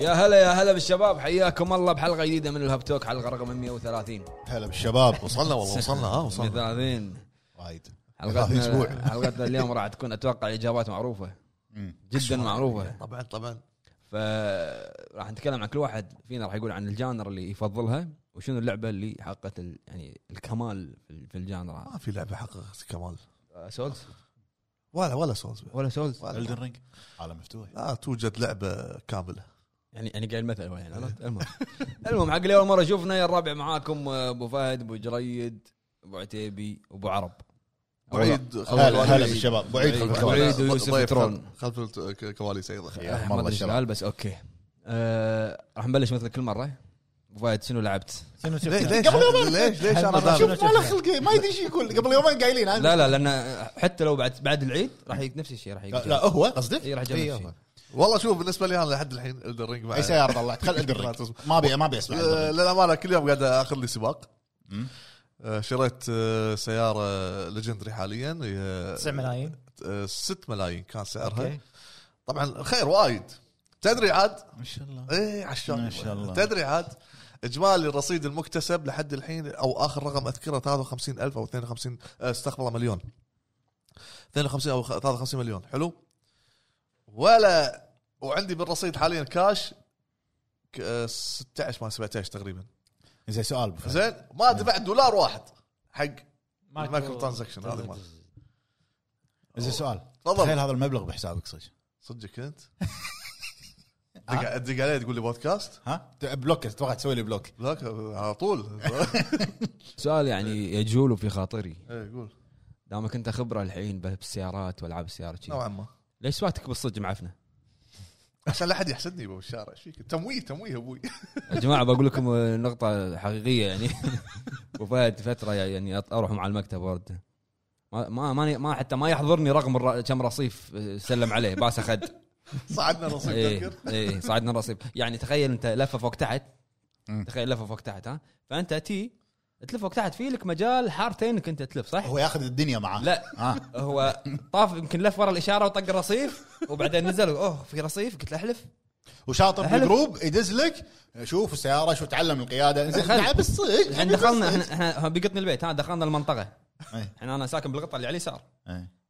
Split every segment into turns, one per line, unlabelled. يا هلا يا هلا بالشباب حياكم الله بحلقه جديده من الهاب توك حلقه رقم 130
هلا بالشباب وصلنا والله وصلنا
آه،
اه وصلنا
130
وايد هذا أسبوع.
حلقتنا حلقتنا اليوم راح تكون اتوقع اجابات معروفه جدا معروفه
طبعا طبعا
فراح نتكلم عن كل واحد فينا راح يقول عن الجانر اللي يفضلها وشنو اللعبه اللي حققت ال- يعني الكمال في- في الجانر هذا
ما في لعبه حققت كمال
آه، سولز
ولا ولا سولز
ولا سولز
ولا-
الدن رينج عالم مفتوح
لا توجد لعبه كامله
يعني يعني قاعد مثل هو يعني عرفت؟ المهم المهم حق اللي اول مره شفنا يا الرابع معاكم آه، ابو فهد ابو جريد ابو عتيبي ابو عرب
أبو عيد،
أول-
هلا-
أول-
هلا
أول-
بالشباب. أبو
بعيد
عيد
خلف
خلف
الكواليس.
الكواليس. ويوسف
ضيف
ترون.
خلف خلف الكواليس ايضا
يا
أه، ما
الله
ادري إيش
الشباب
قال بس اوكي آه، راح نبلش مثل كل مره ابو فهد شنو لعبت؟
شنو شفت؟
ليش ليش
قبل يومين
ليش ليش انا
هالمرة
داخل؟
شوف ما له خلق ما يدري ايش يقول قبل يومين قايلين أنا-
لا لا لان حتى لو بعد بعد العيد راح يجيك نفس الشيء راح يجيك
لا هو قصدك؟
إي، راح أجرب
إي،
شيء.
هو.
والله شوف بالنسبه لي انا لحد الحين الدن رينج
اي سياره طلعت خل الدن رينج ما ابي ما ابي اسمع
آه، للامانه كل يوم قاعد اخذ لي سباق
مم.
آه، شريت آه، سياره ليجندري حاليا هي
9 ملايين
6 ملايين كان سعرها
اوكي
طبعا الخير وايد تدري عاد
ما شاء الله
ايه عشان
ما شاء الله.
تدري عاد اجمالي الرصيد المكتسب لحد الحين او اخر رقم اذكره 53000 او 52 آه، استغفر الله مليون 52 او 53 مليون حلو ولا وعندي بالرصيد حاليا كاش ك- آه، 16 ما 17 تقريبا
زين سؤال أبو فهد.
زين ما دفعت دولار واحد حق
مايكرو-
المايكرو ترانزكشن هذا مال
زين سؤال
تفضل.
تخيل هذا المبلغ بحسابك صدق
صدق انت دق دق علي تقول لي بودكاست
ها ت- بلوك اتوقع تسوي لي بلوك
لا على طول
سؤال يعني يجول وفي خاطري
ايه قول
دامك انت خبره الحين بالسيارات والعاب السيارات شي.
نوعا ما
ليش سواقتك بالصج معفنه؟
عشان لا احد يحسدني ابو الشارع ايش فيك تمويه تمويه ابوي
يا جماعه بقول لكم آه، نقطه حقيقيه يعني ابو فهد فتره يعني أط- اروح مع المكتب وارد ما ما ماني- ما حتى ما يحضرني رقم الر- كم رصيف آه، سلم عليه باس اخد
صعدنا
إيه.
نصيب
ايه
تذكر
ايه صعدنا رصيف يعني تخيل انت لفه فوق تحت
مم.
تخيل لفه فوق تحت ها فانت تي تلف فوق تحت في لك مجال حارتين انك انت تلف صح؟
هو ياخذ الدنيا معاه
لا
ها
هو طاف يمكن لف ورا الاشاره وطق الرصيف وبعدين نزل اوه في رصيف قلت له احلف
وشاطر
حلو.
بالجروب يدز لك شوف السياره شو تعلم القياده زين
خل-
تعب الصدق
الحين دخلنا احنا احنا بقطن البيت ها دخلنا المنطقه
إيه.
احنا انا ساكن بالقطه اللي على اليسار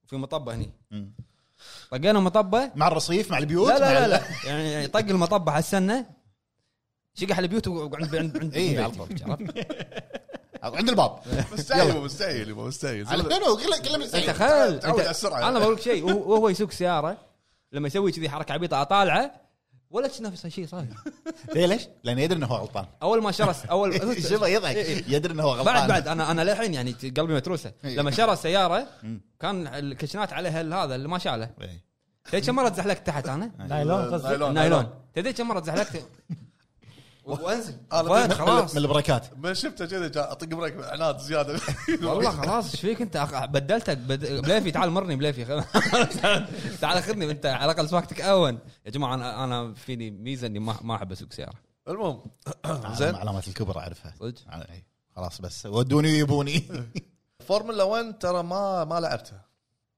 وفي مطبه هني طقينا مطبه
مع الرصيف مع البيوت
لا لا
مع
لا,
ال-
لا. يعني يعني طق المطبه على السنه شقح البيوت وعند عند عند
إيه،
البيت.
عرفت.
عرفت؟
عند الباب
مستحيل يبا، مستحيل يبا، مستحيل
على
زلمة.
كله كله كله مستحيل.
تخيل
إيه. تعود
أنت-
على السرعة.
انا بقول لك شيء وهو وهو يسوق سياره لما يسوي كذي حركه عبيطه طالعه ولا شي نفس الشيء صاير
ليه إيه، ليش؟ لانه يدري انه هو غلطان
اول ما شرس اول
شوفه يضحك يدري انه هو غلطان
بعد بعد انا انا للحين يعني قلبي متروسه
إيه.
لما شرى السياره كان الكشنات عليها ال- هذا اللي ما شاله
إيه.
تدري كم مره تزحلقت تحت انا؟
نايلون
آه.
قصدك
نايلون تدري كم مره تزحلقت وانزل
أنا
فهد،
من-
خلاص
من البركات
ما شفته كذا جا- اطق بريك عناد زياده
والله خلاص ايش فيك انت أخ- بدلتك بد... بليفي تعال مرني بليفي تعال خذني انت على الاقل سواقتك اون يا جماعه انا انا فيني ميزه اني ما ما احب اسوق سياره
المهم
زين
زين.
علامات الكبر اعرفها
صدق؟
على- إي. خلاص بس ودوني يبوني
فورمولا 1 ترى ما ما لعبتها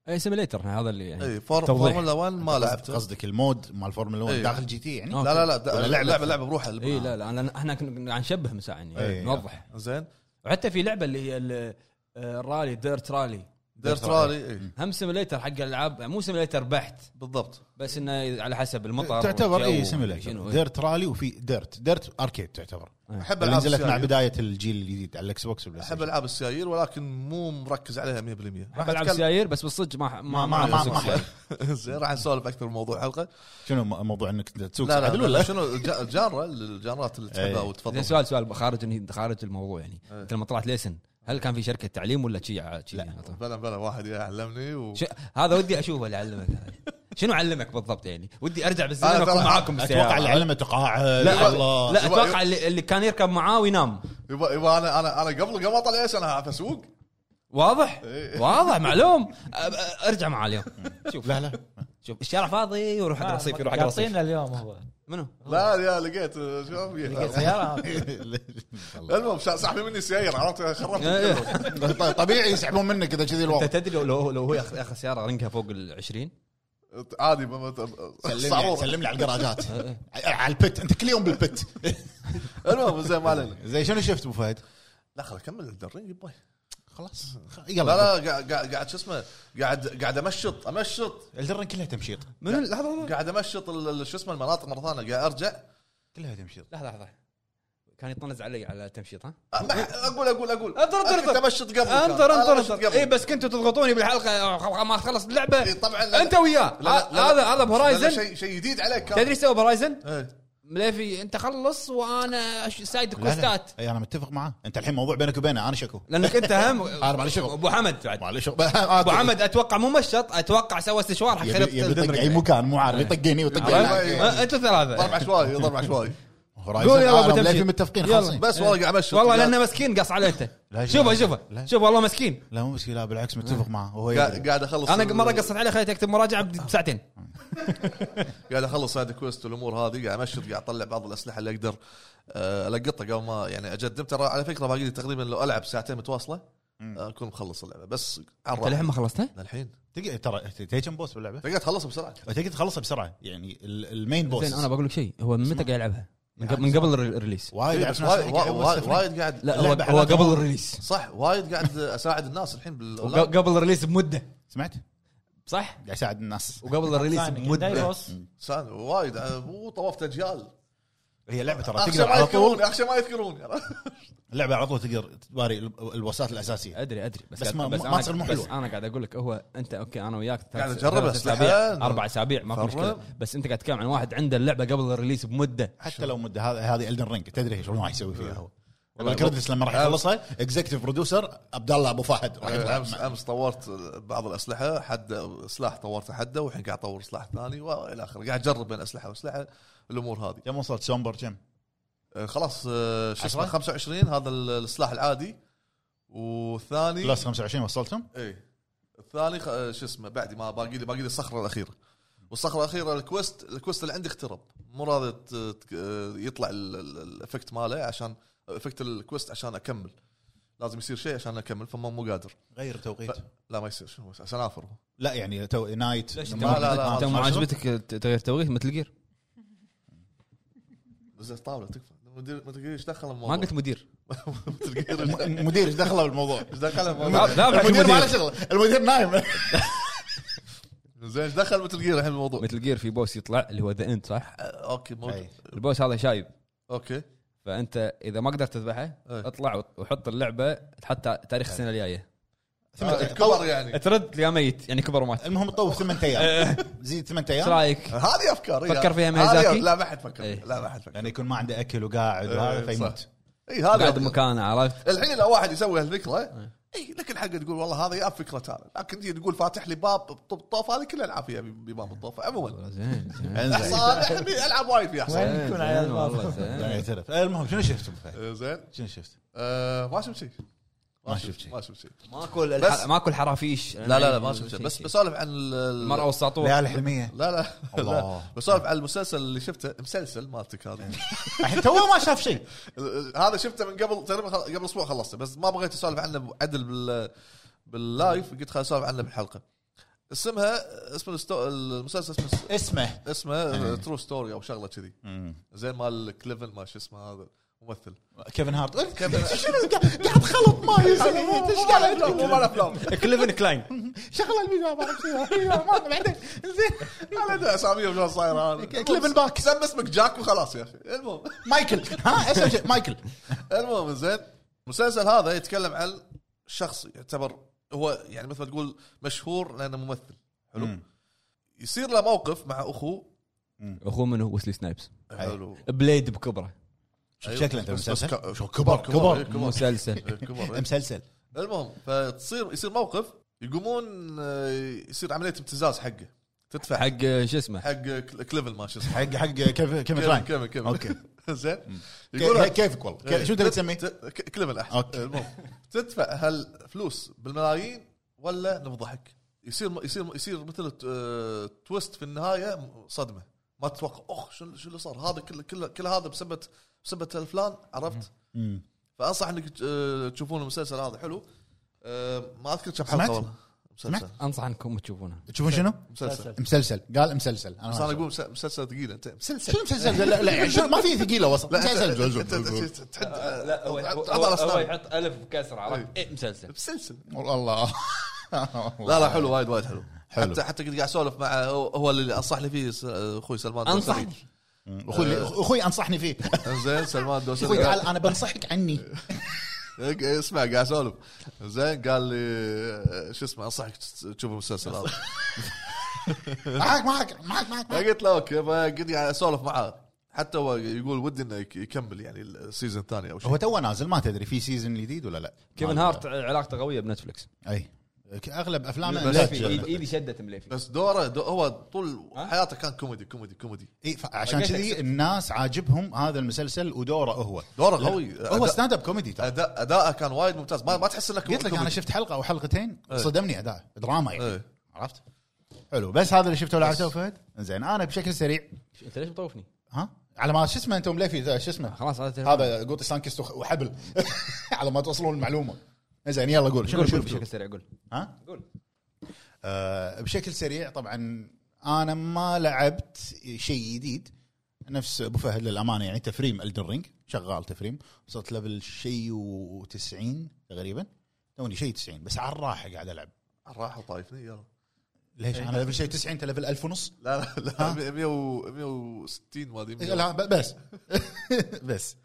اي سيميليتر إيه، هذا اللي يعني
اي فور-
إيه. توضيح.
فورمولا 1 ما لعبتها
قصدك المود مال فورمولا 1
إيه.
داخل جي تي يعني
أوكي.
لا لا لا د-
ولا لعبة. إيه،
لعبه لعبه بروحها اللي
اي
بروحها.
إيه، لا لا لان احنا كنا قاعد نشبه من ساعه يعني
إي.
نوضح
زين
وحتى في لعبه اللي هي ال- آه، الرالي ديرت رالي
ديرت رالي اي
هم سيميليتر حق الالعاب مو سيميليتر بحت
إيه، بالضبط
بس انه على حسب المطر
تعتبر إيه،
والجو
اي
شنو،
سيميليتر
إي.
ديرت رالي وفي ديرت ديرت اركيد تعتبر
احب
اللي
العاب
نزلت مع
السيارير
بدايه الجيل الجديد على الاكس بوكس والبلاي
احب
ستيشن.
العاب السيايير ولكن مو مركز عليها 100% راح
احب العب
أتكلم-
سيايير بس بالصدق ما ما
ما- ما-
أسوق
ما-
سيايير.
زين راح نسولف اكثر بموضوع الحلقه
شنو م- موضوع انك تسوق
لا لا
عدل
لا
ولا
شنو الج- الجاره الجارات اللي تحبها
إيه.
زين
وتفضلها
سؤال سؤال خارج إني- خارج الموضوع يعني انت لما طلعت ليسن هل كان في شركه تعليم ولا آه، شيء لا
بلا بلا واحد يعلمني و...
يعني. طيب. هذا ودي اشوفه اللي علمك هذا. شنو علمك بالضبط يعني ودي ارجع
أنا
آه،
بالزمن
ترى
واكون معاكم
اتوقع اللي
بالسياره
علمه تقاعد
لا
الله
لا
يبا-
اتوقع
يبا-
اللي, اللي كان يركب معاه وينام
يبا يبا انا انا انا قبل قبل اطلع ايش انا اعرف اسوق
واضح
إيه.
واضح معلوم أ- أ- ارجع معاه اليوم شوف
لا لا
شوف الشارع فاضي وروح حق رصيف يروح حق رصيف
يعطينا اليوم هو
منو
لا يا لقيت شوف
لقيت سياره
المهم شا- سحبي مني السيارة عرفت خربت
إيه.
الكل.
طيب، طبيعي يسحبون منك اذا كذي
انت
الوضع
تدري لو لو لو هو ياخذ ياخذ سياره رنقها فوق ال 20
عادي ما- ما-
سلم لي
صاروخ.
سلم لي على الجراجات على البت انت كل يوم بالبت
المهم زين ما علينا
زين شنو شفت ابو فهد؟
لا خل اكمل الدرينج يبا
خلاص خ-
لا
يلا
لا قاعد- قاعد قاعد شو اسمه قاعد قاعد امشط امشط
الدرن كلها تمشيط
منو لحظه
قاعد امشط ال- ال- شو اسمه المناطق مره ثانيه قاعد ارجع
كلها تمشيط
لحظه لحظه كان يطنز علي على التمشيط ها
أ- ما- اقول اقول اقول
انطر انطر
كنت
انطر
امشط قبل كان.
انطر
أنا
انطر
أمشط
انطر
قبل.
اي إيه، بس كنتوا تضغطوني بالحلقه ما تخلص اللعبه
إي طبعا لا-
انت وياه
لا- لا- لا-
هذا هذا
لا،
بهورايزن
شيء شيء جديد عليك كان
تدري ايش سوى بهورايزن؟
إيه.
مليفي انت خلص وانا أش- سايد
لا، لا.
كوستات
اي انا متفق معاه انت الحين موضوع بينك وبينه انا شكو
لانك انت هم
أنا مالي شغل.
ابو حمد بعد
معلش آه،
ابو حمد اتوقع مو مشط اتوقع سوى استشوار حق خريطه
يبي يبي يطق
الدرج.
اي مكان مو عارف يطق هني ويطق
عرفت؟
هناك.
إيه.
ما- انتوا
ضرب
ثلاثه
عشوائي ضرب عشوائي
هورايزن
قول يلا
آه،
أبو
أنا ومليفي
تمشيط.
متفقين
يلا.
خالصين
بس والله قاعد امشط
والله
قاعد-
لانه مسكين قص عليه انت
لا،
شوفه
لا.
شوفه
لا.
شوف والله مسكين
لا مو مشكله لا بالعكس متفق معاه هو يدري.
قاعد قاعد اخلص
انا
ال-
مره قصت عليه خليته يكتب مراجعه بساعتين
قاعد اخلص سايد كويست والامور هذه قاعد امشط قاعد اطلع بعض الاسلحه اللي اقدر آه، القطها قبل ما يعني اجدم ترى على فكره باقي لي تقريبا لو العب ساعتين متواصله
مم.
آه، اكون مخلص اللعبه بس
انت للحين
على
ما خلصتها؟
الحين
تقدر ترى تدري كم بوس باللعبه؟
تقدر تخلص بسرعه
تقدر تخلصها بسرعه يعني ال- المين بوس
زين انا بقول لك شيء هو من متى قاعد يلعبها؟ من قبل- من قبل الري- الريليس
وايد
إيه،
أعرف
بس
ناس
وايد
يلعبون
وايد-
بس
وايد قاعد
لا هو
اللعبة
هو
على
قبل
طول.
الريليس
صح وايد قاعد اساعد الناس الحين
وق-
بال
قبل الريليس بمده
سمعت؟
صح؟
قاعد يساعد الناس
وقبل الريليس
ثاني كده،
بمده
يبوس.
ساعد- وايد آه، مو طوفت اجيال
هي لعبه ترى
اخشى
تقدر
ما
على
يذكروني
طول
اخشى ما يذكروني
اللعبه على طول تقدر تباري ال- البوسات الاساسيه
ادري ادري بس,
بس
قاعد-
ما- ما
أنا-
تصير مو
بس
حلوة.
انا قاعد اقول لك هو انت اوكي انا وياك ثلاث-
قاعد أجرب
ثلاث
أسلحة.
اسابيع اربع اسابيع ما في
فرق.
مشكله بس انت قاعد تتكلم عن واحد عنده اللعبه قبل الريليس بمده
حتى لو مده هذه هذه الدن رينج تدري شو راح يسوي فيها هو
والله
والله الكريدتس لما راح يخلصها اكزكتيف برودوسر عبد الله ابو فهد راح يطلع
امس امس أه، طورت بعض الاسلحه حد سلاح طورته حده والحين قاعد اطور سلاح ثاني والى اخره قاعد اجرب بين اسلحه واسلحه الامور هذه
كم وصلت سومبر كم؟
آه، خلاص آه، شو اسمه
عشرة؟
25 هذا ال- السلاح العادي والثاني
بلس 25 وصلتهم؟
اي الثاني خ- آه، شو اسمه بعد ما باقي لي باقي لي الصخره الاخيره والصخره الاخيره الكوست الكوست اللي عندي اخترب مو راضي ت- ت- آه، يطلع ال- ال- الافكت ماله عشان افكت الكوست عشان اكمل لازم يصير شيء عشان اكمل فما مو قادر
غير توقيت
ف- لا ما يصير شنو عشان افر هو
لا يعني تو نايت
ليش؟
ما-
لا، لا، لا.
انت ما
ما
عجبتك تغير توقيت مثل جير
بس طاوله تكفى المدير ما تدري ايش دخل
ما
الموضوع
قلت مدير
مدير
م- مدير ايش دخله بالموضوع؟
ايش دخل الموضوع
لا بعد
المدير ما له
مدير
شغل المدير نايم
زين ايش دخل مثل جير الحين الموضوع
مثل جير في بوس يطلع اللي هو ذا انت صح؟
آه، اوكي موجود
أي.
البوس هذا شايب
اوكي
فانت اذا ما قدرت تذبحه
إيه.
اطلع وط- وحط اللعبه حتى تاريخ السنه الجايه
الكبر يعني
ترد يا ميت يعني كبر ومات
المهم تطوف ثمان ايام زيد ثمان
ايش
ايام
رايك؟
هذه افكار إيه.
فكر فيها إيه.
هذه-
ميازاكي؟
لا ما حد فكر
أي.
فيها. لا ما حد فكر
يعني يكون ما عنده اكل وقاعد
إيه،
وهذا
صح.
فيموت
اي هذا
قاعد مكانه عرفت؟
الحين لو واحد يسوي هالفكره
إيه.
اي لك الحق تقول والله هذا يا فكره تعال لكن تجي تقول فاتح لي باب طب طوف هذه كلها العاب فيها بباب الطوف عموما
زين زين
انزين
احصان إحنا العاب وايد فيها احصان
وين يكون
زين،
عيال
والله
باب؟
زين.
لا يعترف المهم شنو شفت أبو فهد؟
آه، زين
شنو شفت؟
آه، ما شفت شيء
ما شفت شيء.
ما شفت شيء
ماكو الح-
بس-
ماكو الحرافيش يعني
لا لا لا ما شفت شيء بس بسولف عن ال- ال-
المراه والساطور
ليالي حلميه
لا لا
الله.
لا. بسولف على المسلسل اللي شفته مسلسل مالتك هذا
الحين تو ما شاف شيء
ال-
إيه.
ال- هذا شفته من قبل تقريبا خل- قبل اسبوع خلصته بس ما بغيت اسولف عنه عدل بال باللايف
إيه.
قلت خل اسولف عنه بالحلقه اسمها اسم الستو... المسلسل اسمه
اسمه
اسمه
إيه.
ترو ستوري او شغله كذي زين مال كليفن ما شو اسمه هذا ممثل
كيفن هارت
كيفن- أيوه.
شنو قاعد قاعد خلط ما يزن. إيه، إيش قاعد
مو مو مال افلام
كليفن كلاين
شغله الفيديو ما أعرف شنو. ما بعدين زين
انا ادري اساميهم شلون صايره هذا
كليفن باك.
سم اسمك جاك وخلاص يا اخي المهم
مايكل ها اسم شيء مايكل
المهم زين المسلسل هذا يتكلم عن شخص يعتبر هو يعني مثل ما تقول مشهور لانه ممثل حلو
مم.
يصير له موقف مع اخوه
اخوه منو ويسلي سنايبس
حلو
بليد بكبره
شو
أيوة.
شكله انت
بس- بس
مسلسل
ك-
شو كبر
كبر.
كبر
كبر.
مسلسل
إيه، كبر إيه.
مسلسل
المهم فتصير يصير موقف يقومون آه، يصير عمليه ابتزاز حقه تدفع حق
حق شو اسمه
حق كليفل ما شو اسمه
حق حق كيف كيف
كمل
كلاين
كمل كمل
اوكي
زين
كيف- كيفك والله كيف- شو تبي تسميه؟
كليفل احسن
أوكي.
المهم تدفع هالفلوس بالملايين ولا نفضحك يصير يصير يصير مثل آه، تويست في النهايه صدمه ما تتوقع اخ شو شو اللي صار هذا كله كله كل هذا بسبه بسبه الفلان عرفت
مم.
فانصح انك ت- آه، تشوفون المسلسل هذا حلو آه، ما اذكر كم
سمعت؟
حلقه والله مسلسل
انصح انكم تشوفونه
تشوفون شنو؟
مسلسل
مسلسل قال مسلسل انا
بس انا
ما
اقول مس- مسلسل ثقيل انت مسلسل
شنو مسلسل لا لا يعني شنو ما في ثقيله وسط
لا أنت-
مسلسل
أنت- أنت تحد
أه، لا هو
عض على أسنانك.
يحط الف بكسر عرفت إيه، مسلسل
مسلسل
والله
لا لا حلو وايد وايد حلو
حلو.
حتى حتى كنت قاعد اسولف مع هو- هو اللي انصح لي فيه س- اخوي سلمان
انصح
الدوسري.
اخوي اخوي انصحني فيه
زين سلمان
اخوي
الدوسري
تعال انا بنصحك عني
إيه، اسمع قاعد اسولف زين قال لي إيه، شو اسمه انصحك تشوف المسلسل هذا
معك معك معك معك معك.
قلت له اوكي فقلت قاعد اسولف معاه حتى هو يقول ودي انه يك- يكمل يعني السيزون الثاني او شيء
هو تو نازل ما تدري في سيزون جديد ولا لا
كيفن
ما-
هارت علاقته قويه بنتفلكس
اي اغلب افلامه
بس
لا
في-
تشوفها.
إيد- ايدي شدت مليفي
بس دوره دو هو طول
ها؟
حياته كان كوميدي كوميدي كوميدي
اي ف- عشان
لقيت
كذي
أكسبت.
الناس عاجبهم هذا المسلسل ودوره هو
دوره
لا،
قوي
هو
أداء-
ستاند اب كوميدي ترى
اداء اداءه كان وايد ممتاز ما, ما تحس انه
قلت لك انا
كوميدي.
شفت حلقه او حلقتين
إيه.
صدمني اداء دراما يعني
إيه.
عرفت حلو بس هذا اللي شفته ولعبته فهد زين انا بشكل سريع
انت ليش مطوفني؟
ها على ما شو اسمه انتم مليفي ذا شو اسمه
خلاص هذا
هذا قوطي سانكست وخ- وحبل على ما توصلون المعلومه زين يلا قول شنو
قول قول
شفت
بشكل سريع قول
ها
قول
آه، بشكل سريع طبعا انا ما لعبت شيء جديد نفس ابو فهد للامانه يعني تفريم الدرينج شغال تفريم وصلت ليفل شيء و90 تقريبا توني شيء 90 بس على الراحه قاعد العب
راح طايفني يلا
ليش انا ليفل شيء 90 انت ليفل 1000 ونص
لا لا
ها؟
لا 160 ما ادري
إيه،
100.
لا ب- بس بس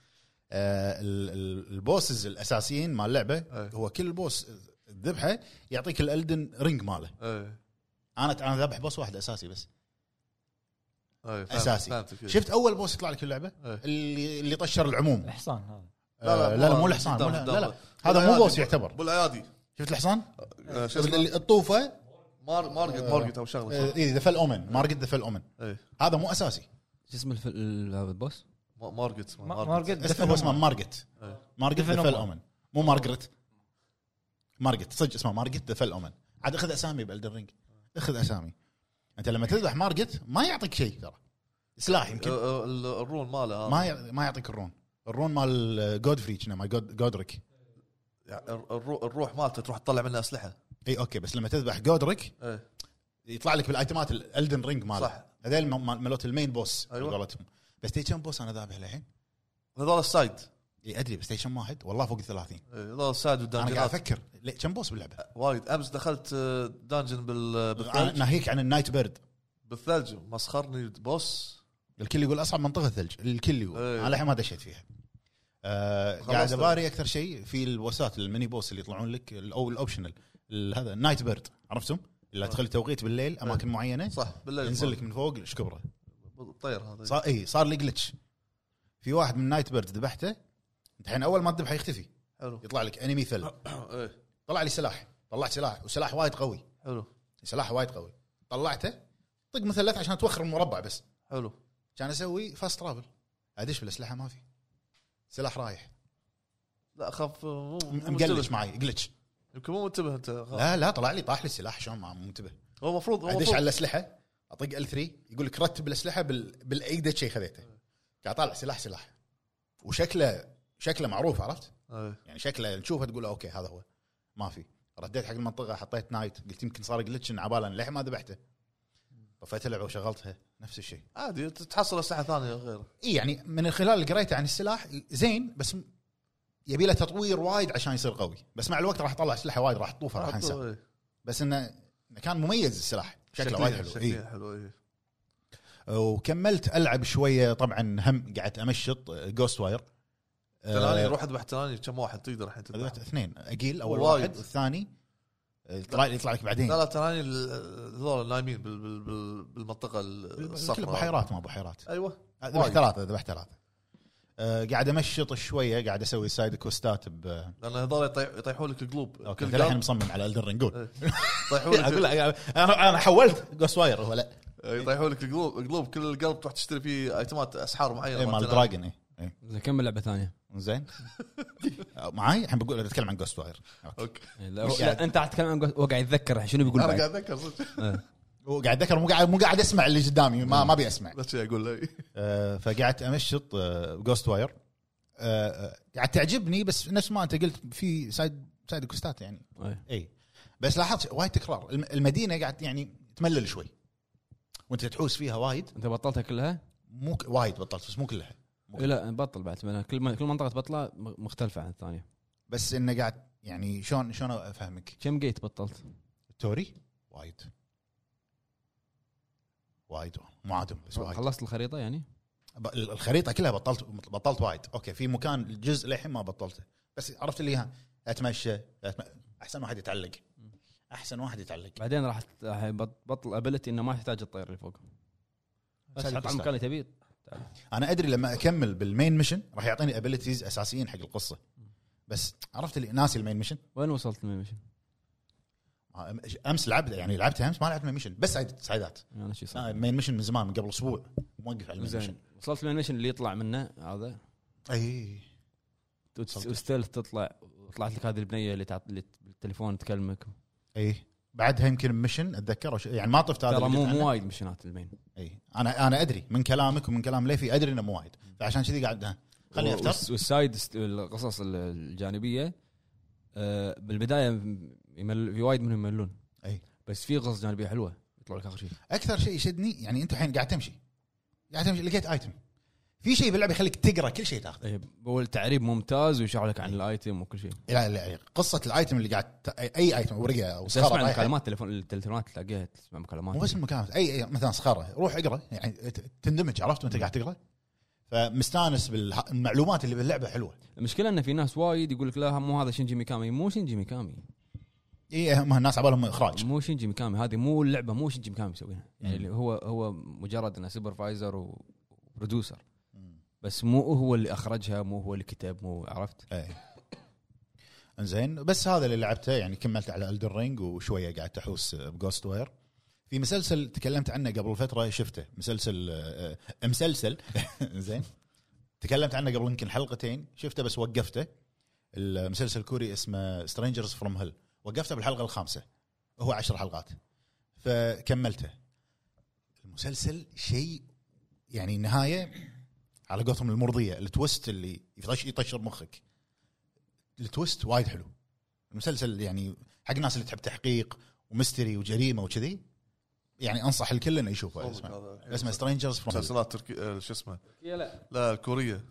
آه، ال- ال- البوسز الاساسيين مال اللعبه
أي.
هو كل بوس ذبحه يعطيك الالدن رينج ماله
ايه
انا انا ذبح بوس واحد اساسي بس
ايه فهمت-
اساسي
فهمتك.
شفت اول بوس يطلع لك اللعبه
إيه.
اللي اللي طشر العموم
الحصان هذا
آه، لا لا مو الحصان مو-
قدام-
لا
قدام.
لا هذا مو
بالأيادي.
بوس يعتبر
بالايادي
شفت الحصان
آه، شو اسمه؟
اللي- الطوفه
مار- مارجت
آه.
مارجت او شغله صح؟
اي ذا فل اومن مارجت ذا فل اومن
ايه
هذا مو اساسي
شو اسم الف- ال- هذا البوس؟
ما- مارجت
ما- مارجت
اسمه هو اسمه
دفن
مارجت
إيه.
مارجت
دفن
ذا فل
أومن.
اومن مو مارجريت مارجت صدق اسمه مارجت ذا فل اومن عاد اخذ اسامي بالدن رينج اخذ اسامي انت لما تذبح مارجت ما يعطيك شيء ترى سلاح يمكن
آه، آه، ال- الرون ماله هذا.
ما يع- ما يعطيك الرون الرون مال جودفري كنا مال جود- جودريك
يعني الرو- الروح مالته تروح تطلع منه اسلحه
اي اوكي إيه، بس لما تذبح جودريك
ايه
يطلع لك بالايتمات الالدن رينج ماله
صح.
صح هذول م- م- مالوت المين بوس على
أيوة.
قولتهم بس تي كم بوس انا ذابح للحين؟
هذول السايد
اي ادري بس ستيشن واحد والله فوق ال 30
إيه، هذول السايد
انا قاعد
والدنجنات
افكر ليه- كم بوس باللعبه؟
وايد امس دخلت آه، دانجن بال-
انا
بالثلج
ناهيك عن النايت بيرد
بالثلج مسخرني بوس
الكل يقول اصعب منطقه ثلج الكل يقول
إيه.
انا للحين ما دشيت فيها آه
خلاص طيب.
قاعد
ترى.
اباري اكثر شيء في البوسات الميني بوس اللي يطلعون لك ال- او الاوبشنال ال- هذا النايت بيرد عرفتم؟ اللي تخلي توقيت بالليل اماكن معينه
آه. إيه. صح بالليل
ينزل لك من فوق ايش كبره
الطير هذا
صار اي صار لي جلتش في واحد من نايت بيرد ذبحته الحين اول ما تذبحه يختفي
حلو
يطلع لك انمي ثلج
ايه
طلع لي سلاح طلعت سلاح وسلاح وايد قوي
حلو
سلاح وايد قوي طلعته طق مثلث عشان توخر المربع بس
حلو
كان اسوي فاست ترافل ادش بالاسلحه ما في سلاح رايح
لا خاف مو مو
م-
منتبه.
مقلش معي جلتش
يمكن مو منتبه انت خاف.
لا لا طلع لي طاح لي السلاح شلون ما مو منتبه
هو المفروض هو
ادش على
المفروض
الاسلحه اطق ال3 يقول لك رتب الاسلحه بال... بالايدة شيء خذيته قاعد طالع سلاح سلاح وشكله شكله معروف عرفت
إيه.
يعني شكله تشوفه تقول اوكي هذا هو ما في رديت حق المنطقه حطيت نايت قلت يمكن صار جلتش إن عبالا للحين ما ذبحته طفيت اللعبه وشغلتها نفس الشيء
عادي ت- تحصل اسلحه ثانيه غيره
اي يعني من الخلال اللي قريته عن السلاح زين بس م- يبي له تطوير وايد عشان يصير قوي بس مع الوقت راح يطلع اسلحه وايد راح تطوفها راح انسى
إيه.
بس انه كان مميز السلاح شكله وايد حلو
شكليا
إي.
حلو إيه.
وكملت العب شويه طبعا هم آه، قعدت امشط جوست واير آه.
تناني روح اذبح تناني كم واحد تقدر الحين تذبح
ذبحت اثنين اجيل اول
وايد.
واحد والثاني آه، يطلع يطلع لك بعدين
لا لا تناني ال- هذول نايمين بال- بال- بال- بالمنطقه
كل
الصفراء
بحيرات ما بحيرات
ايوه
ذبحت
وايد.
ثلاثه ذبحت ثلاثه آه، قاعد امشط شويه قاعد اسوي سايد كوستات ب
لان هذول يطيح- يطيحون لك قلوب
اوكي
كل
أنت الحين
قلب
مصمم على الدر نقول
يطيحون
اقول
لك
لك انا أنا حولت جوست واير هو لا
يطيحون لك القلوب قلوب كل القلب تروح تشتري فيه ايتمات اسحار معينه
إيه، مال
تناني.
دراجون إيه. اي
زين كمل لعبه ثانيه
زين معاي الحين بقول بتكلم عن جوست واير
اوكي
لا,
مش
لا
قاعد.
انت قاعد تتكلم عن جوست- هو قاعد يتذكر الحين شنو بيقول
انا
بعد
قاعد اتذكر صدق
وقاعد اتذكر مو قاعد مو قاعد اسمع اللي قدامي ما ما ابي اسمع
بس شي اقول لي
آه، فقعدت آه، امشط جوست واير آه، قاعد تعجبني بس نفس ما انت قلت في سايد سايد كوستات يعني
إيه.
اي بس لاحظت وايد تكرار الم- المدينه قاعد يعني تملل شوي وانت تحوس فيها وايد
انت بطلتها كلها؟
مو ك- وايد بطلت بس مو كلها
إيه لا بطل بعد ما أنا كل ما- كل منطقه تبطلها م- مختلفه عن الثانيه
بس انه قاعد يعني شلون شلون افهمك
كم جيت بطلت؟
توري وايد وايد مو عادم بس وايد
خلصت الخريطه يعني؟
ب- الخريطه كلها بطلت بطلت وايد اوكي في مكان جزء للحين ما بطلته بس عرفت اللي ها اتمشى أتم... احسن واحد يتعلق احسن واحد يتعلق
بعدين راح ت- راح يبط- بطل ابيلتي انه ما تحتاج الطير اللي فوق بس
سالفة
حط على المكان اللي تبيه تعال.
انا ادري لما اكمل بالمين ميشن راح يعطيني ابيلتيز اساسيين حق القصه بس عرفت اللي ناسي المين آه، ميشن
وين وصلت من ميشن؟
امس لعبت يعني لعبتها امس ما لعبت مين ميشن بس سايد- سايدات
انا شو يعني صار؟
لا، المين ميشن من زمان من قبل اسبوع موقف على المين ميشن
زين وصلت من ميشن اللي يطلع منه هذا
اي
وتس-
وصلت.
وستيلث تطلع طلعت لك هذه البنيه اللي تعط اللي بالتليفون تكلمك
اي إيه. بعدها يمكن ميشن اتذكره ش- يعني ما طفت هذا
ترى
اللي
مو
قلت عنه.
مو وايد مشينات المين
اي انا انا ادري من كلامك ومن كلام ليفي ادري انه مو وايد فعشان كذي قاعد ها، خليني افتر
والس- والسايد ست- القصص ال- الجانبيه آه، بالبدايه م- يمل في وايد منهم يملون
أي.
بس في قصص جانبيه حلوه يطلع لك اخر شيء
اكثر شيء يشدني يعني انت الحين قاعد تمشي قاعد تمشي لقيت ايتم في شيء باللعبه يخليك تقرا كل شيء تاخذه
إيه، اول تعريب ممتاز ويشرح لك عن الايتم وكل شيء
لا لا لا، قصه الايتم اللي قاعد ت- اي ايتم ورقه او
بس
سخره
اسمع
أي حاجة.
مكالمات تليفون التليفونات تلاقيها تسمع مكالمات
مو بس المكالمات اي اي مثلا صخره روح اقرا يعني ت- تندمج عرفت وانت قاعد تقرا فمستانس بالمعلومات اللي باللعبه حلوه
المشكله ان في ناس وايد يقول لك لا مو هذا شينجي ميكامي مو شينجي ميكامي
اي هم الناس على بالهم اخراج
مو شينجي ميكامي هذه مو اللعبه مو شينجي ميكامي مسويها يعني اللي هو هو مجرد انه سوبرفايزر وبرودوسر بس مو هو اللي اخرجها مو هو اللي كتب مو عرفت
اي ايه. انزين بس هذا اللي لعبته يعني كملت على الدر رينج وشويه قاعد تحوس بجوست وير في مسلسل تكلمت عنه قبل فتره شفته مسلسل آه، آه، مسلسل زين تكلمت عنه قبل يمكن حلقتين شفته بس وقفته المسلسل الكوري اسمه سترينجرز فروم هيل وقفته بالحلقه الخامسه هو عشر حلقات فكملته المسلسل شيء يعني نهايه على قولتهم المرضيه التويست اللي يطش- يطشر مخك التويست وايد حلو المسلسل يعني حق الناس اللي تحب تحقيق ومستري وجريمه وكذي يعني انصح الكل انه يشوفه اسمه اسمه سترينجرز فروم
مسلسلات تركي آه، شو اسمه
لا
لا الكوريه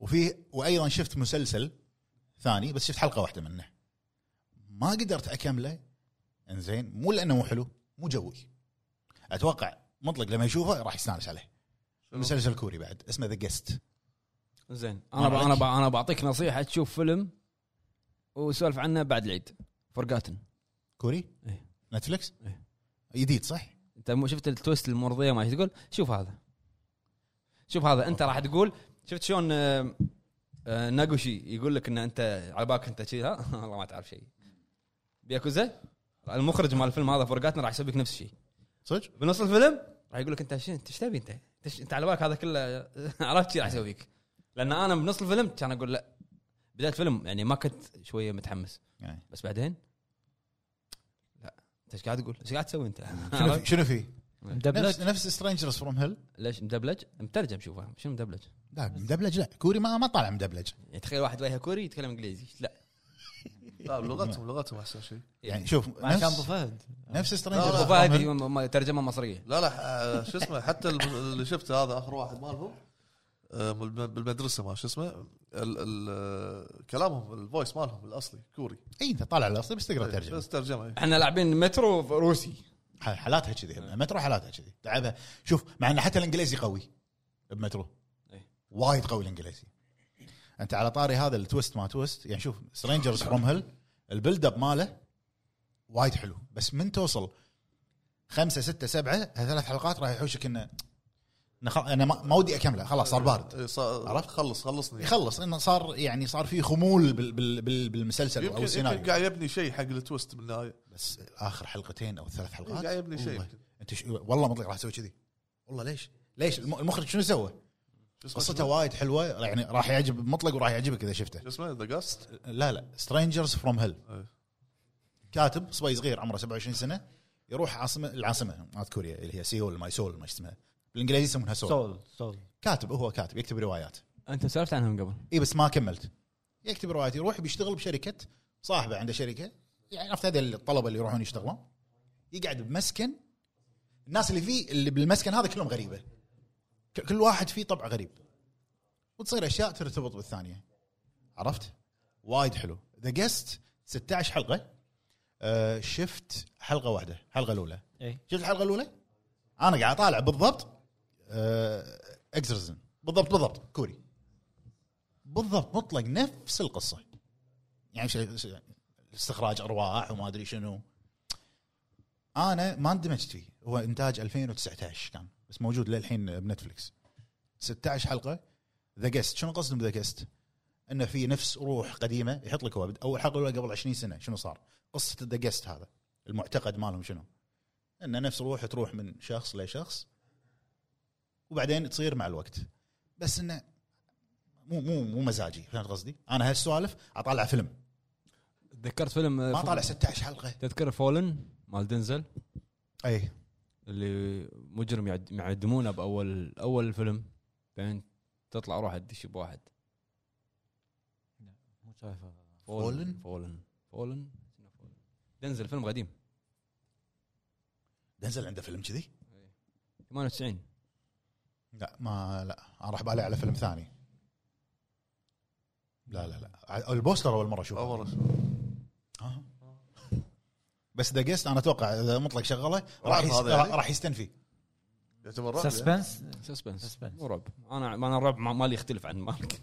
وفي وايضا شفت مسلسل ثاني بس شفت حلقه واحده منه ما قدرت اكمله انزين مو لانه مو حلو مو جوي اتوقع مطلق لما يشوفه راح يستانس عليه مسلسل كوري بعد اسمه ذا جيست
زين
ما
انا ب- انا
عليك.
ب- انا بعطيك نصيحه تشوف فيلم وسولف عنه بعد العيد فورغاتن
كوري
إيه.
نتفلكس
إيه.
جديد صح
انت مو شفت التويست المرضيه ما تقول شوف هذا شوف هذا انت راح تقول شفت شلون آه، آه، ناغوشي يقول لك ان انت على بالك انت شي ها والله ما تعرف شيء بياكوزا المخرج مال الفيلم هذا فورغاتن راح يسوي لك نفس الشيء
صدق
بنص الفيلم راح يقول لك انت شنو انت ايش تبي انت؟ أنت إيش- انت على بالك هذا كله عرفت شي راح اسوي فيك لان انا بنص الفيلم كان اقول لا بدايه الفيلم يعني ما كنت شويه متحمس
يعني.
بس بعدين لا انت ايش قاعد تقول؟ ايش قاعد تسوي انت؟
شنو في شنو فيه نفس
مدبلج
نفس سترينجرز فروم هيل
ليش مدبلج؟ مترجم شوفه شنو مدبلج؟
لا مدبلج لا كوري ما ما طالع مدبلج
يعني تخيل واحد وجهه كوري يتكلم انجليزي لا
لا لغتهم لغتهم احسن شيء
يعني شوف
مع كان ابو
نفس
فهد
نفس
لا، لا،
ابو
سترينجرز
فهد م- م- ترجمه مصريه
لا لا آه، شو اسمه حتى الم- اللي شفته هذا اخر واحد مالهم آه، بالم- بالمدرسه ما شو اسمه ال- ال- آه، كلامهم الفويس مالهم الاصلي كوري
اي انت إيه، طالع الاصلي بس تقرا
إيه،
ترجمه
بس ترجمه إيه.
احنا لاعبين مترو روسي
ح- حالاتها كذي المترو حالاتها كذي تعبها شوف مع ان حتى الانجليزي قوي بمترو
إيه.
وايد قوي الانجليزي انت على طاري هذا التويست ما تويست يعني شوف سترينجرز فروم هيل البيلد اب ماله وايد حلو بس من توصل خمسة ستة سبعة ثلاث حلقات راح يحوشك انه إنه خل- انا ما ما ودي اكمله خلاص صار بارد
إيه، صار-
عرفت؟
خلص خلصني
يخلص انه صار يعني صار في خمول بال بال بال بالمسلسل
يمكن
او
يمكن
السيناريو
قاعد يبني شيء حق التويست بالنهايه
بس اخر حلقتين او ثلاث حلقات
إيه، قاعد يبني شيء
والله.
يمكن.
انت ش... والله مطلق راح اسوي كذي والله ليش؟ ليش الم- المخرج شنو سوى؟
شو اسمه؟
قصته وايد حلوه يعني راح يعجب مطلق وراح يعجبك اذا شفته
شو اسمه ذا جاست
لا لا سترينجرز فروم هيل
إيه.
كاتب صبي صغير عمره 27 سنه يروح عاصمه العاصمه مالت كوريا اللي هي سيول ماي سول ما اسمها بالانجليزي يسمونها سول
سول سول
كاتب هو كاتب يكتب روايات
انت سولفت
إيه،
عنهم قبل
اي بس ما كملت يكتب روايات يروح بيشتغل بشركه صاحبه عنده شركه يعني عرفت هذول الطلبه اللي يروحون يشتغلون يقعد بمسكن الناس اللي فيه اللي بالمسكن هذا كلهم غريبه ك- كل واحد فيه طبع غريب وتصير اشياء ترتبط بالثانيه عرفت؟ وايد حلو ذا جست 16 حلقه آه شفت حلقه واحده الحلقه الاولى
إي.
شفت الحلقه الاولى؟ انا قاعد اطالع بالضبط آه اكزرزن بالضبط بالضبط كوري بالضبط مطلق نفس القصه يعني شيء شيء- استخراج ارواح وما ادري شنو انا ما اندمجت فيه هو انتاج 2019 كان بس موجود للحين بنتفلكس 16 حلقه ذا جيست شنو قصدهم ذا جيست؟ انه في نفس روح قديمه يحط لك هو اول حلقه الاولى قبل 20 سنه شنو صار؟ قصه ذا جيست هذا المعتقد مالهم شنو؟ انه نفس روح تروح من شخص لشخص وبعدين تصير مع الوقت بس انه مو مو مو مزاجي فهمت قصدي؟ انا هالسوالف اطالع فيلم
تذكرت فيلم
ما طالع 16 حلقه
تذكر فولن مال دنزل
اي
اللي مجرم يعد- يعدمونه باول اول الفيلم بعدين تطلع روحه تدش بواحد
مو شايفه
فولن؟
فولن فولن دنزل فيلم قديم
دنزل عنده فيلم كذي؟
98
لا ما لا انا راح بالي على فيلم ثاني لا لا لا ع- البوستر اول مره اشوفه
اول
آه. بس ذا جيست انا اتوقع اذا مطلق شغله راح
رعب
يس-
هذا يعني؟
راح يستنفي
يعتبر رعب يعني.
سسبنس
سسبنس
Suspense.
مو رعب انا انا الرعب ما- مالي يختلف عن مالك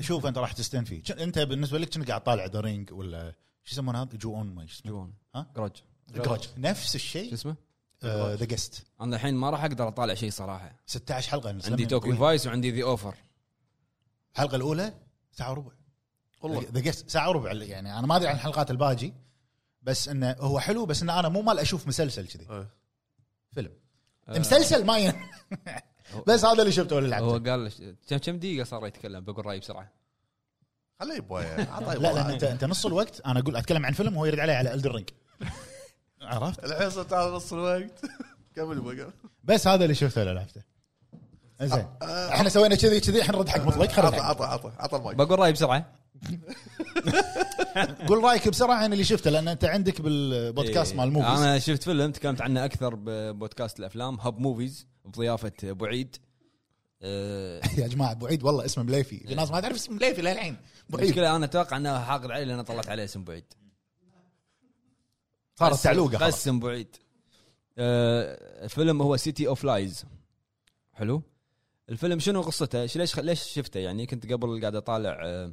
شوف انت راح تستنفي ش- انت بالنسبه لك كنت قاعد طالع ذا رينج ولا شو يسمونه هذا جو اون ما شو اسمه
جوان
ها؟
جراج
جراج نفس
شو
الشيء آه،
اسمه؟
ذا جيست
انا الحين ما راح اقدر اطالع شيء صراحه
16 حلقه نزلنا
عندي
من
توكيو
طويل.
فايس وعندي ذا اوفر
الحلقه الاولى ساعه وربع
والله
ذا جيست ساعه وربع يعني انا ما ادري عن الحلقات الباجي بس انه هو حلو بس انه انا مو مال اشوف مسلسل كذي
إيه.
فيلم
آه.
مسلسل ما ين... بس هذا اللي شفته ولا
هو
لعبته
قال ش- كم كم دقيقه صار يتكلم بقول رايي بسرعه
خليه يعني. يبوي عطاه
لا لا
يبوي
انت انت نص الوقت انا اقول اتكلم عن فيلم وهو يرد علي على الدر رينج عرفت
الحين صرت على نص الوقت كمل يبوي كمل.
بس هذا اللي شفته ولا لعبته زين
آه،
احنا سوينا كذي كذي احنا نرد حق مطلق
عطى
خلاص
عطى عطى عطى المايك
بقول رايي بسرعه
قول رايك بسرعه عن اللي شفته لان انت عندك بالبودكاست
آه. إيه.
مال موفيز
انا شفت فيلم تكلمت عنه اكثر ببودكاست الافلام هب موفيز بضيافه ابو عيد أه،
يا جماعه ابو عيد والله اسمه مليفي
إيه.
في ناس ما تعرف اسم مليفي للحين ابو عيد
المشكله انا اتوقع انه حاقد علي لان طلعت عليه اسم ابو عيد
صارت
بس-
تعلوقه خلاص.
بس ابو عيد أه، الفيلم هو سيتي اوف لايز حلو الفيلم شنو قصته؟ إيش- ليش ليش شفته يعني كنت قبل قاعد اطالع أه،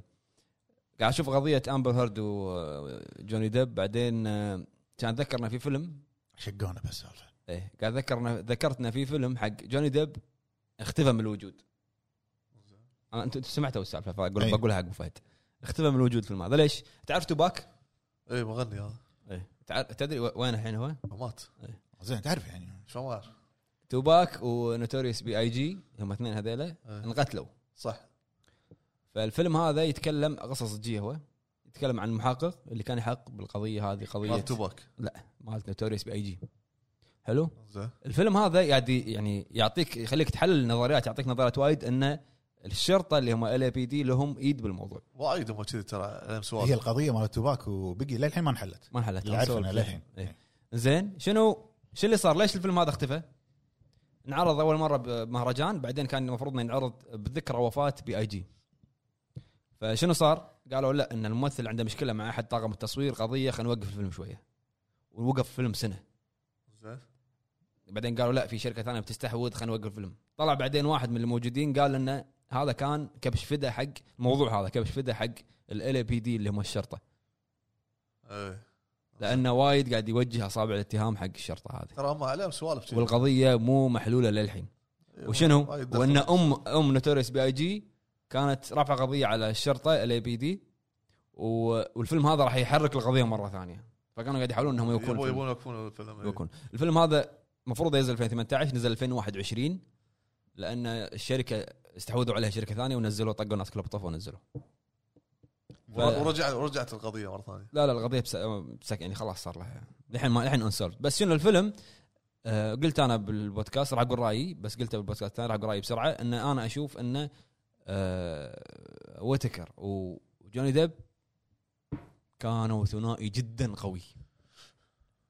قاعد اشوف قضيه امبر هيرد وجوني ديب إيه، بعدين أه، كان اتذكر انه في فيلم
شقونا بس سالفه
ايه قاعد ذكرنا ذكرتنا في فيلم حق جوني ديب اختفى من الوجود انا انت أنت سمعتوا السالفه فاقول
إيه.
أي.
بقولها حق أبو فهد اختفى من الوجود في هذا ليش؟ تعرف توباك؟
اي إيه، مغني هذا
ايه تدري و- وين الحين هو؟
مات
زين تعرف يعني
شو ما أعرف.
توباك ونوتوريوس بي اي جي هم اثنين هذيلا
إيه.
انقتلوا
صح
فالفيلم هذا يتكلم قصه صجيه هو يتكلم عن محقق اللي كان يحقق بالقضيه هذه قضيه
مال توباك
مالت نوتوريوس بي اي جي حلو؟
زين
الفيلم هذا قاعد ي- يعني يعطيك يخليك تحلل نظريات يعطيك نظريات وايد ان الشرطه اللي هم ال بي دي لهم ايد بالموضوع
وايد هم كذي ترى لهم
هي
سوالف
القضيه مالت توباك وبقي للحين ما انحلت
ما انحلت
اللي عارفنا للحين
إيه. زين شنو شو اللي صار ليش الفيلم هذا اختفى؟ انعرض اول مره بمهرجان بعدين كان المفروض انه ينعرض بذكرى وفاه بي اي جي فشنو صار؟ قالوا لا ان الممثل عنده مشكله مع احد طاقم التصوير قضيه خلينا نوقف الفيلم شويه ووقف فيلم سنه
زين
بعدين قالوا لا في شركه ثانيه بتستحوذ خلينا نوقف الفيلم طلع بعدين واحد من الموجودين قال انه هذا كان كبش فدا حق الموضوع هذا كبش فدا حق ال بي دي اللي هم الشرطه
إيه.
لانه وايد قاعد يوجه اصابع الاتهام حق الشرطه هذه
ترى هم عليهم سوالف كذي
والقضيه مو محلوله للحين
إيه،
وشنو
وايد دخل.
وان ام ام نوتوريس بي اي جي كانت رافعه قضيه على الشرطه ال بي دي والفيلم هذا راح يحرك القضيه مره ثانيه فكانوا قاعد يحاولون انهم يوقفون
يبون
الفيلم.
يبون يوقفون الفيلم إيه.
يكون الفيلم هذا المفروض ينزل 2018 نزل 2021 لان الشركه استحوذوا عليها شركه ثانيه ونزلوا طقوا ناس كلها بطف ونزلوا
ور- ورجع رجعت القضيه مره ثانيه
لا لا القضيه بس... بسك يعني خلاص صار لها الحين ما الحين انسولد بس شنو الفيلم آه قلت انا بالبودكاست راح اقول رايي بس قلته بالبودكاست الثاني راح اقول رايي بسرعه ان انا اشوف ان آه ويتكر وجوني ديب كانوا ثنائي جدا قوي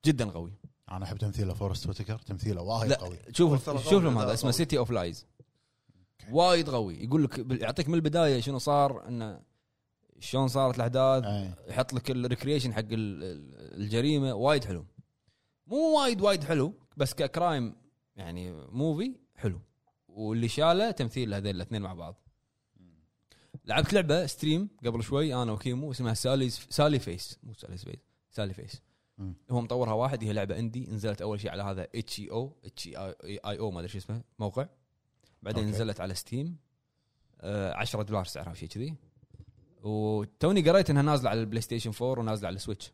جدا قوي
انا احب تمثيله فورست وتكر تمثيله وايد
لا.
قوي
شوف
والثلاثة
شوف لهم
والثلاثة
هذا اسمه
قوي.
سيتي اوف لايز وايد قوي يقول لك بال- يعطيك من البدايه شنو صار انه شلون صارت الاحداث
أي.
يحط لك الريكريشن حق ال- ال- الجريمه وايد حلو مو وايد وايد حلو بس ككرايم يعني موفي حلو واللي شاله تمثيل هذين الاثنين مع بعض لعبت لعبه ستريم قبل شوي انا وكيمو اسمها سالي سالي فيس مو سالي فيس سالي فيس
مم.
هو مطورها واحد هي لعبه اندي نزلت اول شيء على هذا E اتش اي او اتش اي او E ما ادري شو اسمه موقع بعدين
أوكي.
نزلت على ستيم 10 دولار سعرها شيء كذي وتوني قريت انها نازله على البلاي ستيشن 4 ونازله على السويتش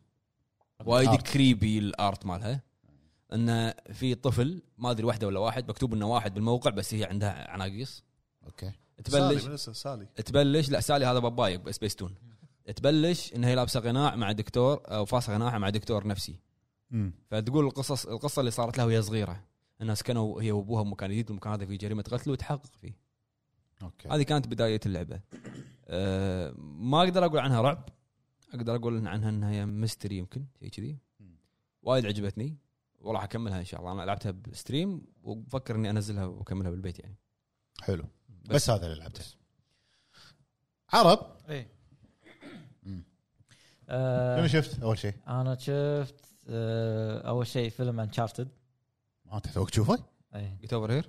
وايد
آرت.
كريبي الارت مالها انه في طفل ما ادري واحده ولا واحد مكتوب انه واحد بالموقع بس هي عندها عناقيص
اوكي
تبلش
سالي من سالي
تبلش لا سالي هذا باباي بسبيستون تبلش انها هي لابسه قناع مع دكتور او فاصه قناعها مع دكتور نفسي
مم.
فتقول القصص القصه اللي صارت لها وهي صغيره انها سكنوا هي وابوها بمكان جديد المكان هذا فيه جريمه قتل وتحقق فيه
اوكي
هذه كانت بدايه اللعبه أه ما اقدر اقول عنها رعب اقدر اقول إن عنها انها هي ميستري يمكن شيء كذي وايد عجبتني وراح اكملها ان شاء الله انا لعبتها بستريم وبفكر اني انزلها واكملها بالبيت يعني
حلو بس,
بس.
بس هذا اللي لعبته عرب
اي
مم. شنو
إيه. آه
شفت اول شيء؟
انا شفت آه اول شيء فيلم انشارتد
ما انت توك تشوفه؟
اي
جيت اوفر هير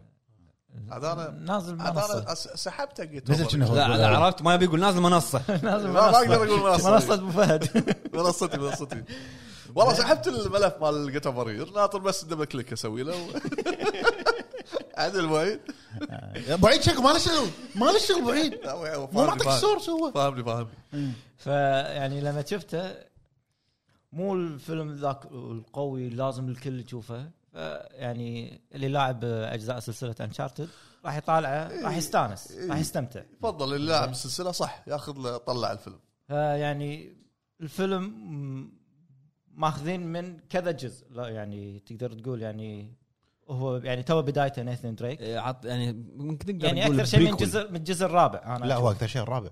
هذا أنا-
نازل
عاد
منصه
انا أس- سحبته قلت
نزل
والله.
شنو هو؟
لا لا عرفت ما يبي يقول نازل منصه
نازل
ما ما اقدر
منصه
اقول
منصه
منصتي
ابو فهد
منصتي منصتي والله سحبت الملف مال جيت برير ناطر بس دبل كليك اسوي له و- عدل وايد
آه. ابو عيد شكو ما له شغل ما له شغل ابو عيد مو معطيك السورس هو
فاهمني فاهمني
فيعني لما شفته مو الفيلم ذاك القوي لازم الكل يشوفه يعني اللي لاعب اجزاء سلسله انشارتد راح يطالعه راح يستانس راح يستمتع
تفضل اللي لاعب السلسله صح ياخذ له- طلع الفيلم
فيعني الفيلم م- ماخذين من كذا جزء لا يعني تقدر تقول يعني هو يعني تو بدايته نيثن دريك
إيه، عط يعني ممكن تقدر
يعني
تقول
اكثر شيء من
prequel.
الجزء من الجزء الرابع انا
لا
أشوف.
هو اكثر شيء الرابع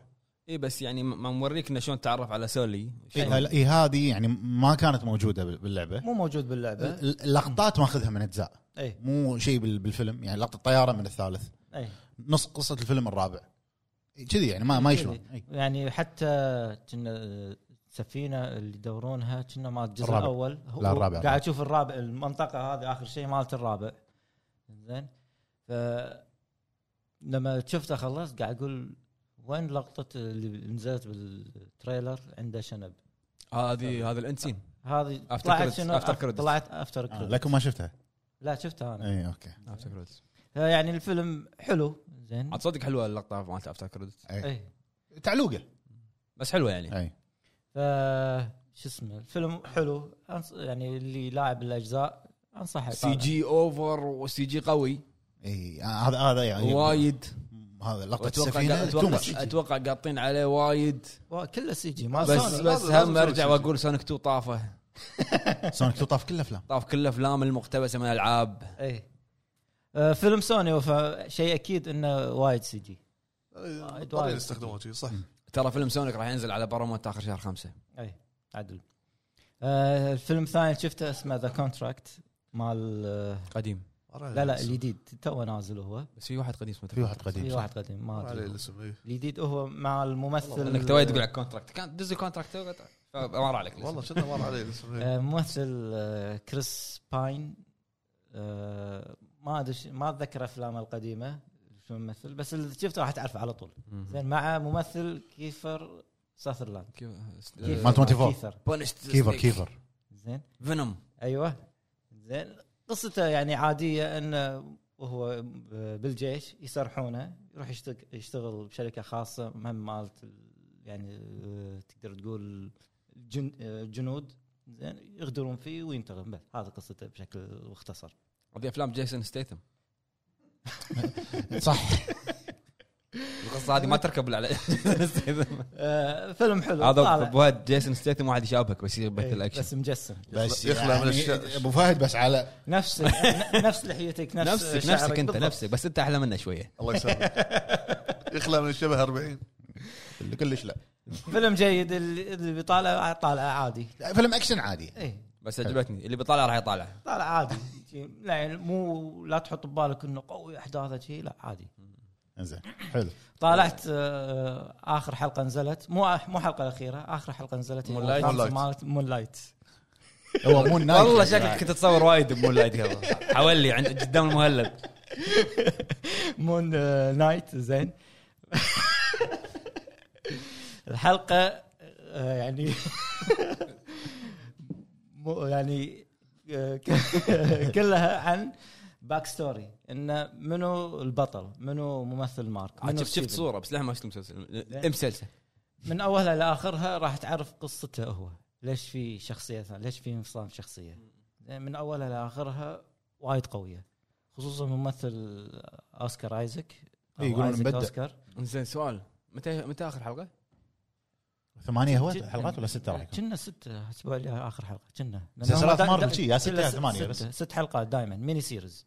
اي بس يعني ما موريك انه شلون تعرف على سولي شلون-
إيه، لا، إيه، هذه يعني ما كانت موجوده بال- باللعبه
آه.
مو موجود إيه، باللعبه
ال- اللقطات ماخذها من اجزاء
اي
مو شيء بال- بالفيلم يعني لقطه الطياره من الثالث
اي
نص قصه الفيلم الرابع كذي يعني ما ما يشلون إيه.
يعني حتى كنا سفينه اللي يدورونها كنا مال الجزء
الرابع.
الاول هو
لا، الرابع.
قاعد اشوف الرابع المنطقه هذه اخر شيء مالت الرابع زين ف لما شفته خلص قاعد اقول وين لقطه اللي نزلت بالتريلر عنده شنب
هذه هذا الانسين
هذه
After
طلعت
credits-
شنو
after credits.
طلعت افتر
آه إيه.
كريدت
لكن ما شفتها
لا شفتها انا
اي اوكي
يعني الفيلم حلو زين
عاد صدق حلوه اللقطه مالت افتر كريدت
ايه
تعلوقه
بس حلوه يعني
اي
ف شو اسمه الفيلم حلو أنص... يعني اللي لاعب الاجزاء انصحه
سي جي اوفر وسي جي قوي
اي آه، هذا هذا يعني
وايد
هذا لقطه
وأتوقع-
السفينه تو ماتش
اتوقع اتوقع قاطين عليه وايد
يطالع. كله سي جي ما
بس
سوني.
بس
لازم- لازم
هم ارجع
تسوي
واقول سونيك 2 طافه
سونيك تو طاف كل افلام
طاف كل افلام المقتبسه من العاب
اي إيه. آه، فيلم سوني فشيء اكيد انه وايد سي جي
آه،
مضطرين يستخدمون شيء صح
ترى فيلم سونيك راح ينزل على بارامونت اخر شهر خمسة
اي عدل آه، الفيلم الثاني اللي شفته اسمه ذا كونتراكت مال آه،
قديم
لا لا الجديد تو نازل هو
بس في واحد قديم اسمه
في واحد قديم
في
صح.
واحد قديم ما
عليه
أدري.
الاسم إيه.
الجديد هو مع الممثل
انك تو تقول على كونتراكت كان دز الكونتراكت تو قطع. فمر عليك
والله
والله
شنو مر عليه الاسم إيه.
آه، ممثل آه، كريس باين آه، ما ادري ش- ما اتذكر افلامه القديمه شو ممثل بس اللي شفته راح تعرفه على طول زين مع ممثل كيفر ساثرلاند كيفر-
آه،
مال 24.
كيثر
كيفر كيفر
زين
فينوم
ايوه زين قصته يعني عاديه انه وهو بالجيش يسرحونه يروح يشتغل, يشتغل بشركه خاصه مهم مالت ال- يعني آه، تقدر تقول جن آه، جنود زين يغدرون فيه وينتقم بس هذا قصته بشكل مختصر
هذه افلام جيسون ستيثم
صح
القصه هذه ما تركب على جيسون ستيثم
آه، فيلم حلو
هذا
طالع.
بواد جيسون ستيثم واحد يشابك بس يبث
إيه،
الاكشن
بس مجسم
بس
يخلع من
يعني
الش-
ابو فهد بس على
نفس نفس لحيتك نفس
نفسك
شعرك
نفسك انت
بالضبط.
نفسك بس انت احلى منه شويه
الله يسلمك يخلى من الشبه 40
كلش لا
فيلم جيد اللي اللي بيطالع طالع عادي إيه.
فيلم اكشن عادي
اي
بس عجبتني اللي بيطالع راح يطالع
طالع عادي شي- لا يعني مو لا تحط ببالك انه قوي احداثه شيء لا عادي
انزين حلو
طالعت آه، اخر حلقه نزلت مو مو حلقه الاخيره اخر حلقه نزلت يعني
مون لايت.
مالت مون لايت
هو مو نايت
والله شكلك كنت تصور وايد بمون لايت قبل حولي عند قدام المهلب
مون آه، نايت زين الحلقه آه، يعني مو يعني آه، ك- كلها عن باك ستوري انه منو البطل منو ممثل مارك منو
عاد شفت شفت
ستيفن.
صوره بس لا ما شفت المسلسل امسلسل
من اولها لاخرها راح تعرف قصته هو ليش في شخصيه ثانيه ليش في انفصام شخصيه من اولها لاخرها وايد قويه خصوصا ممثل اوسكار ايزك أو
إيه، يقولون
آيزك
مبدع.
اوسكار
زين سؤال متى متى اخر حلقه؟
ثمانية هو
جد-
حلقات ولا ستة راح يكون؟
كنا ستة الاسبوع اللي اخر حلقة كنا
مسلسلات مارفل شي، يا ستة يا ثمانية بس.
ست حلقات دائما ميني سيريز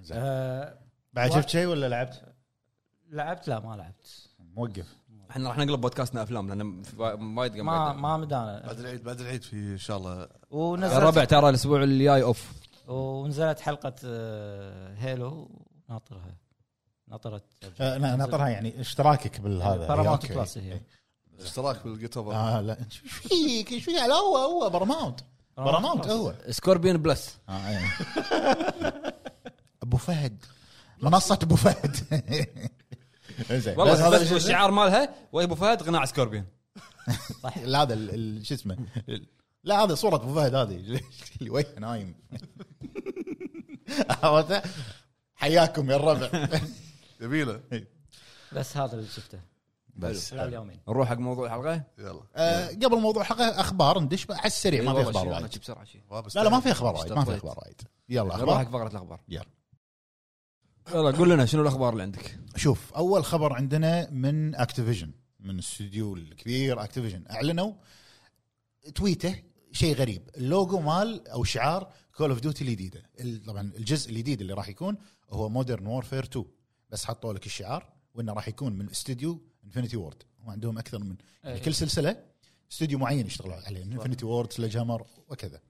زين.
آه
بعد
و-
شفت شيء ولا لعبت؟
لعبت لا ما لعبت
موقف
احنا راح نقلب بودكاستنا افلام لان في وايد قمعت.
ما ما مدانا
بعد العيد بعد العيد في ان شاء الله
ونزلت
الربع ترى الاسبوع الجاي اوف
ونزلت حلقة آه، هيلو ناطرها ناطرة
آه، أنا ناطرها يعني اشتراكك بالهذا
باراماونت
أوكي.
بلس هي.
إيه.
اشتراك بالجيت اوفر
اه لا ايش فيك ايش فيك يعني؟ لا هو هو باراماونت باراماونت هو
سكوربيون بلس
آه، إيه. ابو فهد منصة ابو فهد زين بس
والله
هذا
بس
الشيء-
الشعار مالها وابو فهد غناء سكوربيون
صح لا هذا ال- ال- شو اسمه ال- لا هذا صورة ابو فهد هذه اللي وجهه نايم عرفت؟ حياكم يا الربع
جميله
إيه.
بس هذا اللي شفته
بس
خلال يومين
نروح حق موضوع الحلقه
يلا
آه، قبل موضوع الحلقه اخبار ندش بقى على السريع ما في اخبار وايد
بسرعه إيه، شيء
لا لا ما في اخبار وايد ما في اخبار وايد يلا
نروح حق
اخبار
فقره الاخبار
يلا.
يلا قول لنا شنو الاخبار اللي عندك
شوف اول خبر عندنا من اكتيفيجن من استوديو الكبير اكتيفيجن اعلنوا تويته شيء غريب اللوجو مال او شعار كول اوف ديوتي الجديده ال- طبعا الجزء الجديد اللي راح يكون هو مودرن وورفير 2 بس حطوا لك الشعار وانه راح يكون من استوديو انفنتي وورد وعندهم اكثر من يعني كل سلسله استوديو معين يشتغلوا عليه انفنتي وورد سلاج هامر وكذا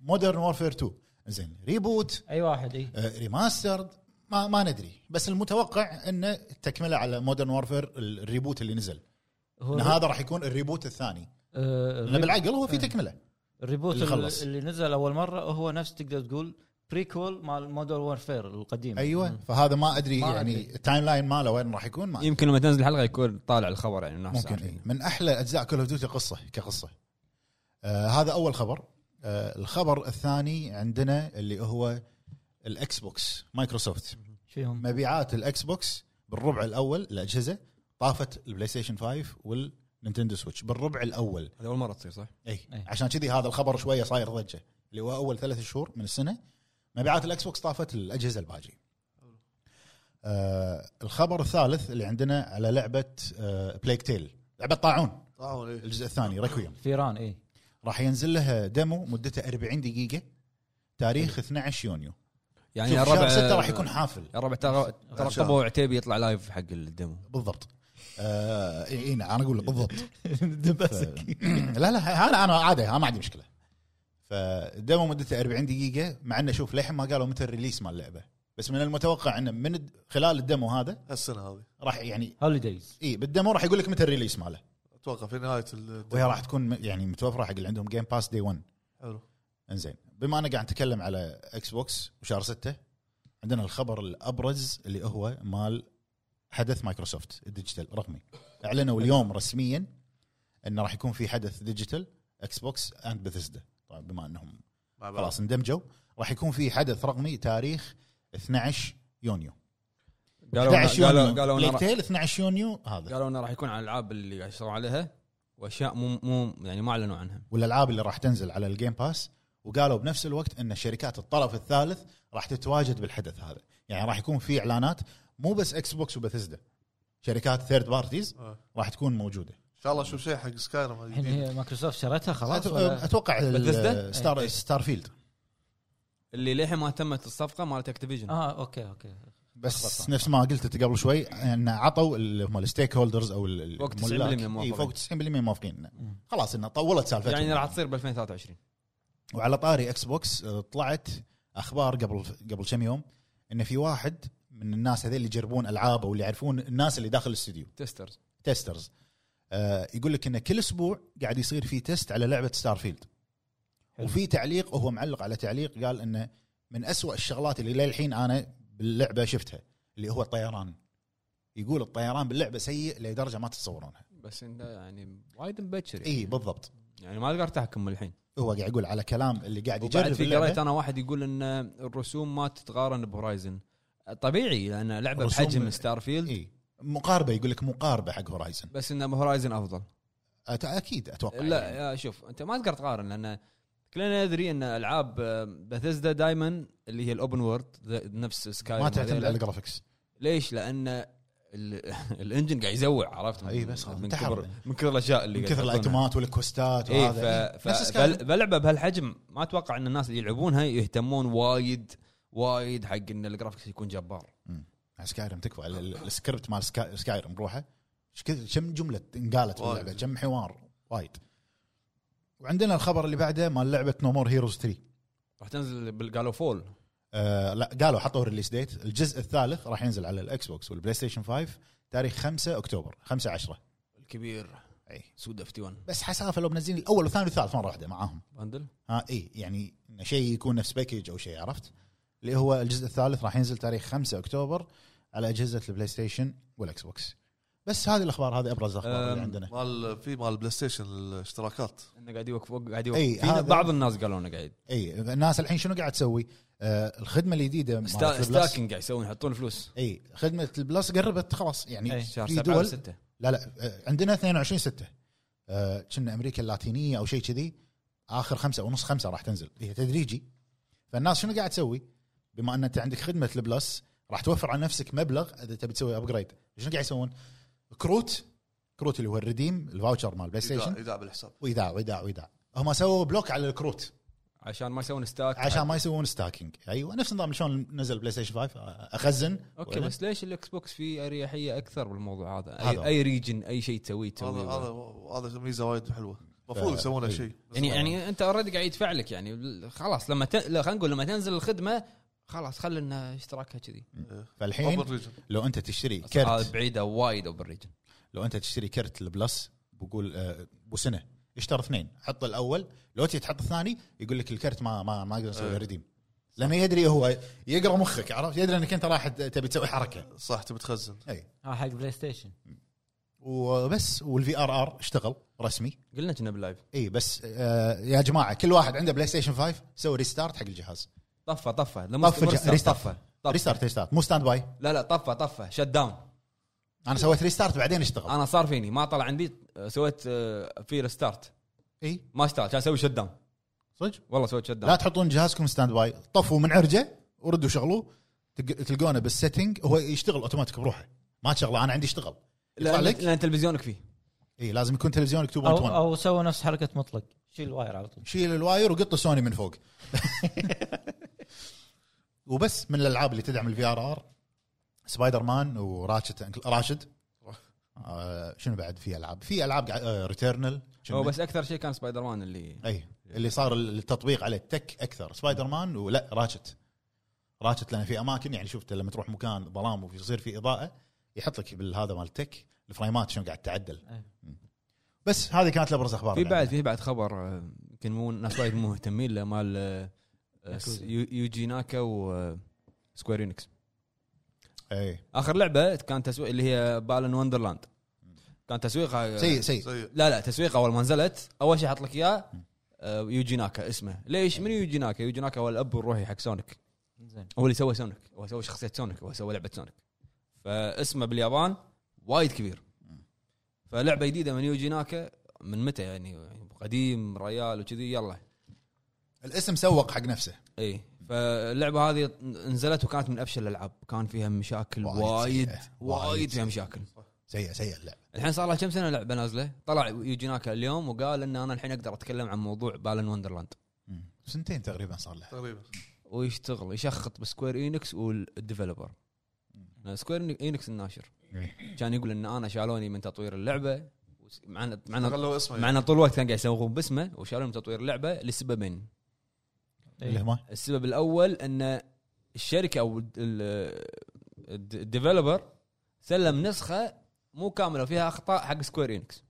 مودرن وورفير 2 زين ريبوت
اي واحد اي
ريماسترد آه، ما ما ندري بس المتوقع انه تكمله على مودرن وورفير الريبوت اللي نزل
هو
ان هذا راح يكون الريبوت الثاني
آه،
لان بالعقل هو في تكمله
إيه. الريبوت
اللي
اللي,
خلص.
اللي نزل اول مره هو نفس تقدر تقول بريكول مال مودرن وورفير القديم
ايوه فهذا ما ادري
ما
يعني
أدري. إيه.
التايم لاين ماله وين راح يكون ما أدري.
يمكن لما تنزل الحلقه يكون طالع الخبر يعني الناس
ممكن إيه.
عارفين.
من احلى اجزاء كول اوف ديوتي قصه كقصه آه هذا اول خبر آه الخبر الثاني عندنا اللي هو الاكس بوكس مايكروسوفت
شو هم
مبيعات الاكس بوكس بالربع الاول الاجهزه طافت البلاي ستيشن 5 والنينتندو سويتش بالربع الاول
هذه اول مره تصير صح؟
اي
أي.
عشان كذي هذا الخبر شويه صاير ضجه اللي هو اول ثلاث شهور من السنه مبيعات الاكس بوكس طافت الاجهزه الباجي. آه الخبر الثالث اللي عندنا على لعبه آه بليك تيل لعبه طاعون
طاعون إيه.
الجزء الثاني ريكويم
فيران اي
راح ينزل لها ديمو مدته 40 دقيقه تاريخ 12 يونيو
يعني
يعني
يا
شوف شهر 6
الربع
راح يكون حافل
الربع ترى ترى
شهر.
طبوا عتيبي يطلع لايف حق الدمو
بالضبط آه إي- اي نعم، انا اقول لك بالضبط
دبسك
لا لا انا انا عادي انا ما عندي مشكله فديمو مدته 40 دقيقه مع انه شوف للحين ما قالوا متى الريليس مال اللعبه بس من المتوقع انه من الد- خلال الديمو هذا
هالسنه هذه
راح يعني
هوليديز
اي بالديمو راح يقول لك متى الريليس ماله
اتوقع في نهايه ال
وهي راح تكون م- يعني متوفره حق اللي عندهم جيم باس دي 1
حلو
انزين بما انا قاعد اتكلم على اكس بوكس وشهر 6 عندنا الخبر الابرز اللي هو مال حدث مايكروسوفت الديجيتال رقمي اعلنوا اليوم رسميا انه راح يكون في حدث ديجيتال اكس بوكس اند بثسدا طبعا بما انهم
مع بعض.
خلاص اندمجوا راح يكون في حدث رقمي تاريخ 12 يونيو 11
قالوا
يونيو
قالوا قالوا إنه
بلاك
راح-
تيل 12 يونيو هذا
قالوا انه راح يكون على الالعاب اللي قاعد يشتغلون عليها واشياء مو مو يعني ما اعلنوا عنها
والالعاب اللي راح تنزل على الجيم باس وقالوا بنفس الوقت ان شركات الطرف الثالث راح تتواجد بالحدث هذا يعني راح يكون في اعلانات مو بس اكس بوكس وبثزدا شركات ثيرد بارتيز
آه.
راح تكون موجوده
ان شاء الله اشوف شيء حق سكايرم
الحين
الجديد
هي مايكروسوفت شرتها خلاص
أت-
ولا-
اتوقع
Bethesda؟
ال- ستار
إيه.
ستار فيلد
آه.
اللي للحين ما تمت الصفقه مالت اكتيفيجن
اه اوكي اوكي
بس نفس ما قلت انت قبل شوي ان عطوا اللي هم الستيك هولدرز او ال- ال-
فوق 90%
الملاك.
موافقين.
إي، فوق 90% موافقين إنه خلاص انه طولت سالفتهم
يعني راح تصير ب 2023
وعلى طاري اكس بوكس آه، طلعت اخبار قبل قبل كم يوم ان في واحد من الناس هذول اللي يجربون العاب او اللي يعرفون الناس اللي داخل الاستوديو
تسترز
تيسترز آه، يقول لك انه كل اسبوع قاعد يصير في تيست على لعبه ستار فيلد
حلو.
وفي تعليق وهو معلق على تعليق قال انه من أسوأ الشغلات اللي للحين انا باللعبه شفتها اللي هو الطيران يقول الطيران باللعبه سيء لدرجه ما تتصورونها
بس انه يعني وايد مبكر يعني,
اي بالضبط
يعني ما اقدر احكم الحين
هو قاعد يقول على كلام اللي قاعد
وبعد
يجرب
في قريت
اللعبه
انا واحد يقول ان الرسوم ما تتقارن بهورايزن طبيعي لان لعبه
رسوم-
بحجم ستار فيلد
اي مقاربه يقول لك مقاربه حق هورايزن
بس ان هورايزن افضل
أت- اكيد اتوقع
لا
يعني.
يا شوف انت ما تقدر تقارن لان كلنا ندري ان العاب باثيزدا دائما اللي هي الاوبن وورد نفس سكاي
ما تعتمد على الجرافكس
ليش؟ لان ال- الانجن قاعد يزوع عرفت؟ من-
اي إيه، بس
من
انتحر.
كبر من كثر الاشياء اللي
من كثر الايتمات والاكوستات
اي
وهذا
ف...
إيه، نفس
ف...
سكاي.
بل- بلعبه بهالحجم ما اتوقع ان الناس اللي يلعبونها يهتمون وايد وايد حق ان الجرافكس يكون جبار
سكايرم تكفى ال- ال- السكريبت مال سكا- سكايرم بروحه إيش كثر- كم جمله انقالت في
وايد.
اللعبه كم حوار وايد وعندنا الخبر اللي بعده مال لعبه نومور هيروز 3
راح تنزل بالقالوا فول
آه لا قالوا حطوا ريليس ديت الجزء الثالث راح ينزل على الاكس بوكس والبلاي ستيشن 5 تاريخ 5 اكتوبر 5 10
الكبير
اي
سودا 51
إيه. بس حسافه لو منزلين الاول والثاني والثالث مره واحده معاهم
باندل
ها اي يعني إنه شيء يكون نفس باكج او شيء عرفت اللي هو الجزء الثالث راح ينزل تاريخ 5 اكتوبر على اجهزه البلاي ستيشن والاكس بوكس بس هذه الاخبار هذه ابرز الاخبار اللي
أم،
عندنا
مال في مال بلاي ستيشن الاشتراكات
انه قاعد يوقف فوق قاعد يوقف
إي،
في
إيه، هذا-
بعض الناس قالوا انه قاعد
اي إيه، الناس الحين شنو قاعد تسوي؟ آه الخدمه الجديده مالت
ستا-
البلس-
ستاكينج قاعد يسوون يحطون فلوس
اي خدمه إيه، البلس قربت خلاص يعني
إي، شهر
في
7
دول
6
لا لا آه، عندنا 22 6 آه، كنا امريكا اللاتينيه او شيء كذي اخر خمسه او نص خمسه راح تنزل هي تدريجي فالناس شنو قاعد تسوي؟ بما ان انت عندك خدمه البلس راح توفر على نفسك مبلغ اذا تبي تسوي ابجريد شنو قاعد يسوون؟ كروت كروت اللي هو الريديم الفاوتشر مال بلاي
يداع
ستيشن
يداع بالحساب
وايداع وايداع وايداع هم سووا بلوك على الكروت
عشان ما يسوون ستاك
عشان ما يسوون ستاكينج ايوه نفس النظام شلون نزل بلاي ستيشن آه، 5 اخزن
اوكي
وأنا-
بس ليش الاكس بوكس فيه اريحيه اكثر بالموضوع هذا؟
هذا
اي,
هو.
أي ريجن اي شيء تسويه
هذا
تسويه
هذا هذا ميزه وايد حلوه المفروض
ف-
يسوونها
إي.
شيء
يعني يعني انت اوريدي قاعد يدفع لك يعني ال- خلاص لما ت... لا خلينا نقول لما تنزل الخدمه خلاص خلي انها اشتراكها كذي
إيه.
فالحين
اوبن ريجن
لو انت تشتري كرت
هذا بعيده وايد اوفر ريجن
لو انت تشتري كرت البلس بقول آه، بو سنه اشتر اثنين حط الاول لو تجي تحط الثاني يقول لك الكرت ما ما ما اقدر اسوي له
ايه.
ريديم لانه يدري هو يقرا مخك عرفت يدري انك انت رايح تبي تسوي حركه
صح تبي تخزن
اي
اه حق بلاي ستيشن
وبس والفي ار ار اشتغل رسمي
قلنا كنا باللايف
اي بس آه يا جماعه كل واحد عنده بلاي ستيشن 5 سوي ريستارت حق الجهاز
طفى طفى لما
طفى
مو
جه-
ريستارت،
ريستارت.
طفى طفى
ريستارت ريستارت مو ستاند باي
لا لا طفى طفى شت داون
انا سويت ريستارت بعدين اشتغل
انا صار فيني ما طلع عندي آه، سويت آه، في ريستارت
اي
ما اشتغل كان اسوي شت داون
صدق
والله سويت شت
لا
داون
تحطون جهازكم ستاند باي طفوا من عرجه وردوا شغلوه تق- تلقونه بالسيتنج هو يشتغل اوتوماتيك بروحه ما تشغله انا عندي اشتغل يطلع
لان
لك
لأن تلفزيونك فيه
اي لازم يكون تلفزيونك 2.1
او او سووا نفس حركه مطلق شيل الواير على طول
شيل الواير وقط سوني من فوق وبس من الالعاب اللي تدعم الفي ار ار سبايدر مان وراشد أنكل- راشد آه شنو بعد في العاب في آه، العاب ريتيرنال
هو بس اكثر شيء كان سبايدر مان اللي
اي اللي صار التطبيق على التك اكثر سبايدر مان ولا راتشت راتشت لان في اماكن يعني شفت لما تروح مكان ظلام ويصير في اضاءه يحط لك بالهذا مال التك الفريمات شلون قاعد تعدل
أي.
م. بس هذه كانت الابرز اخبار
إيه. في
اللي
بعد
عندنا.
في بعد خبر آه، يمكن مو ناس وايد مو مهتمين له مال آه، آه، س- يو- يوجي ناكا آه، وسكوير انكس
اي
اخر لعبه كان تسويق اللي هي بالن وندرلاند كان تسويقها آه،
سيء سيء
سيء
لا لا تسويقها اول ما نزلت اول شيء حط لك اياه آه، يوجي ناكا اسمه ليش من يوجي ناكا يوجي ناكا هو الاب الروحي حق سونيك
زين
هو اللي سوى سونيك هو سوى شخصيه سونيك هو سوى لعبه سونيك فاسمه باليابان وايد كبير فلعبه جديده من يوجي ناكا من متى يعني قديم ريال وكذي يلا
الاسم سوق حق نفسه
اي فاللعبه هذه نزلت وكانت من افشل الالعاب كان فيها مشاكل
وايد
وايد
سيئة.
وايد
وايد
فيها مشاكل
سيء سيء اللعب
الحين صار لها كم سنه لعبه نازله طلع يوجي ناكا اليوم وقال ان انا الحين اقدر اتكلم عن موضوع بالن وندرلاند
م. سنتين تقريبا صار له
تقريبا
ويشتغل يشخط بسكوير انكس والديفلوبر سكوير انكس الناشر كان يقول ان انا شالوني من تطوير اللعبه وس- معنا معنا
خلوا اسمه
معنا طول الوقت كان قاعد يسوقون باسمه وشالوني من تطوير اللعبه لسببين إيه.
اللي هما
السبب الاول ان الشركه او ال- ال- الد- الديفلوبر سلم نسخه مو كامله وفيها اخطاء حق سكوير انكس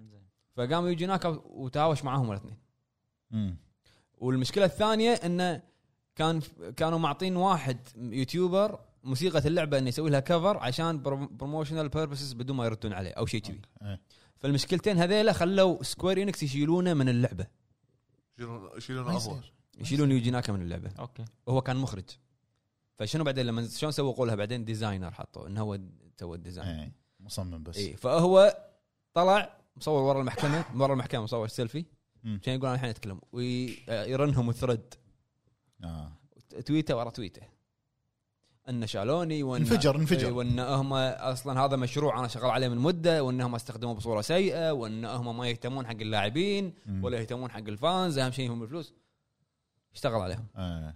زين
فقام يجي هناك وتهاوش معاهم الاثنين
مم.
والمشكله الثانيه انه كان كانوا معطين واحد يوتيوبر موسيقى اللعبه انه يسوي لها كفر عشان بروموشنال بيربسز بدون ما يردون عليه او شيء كذي
إيه.
فالمشكلتين هذيلا خلوا سكوير انكس يشيلونه من اللعبه
يشيلون-
ما
يشيلونه هو
يصير.
يشيلون يوجي ناكا من اللعبه
اوكي
هو كان مخرج فشنو بعدين لما شلون سوقوا لها بعدين ديزاينر حطوا انه هو سوى الديزاين
إيه. مصمم بس
اي فهو طلع مصور ورا المحكمه ورا المحكمه مصور سيلفي
مم.
عشان يقول انا الحين اتكلم ويرنهم ثريد
آه.
تويته ورا تويته ان شالوني وان
انفجر انفجر
إيه، وان هم اصلا هذا مشروع انا شغال عليه من مده وان هم استخدموه بصوره سيئه وان هم ما يهتمون حق اللاعبين
مم.
ولا يهتمون حق الفانز اهم شيء هم الفلوس اشتغل عليهم
آه.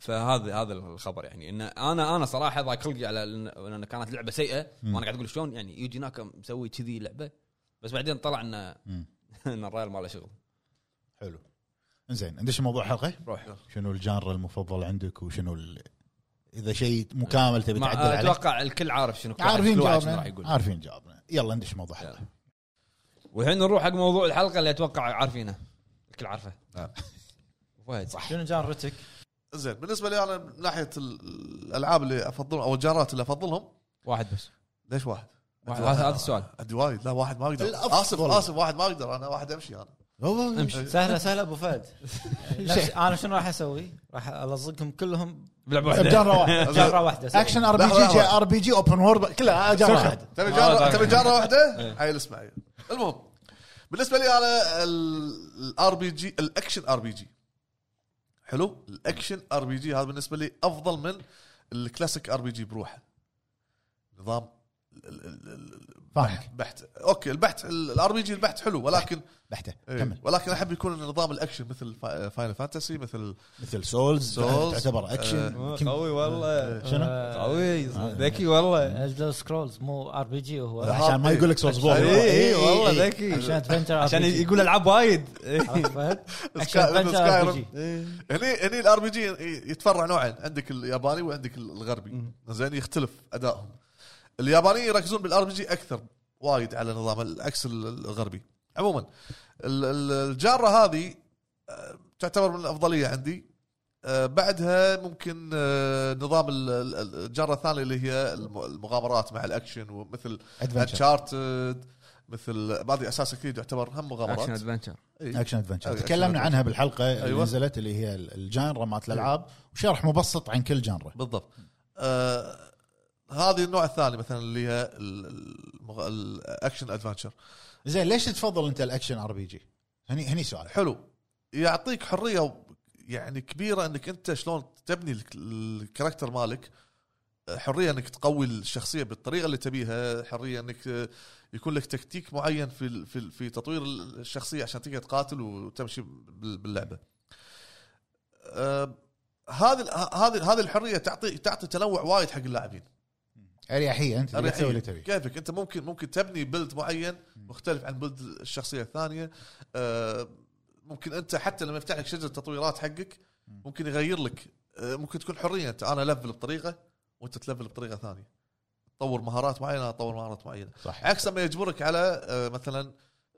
فهذا هذا الخبر يعني ان انا انا صراحه ضاق خلقي على إن- لان كانت لعبه سيئه
مم.
وانا قاعد اقول شلون يعني يوجي ناكا مسوي كذي لعبه بس بعدين طلع ان
مم.
ان الرايل ما له شغل
حلو انزين ندش موضوع الحلقه
روح
شنو الجانر المفضل عندك وشنو ال... اذا شيء مكامل تبي
مع-
تعدل عليه
اتوقع الكل عارف شنو كل واحد-
عارفين
كل واحد شنو راح
جوابنا
يقول
عارفين جوابنا يلا ندش موضوع
يلا.
الحلقه
والحين نروح حق موضوع الحلقه اللي اتوقع عارفينه الكل عارفه
نعم.
فهد صح
شنو جانرتك؟
زين بالنسبه لي انا من ناحيه ال- الالعاب اللي افضلهم او الجارات اللي افضلهم
واحد بس
ليش واحد؟
واحد- هذا هذا السؤال
عندي وايد لا واحد ما اقدر
الأفضل.
اسف اسف واحد ما اقدر انا واحد امشي انا
أوه.
امشي
سهله سهله ابو فهد نفس- انا شنو راح اسوي؟ راح الصقهم كلهم
بلعب
بجانر
واحده
طيب، واحد
جره واحده سوي.
اكشن ار بي
لحظة،
جي
لحظة.
جي ار بي جي اوبن وورد كلها جانر آه، واحد
تبي
ما
جاره
أدري.
تبي جاره واحده؟ عيل اسمعي المهم بالنسبه لي انا الار بي جي الاكشن ار بي جي حلو الاكشن ار بي جي هذا بالنسبه لي افضل من الكلاسيك ار بي جي بروحه نظام ال- ال- ال-
فاهمك
بحت اوكي البحث الار بي جي البحث حلو ولكن
بحته
إيه.
كمل
ولكن احب يكون نظام الاكشن مثل فاينل فانتسي مثل
مثل سولز
Souls.
تعتبر
آه،
اكشن يمكن-
آه،
والله
شنو؟
قوي ذكي والله
الدر سكرولز مو ار بي جي هو
عشان ما يقول لك سولز بورن
إيه،
إيه، والله ذكي.
عشان ادفنتشر
عشان يقول العاب وايد
Skyrim. هني هني الار بي جي يتفرع نوعين عندك الياباني وعندك الغربي زين يختلف ادائهم الياباني يركزون بالار بي جي اكثر وايد على نظام العكس ال- الغربي عموما ال- ال- الجاره هذه آه، تعتبر من الافضليه عندي آه، بعدها ممكن آه، نظام ال- ال- الجاره الثانيه اللي هي الم- المغامرات مع الاكشن ومثل
ادفنشر
انشارتد مثل بعض اساس اكيد يعتبر هم
اكشن
مغامرات
ادفنشر
إي.
اكشن ادفنشر
أكشن
تكلمنا
adventure.
عنها بالحلقه اللي
أيوة.
نزلت اللي هي ال- الجانرا مالت الالعاب وشرح مبسط عن كل جانرا
بالضبط آه هذه النوع الثاني مثلا اللي هي ال- المغ... الاكشن ادفنشر
زين ليش تفضل انت الاكشن ار بي جي؟ هني هني سؤال
حلو يعطيك حريه و- يعني كبيره انك انت شلون تبني الك- الكاركتر مالك حريه انك تقوي الشخصيه بالطريقه اللي تبيها حريه انك آه، يكون لك تكتيك معين في ال- في ال- في تطوير ال- الشخصيه عشان تقدر تقاتل وتمشي بال- باللعبه آه، هذه ال- هذه هذه الحريه تعطي تعطي تنوع وايد حق اللاعبين
اريحيه انت تقدر تسوي اللي تبيه
إيه، كيفك انت ممكن ممكن تبني بلد معين مختلف عن بلد الشخصيه الثانيه آه، ممكن انت حتى لما يفتح لك شجره التطويرات حقك ممكن يغير لك آه، ممكن تكون حريه انت انا لفل بطريقه وانت تلفل بطريقه ثانيه تطور مهارات معينه أنا اطور مهارات معينه
صح
عكس ما يجبرك على آه، مثلا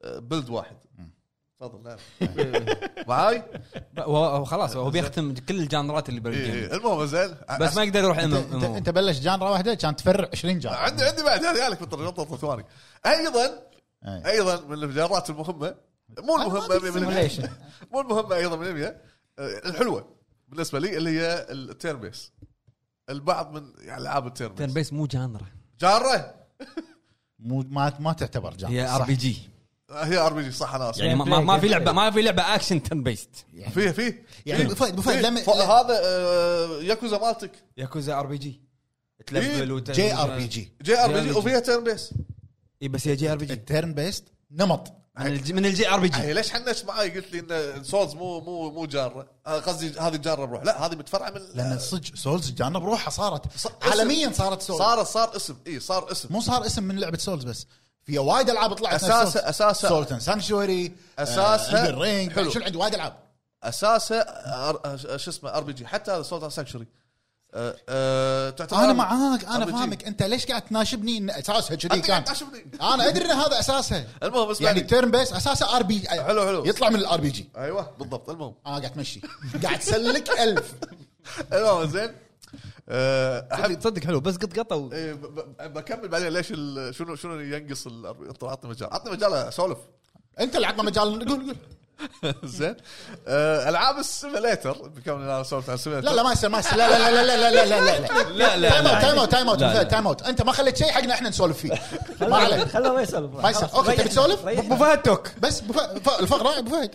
آه، بلد واحد
مم.
تفضل نعم معاي؟
خلاص هو بيختم كل الجانرات اللي
إيه،
بالجيم
إيه. المهم زين
بس ما يقدر يروح
انت,
ام
انت, انت بلش جانرا واحده كان تفرع 20 جانرا
عندي عندي بعد هذه لك بالطريقه نقطه ثواني ايضا
عندي
ايضا من الجارات المهمه مو المهمه 100% مو المهمه ايضا من 100 الحلوه بالنسبه لي اللي هي التيرن بيس البعض من يعني العاب التيرن بيس
بيس مو جانرا
جاره
مو ما ما تعتبر جانرا
هي
صح.
ار بي جي
آه، هي ار بي جي صح انا اسف
يعني ما- ما ما في لعبه ما في لعبه اكشن تن بيست
فيه فيه
يعني أبو فهد- أبو فهد لما-
إيه. هذا آه، ياكوزا مالتك
ياكوزا ار بي جي إيه،
تلفل
جي ار بي جي
جي ار بي
جي
جي وفيها تيرن بيس
اي إيه، بس هي جي ار بي جي
التيرن بيست نمط
من الج- من الجي ار بي جي
هي ليش حنشت معاي قلت لي ان سولز مو مو مو جاره آه، قصدي هذه جاره بروح لا هذه متفرعه من
لان صدق سولز جانا بروحها صارت
اسم.
عالميا صارت سولز صار
صار صار اسم اي صار اسم
مو صار اسم من لعبه سولز بس في وايد العاب طلعت
أساسها- أساسها-
سولتن سانشوري
أساسها-
الرينج
حلو.
آه، شنو عندي وايد العاب
اساسه آر- آه، شو اسمه ار بي جي حتى هذا سولز سانكشوري أه أه تعتبر
انا معاك انا
RPG.
فاهمك انت ليش قاعد تناشبني ان اساسها كذي
أنت
كان
قاعد تناشبني.
انا ادري ان هذا اساسها
المهم اسمع
يعني
يعني
تيرن بيس اساسه ار بي
حلو، حلو.
يطلع من الار بي جي
ايوه بالضبط المهم
انا آه، قاعد تمشي قاعد تسلك ألف
المهم زين آه، احب
تصدق حلو بس قط قطه و-
إيه، ب- ب- بكمل بعدين ليش ال- شنو شنو ينقص ال- انطر- عطني مجال عطني مجال اسولف
انت اللي عطنا مجال قول قول
زين آه، العاب السيميليتر بكون انا سولفت عن السيميليتر
لا لا ما يصير ما يصير لا لا لا لا لا لا لا لا
لا لا
تايم اوت تايم
لا
اوت تايم اوت
لا، لا.
مثال، تايم اوت انت ما خليت شيء حقنا احنا نسولف فيه ما
خلوه
عليك
خلوه طيب. يسولف
فيصل، أوكي، تبي تسولف؟
ابو فهد توك
بس بف... ف... الفقره ابو فهد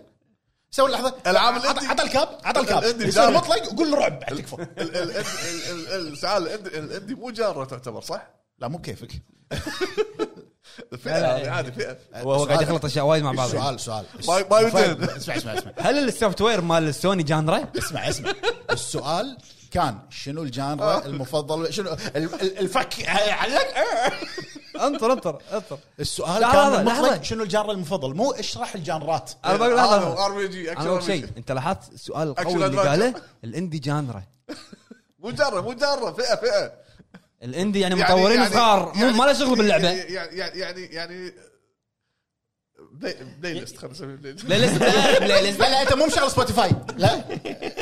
سوي لحظه
ألعاب
عط-
الاندي.
عط الكاب عط الكاب
الاندي
يصير
جاري.
مطلق وقول رعب عاد تكفى
ال- ال- ال- ال- ال- سعال الإند- الاندي مو جاره تعتبر صح؟
لا مو كيفك
فئه
لا،
هذه
لا.
عادي فئه
وهو قاعد يخلط اشياء وايد مع بعض
سؤال سؤال
ما- ما
أبو فهد،
يمدينا.
اسمع اسمع اسمع
هل السوفت وير مال السوني جانرا؟
اسمع اسمع السؤال كان شنو
آه.
الجانرا المفضل شنو ال- ال- الفك علق
آه.
انطر انطر انطر
السؤال
لحظة،
كان
لحظة،
مطلق
لحظة.
شنو الجانرا المفضل مو اشرح الجانرات
آه.
انا بقول
هذا
لحظه
هو ار بي جي
انا بقول شيء انت لاحظت السؤال
Action
القوي اللي
adventure.
قاله الاندي جانرا
مو جاره مو جاره فئه فئه
الاندي يعني
يعني-
مطورين
يعني-
صغار مو-
يعني-
ما له شغل باللعبه
يعني يعني يعني يعني بلاي بلاي ليست خلينا نسميه بلاي ليست
لا لا لا لا
لا لا انت مو مشغل سبوتيفاي لا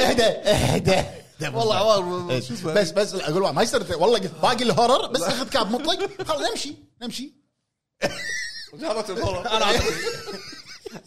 اهدى اهدى إيه.
والله عوار شو اسمه
بس بس اقول ما يصير والله باقي الهورر بس اخذ كاب مطلق خلاص نمشي نمشي
جاره الهرم.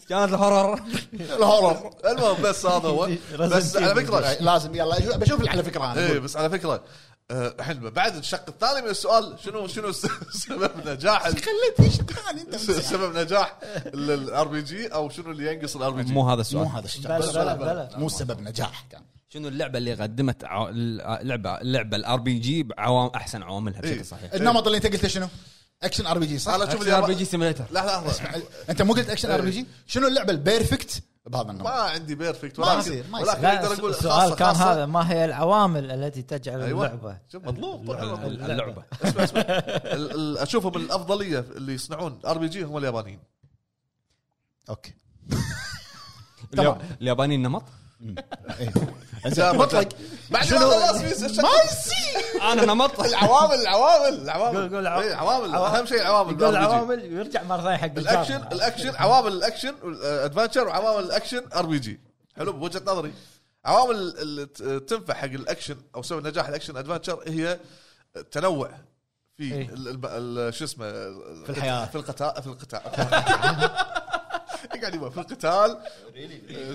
كانت الهورر
الهورر
المهم بس هذا هو بس على فكره
إيه، لازم يلا بشوف على فكره
ايه
انا
بس على فكره آه، الحين بعد الشق الثاني من السؤال شنو شنو س- سبب نجاح ال-
خليت ايش كان انت
س- سبب نجاح الار بي جي او شنو اللي ينقص الار بي جي
مو هذا
مو
السؤال
هذا الشيء
بلا،
بس-
بلا،
بلا.
بلا.
مو سبب نجاح كان
شنو اللعبه اللي قدمت عو- اللعبه اللعبه الار بي جي بعوام احسن عواملها
إيه.
بشكل صحيح
النمط اللي انت قلته شنو؟ اكشن ار بي جي صح؟
انا اشوف
ار بي
اليابان
جي سيميليتر
لا لحظه
انت مو قلت اكشن ار بي جي؟ شنو اللعبه البيرفكت بهذا
إيه. ما
النمط؟
عندي بيرفكت
ما
ولكن
يصير، ما يصير.
ولكن اقدر اقول
السؤال
خاصة-
كان
خاصة.
هذا ما هي العوامل التي تجعل
أيوة.
اللعبه
شوف مظلوم طلع مظلوم.
ال- اللعبه
اسمع اسمع ال- ال- اشوفهم الافضليه اللي يصنعون ار بي جي هم اليابانيين
اوكي
اليا- الياباني النمط
إيه.
مطلق بعد ما خلاص في-
ما يصير
انا نمط
العوامل العوامل العوامل
قول- قول عوامل.
إيه، عوامل
عوامل.
اهم شيء العوامل
يقول
بالRPG.
العوامل ويرجع مره ثانيه حق
الاكشن
الجانرا.
الاكشن عوامل الاكشن الادفنشر وعوامل الاكشن ار بي جي حلو بوجهه نظري عوامل اللي ت- تنفع حق الاكشن او سبب نجاح الاكشن ادفنشر هي التنوع في
إيه.
ال- ال- ال- شو اسمه في
الحياة.
في القتال في القتال قاعد يقول في القتال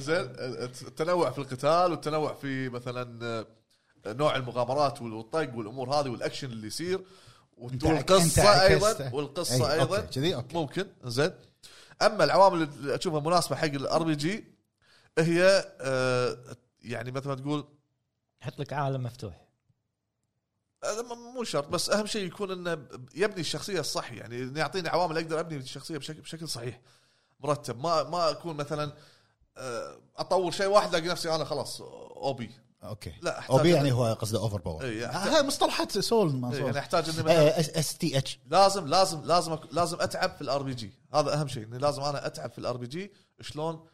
زين التنوع في القتال والتنوع في مثلا نوع المغامرات والطق والامور هذه والاكشن اللي يصير
أنت
والقصه
عكست-
ايضا والقصه
أي،
ايضا
إيه، أوكي، كذي اوكي
ممكن زين اما العوامل اللي اشوفها مناسبه حق الار بي جي هي آه، يعني مثل ما تقول
يحط لك عالم مفتوح
هذا آه، م- مو شرط بس اهم شيء يكون انه يبني الشخصيه الصح يعني إنه يعطيني عوامل اقدر ابني الشخصيه بشكل بشكل صحيح مرتب ما ما اكون مثلا آه، اطور شيء واحد الاقي نفسي انا خلاص اوبي
اوكي
لا احتاج
او بي يعني هو قصده اوفر باور
إيه، يعني-
هاي مصطلحات سول ما
إيه،
سول
يعني احتاج اني مثلا
اس تي اتش
لازم لازم لازم أك- لازم اتعب في الار بي جي هذا اهم شيء اني لازم انا اتعب في الار بي جي شلون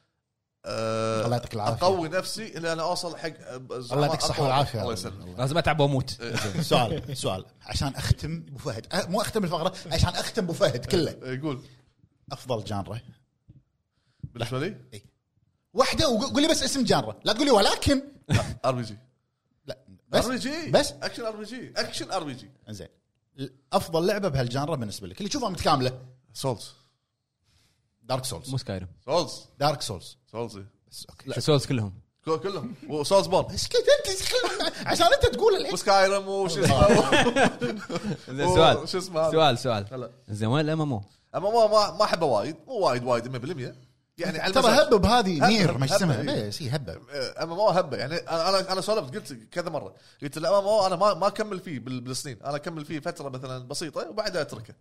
آه،
الله يعطيك العافية.
اقوي نفسي ان انا اوصل حق
الله يعطيك الصحه والعافيه
الله يسلمك
لازم اتعب واموت
إيه.
سؤال سؤال عشان اختم ابو فهد أه، مو اختم الفقره عشان اختم ابو فهد كله
يقول
افضل جانرا
بالنسبه لي
واحده وقول لي بس اسم جانرا لا تقول لي ولكن
ار بي جي
لا بس
ار بي جي
بس
اكشن ار بي جي اكشن ار بي جي
زين افضل لعبه بهالجانرا بالنسبه لك اللي تشوفها متكامله
سولز
دارك
مو
سولز
سكايرم
سولز
دارك سولز
سولز إيه.
بس اوكي
سولز كلهم
كل- كلهم وسولز بورن
بس كذا انت تتكلم عشان انت تقول الحين
وسكايرم وش اسمه
زين
أوه،
سؤال
إيه، شو اسمه هذا؟
سؤال
هلا.
سؤال زين وين الام ام او؟
اما ما ما ما احبه وايد مو وايد وايد 100% يعني على
ترى
المزاج.
هبه بهذه
هبة-
نير ما
هبة،
اسمها
إيه.
بس هي هبه
اما ما هبه يعني انا انا سولفت قلت كذا مره قلت لا ما انا ما ما اكمل فيه بال- بالسنين انا اكمل فيه فتره مثلا بسيطه وبعدها اتركه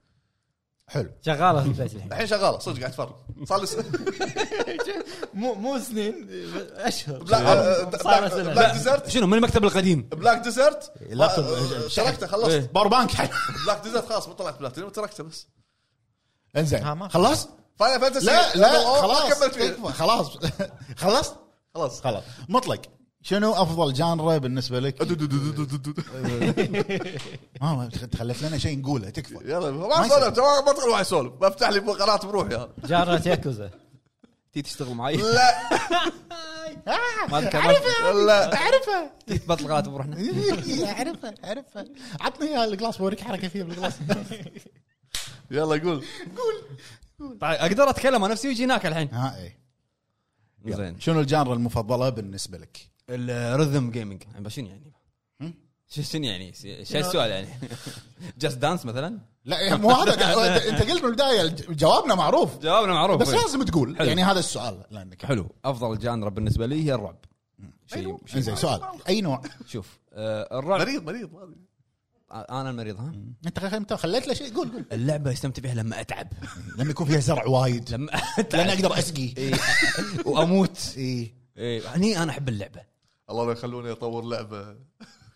حلو
شغاله في البيت الحين
الحين شغاله صدق قاعد تفر صار لي س-
مو مو سنين اشهر
بلاك آه،
صار
بلاك-
سنة.
بلاك ديزرت
شنو من المكتب القديم
بلاك ديزرت
لابتوب.
آه، شركته خلصت
إيه.
باور بانك حل
بلاك ديزرت خلاص ما طلعت بلاتينيوم تركته بس
ها، ما-
انزين خلصت؟
فاينل فانتسي
لا لا خلاص
كملت فيه
تكفى، خلاص خلصت؟
خلاص
خلاص مطلق شنو افضل جانرا بالنسبه لك؟
دو- دو- دو- دو- دو- دو- دو.
ما ما تخلف لنا شيء نقوله تكفى
يلا ما سولفت ما ما طلع واحد يسولف بفتح لي قناه بروحي انا
جارة ياكوزا
تي تشتغل معي
لا
آه،
ما اذكر ما-
لا
اعرفه
تي تبطل قناه بروحنا
اعرفه اعرفه عطني اياها الجلاس بوريك حركه فيها بالجلاس
يلا قول
طيب، اقدر اتكلم عن نفسي ويجي هناك الحين
ها اي
زين
آه، إيه. شنو الجانرا المفضله بالنسبه لك؟
الريذم جيمنج شنو يعني؟
هم؟
شو- شنو يعني؟ شو السؤال يعني؟ جاست دانس مثلا؟
لا يعني مو هذا أنت- انت قلت من البدايه الج- جوابنا معروف
جوابنا معروف
بس لازم تقول
حلو.
يعني هذا السؤال لانك
حلو افضل جانرا بالنسبه لي هي الرعب شيء شيء-
انزين سؤال اي نوع؟
شوف آه، الرعب
أيوه. مريض مريض ما أدري.
انا المريض ها
انت خ- انت خليت له شيء قول قول
اللعبه استمتع بها لما اتعب
لما يكون فيها زرع وايد
لما
لان اقدر اسقي
إيه، واموت
اي
إيه، هني انا احب اللعبه
الله لا يخلوني اطور لعبه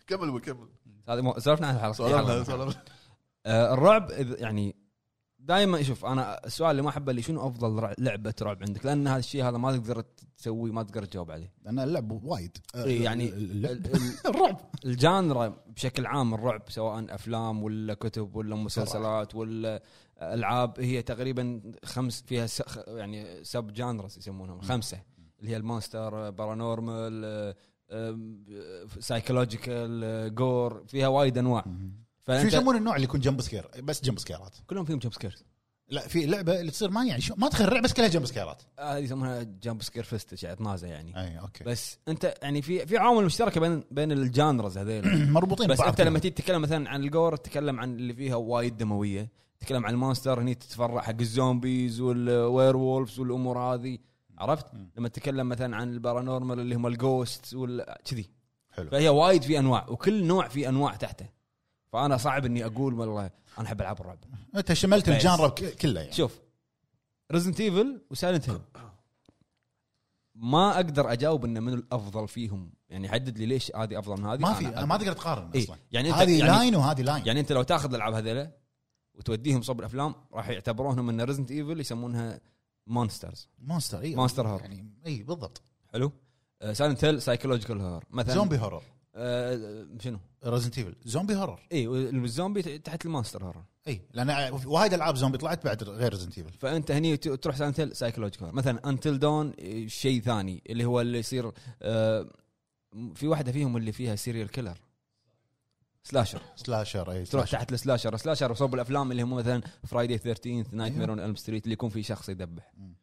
كمل وكمل
هذه مو- سولفنا عن الحلقه
سؤالنا
يلا.
سؤالنا
آه، الرعب إذا- يعني دائما شوف انا السؤال اللي ما احبه اللي شنو افضل رع- لعبه رعب عندك لان هذا الشيء هذا ما تقدر تسويه ما تقدر تجاوب عليه
لان اللعب وايد آه،
إيه، يعني
اللعب.
ال- ال-
الرعب
الجانرا بشكل عام الرعب سواء افلام ولا كتب ولا مسلسلات ولا العاب هي تقريبا خمس فيها س... خ- يعني سب جانرز يسمونهم خمسه اللي هي المونستر بارانورمال سايكولوجيكال جور فيها وايد انواع
شو
فانت
يسمون النوع اللي يكون جمب سكير بس جمب سكيرات
كلهم فيهم جمب سكيرز
لا في لعبه اللي تصير ما يعني شو ما تخرع بس كلها جمب سكيرات
آه، هذه يسمونها جمب سكير فيست يعني تنازع يعني
اي اوكي
بس انت يعني في في عوامل مشتركه بين بين الجانرز هذيل
مربوطين
بس
ببعض
انت لما تيجي تتكلم مثلا عن الجور تتكلم عن اللي فيها وايد دمويه تتكلم عن المونستر هني تتفرع حق الزومبيز والوير وولفز والامور هذه عرفت؟
مم.
لما تتكلم مثلا عن البارانورمال اللي هم الجوست وال كذي
حلو.
فهي وايد في انواع وكل نوع في انواع تحته فانا صعب اني اقول والله انا احب العاب الرعب
انت شملت
بس.
الجانرا ك- كله يعني
شوف ريزنت ايفل وسايلنت هيل ما اقدر اجاوب انه من الافضل فيهم يعني حدد لي ليش هذه افضل من هذه
ما في
أنا
ما تقدر تقارن
إيه.
اصلا
يعني أنت-
هذه
يعني-
لاين وهذه لاين
يعني انت لو تاخذ الالعاب هذيلا وتوديهم صوب الافلام راح يعتبرونهم ان ريزنت ايفل يسمونها مونسترز
مونستر اي
مونستر هورر.
يعني اي بالضبط
حلو آه، سايلنت هيل سايكولوجيكال هور مثلا
زومبي هورر
آه شنو
ريزنت ايفل زومبي هورر
اي الزومبي تحت المونستر هور
اي لان وايد العاب زومبي طلعت بعد غير ريزنت ايفل
فانت هني ت- تروح سايلنت هيل سايكولوجيكال هور مثلا انتل دون شيء ثاني اللي هو اللي يصير آه في واحده فيهم اللي فيها سيريال كيلر سلاشر
سلاشر اي
تروح
سلاشر
تحت السلاشر السلاشر وصوب الافلام اللي هم مثلا فرايدي 13 نايت مير اون الم ستريت اللي يكون فيه شخص يذبح
أيوه. مم.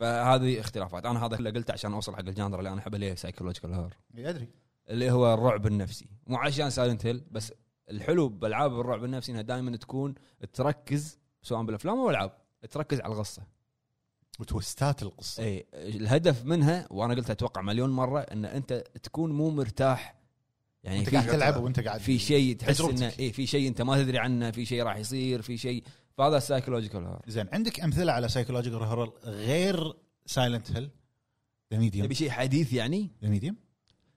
فهذه اختلافات انا هذا كله قلته عشان اوصل حق الجانر اللي انا احبه اللي هي سايكولوجيكال هور
إي، ادري
اللي هو الرعب النفسي مو عشان سايلنت هيل بس الحلو بالعاب الرعب النفسي انها دائما تكون تركز سواء بالافلام او العاب تركز على القصه
وتوستات القصه
اي الهدف منها وانا قلت اتوقع مليون مره ان انت تكون مو مرتاح يعني
انت
في-
قاعد تلعب وانت قاعد
في شيء تحس
تجربتك.
انه اي في شيء انت ما تدري عنه في شيء راح يصير في شيء فهذا السايكولوجيكال هورر
زين عندك امثله على سايكولوجيكال هورر غير سايلنت هيل ذا ميديوم
تبي شيء حديث يعني
ذا ميديوم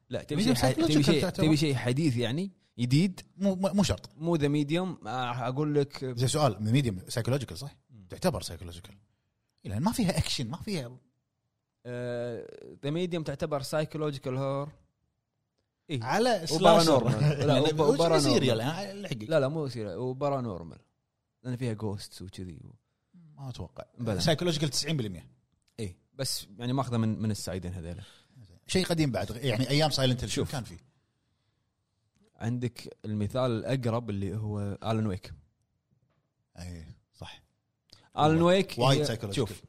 لا تبي
Medium
شيء ح- تبي
psychological
شيء
تعتبر.
تبي شيء حديث يعني جديد
مو مو مو شرط
مو ذا ميديوم اقول لك
زين سؤال ذا ميديوم سايكولوجيكال صح؟
مم.
تعتبر سايكولوجيكال لان ما فيها اكشن ما فيها
ذا ميديوم آه، تعتبر سايكولوجيكال هور
على
وبارانورمال. لا،
لا
وب- وبارانورمال.
سيريال الحقي
لا لا مو سيرة وبارانورمال لان فيها جوستس وكذي
ما اتوقع
بلى.
سايكولوجيكال 90%
اي بس يعني ماخذه من من السايدين هذيلا
شيء قديم بعد يعني ايام سايلنت هيل
شوف.
كان فيه
عندك المثال الاقرب اللي هو الن ويك
اي صح
الن ويك
وايد
هي-
سايكولوجيكال
إيه، شوف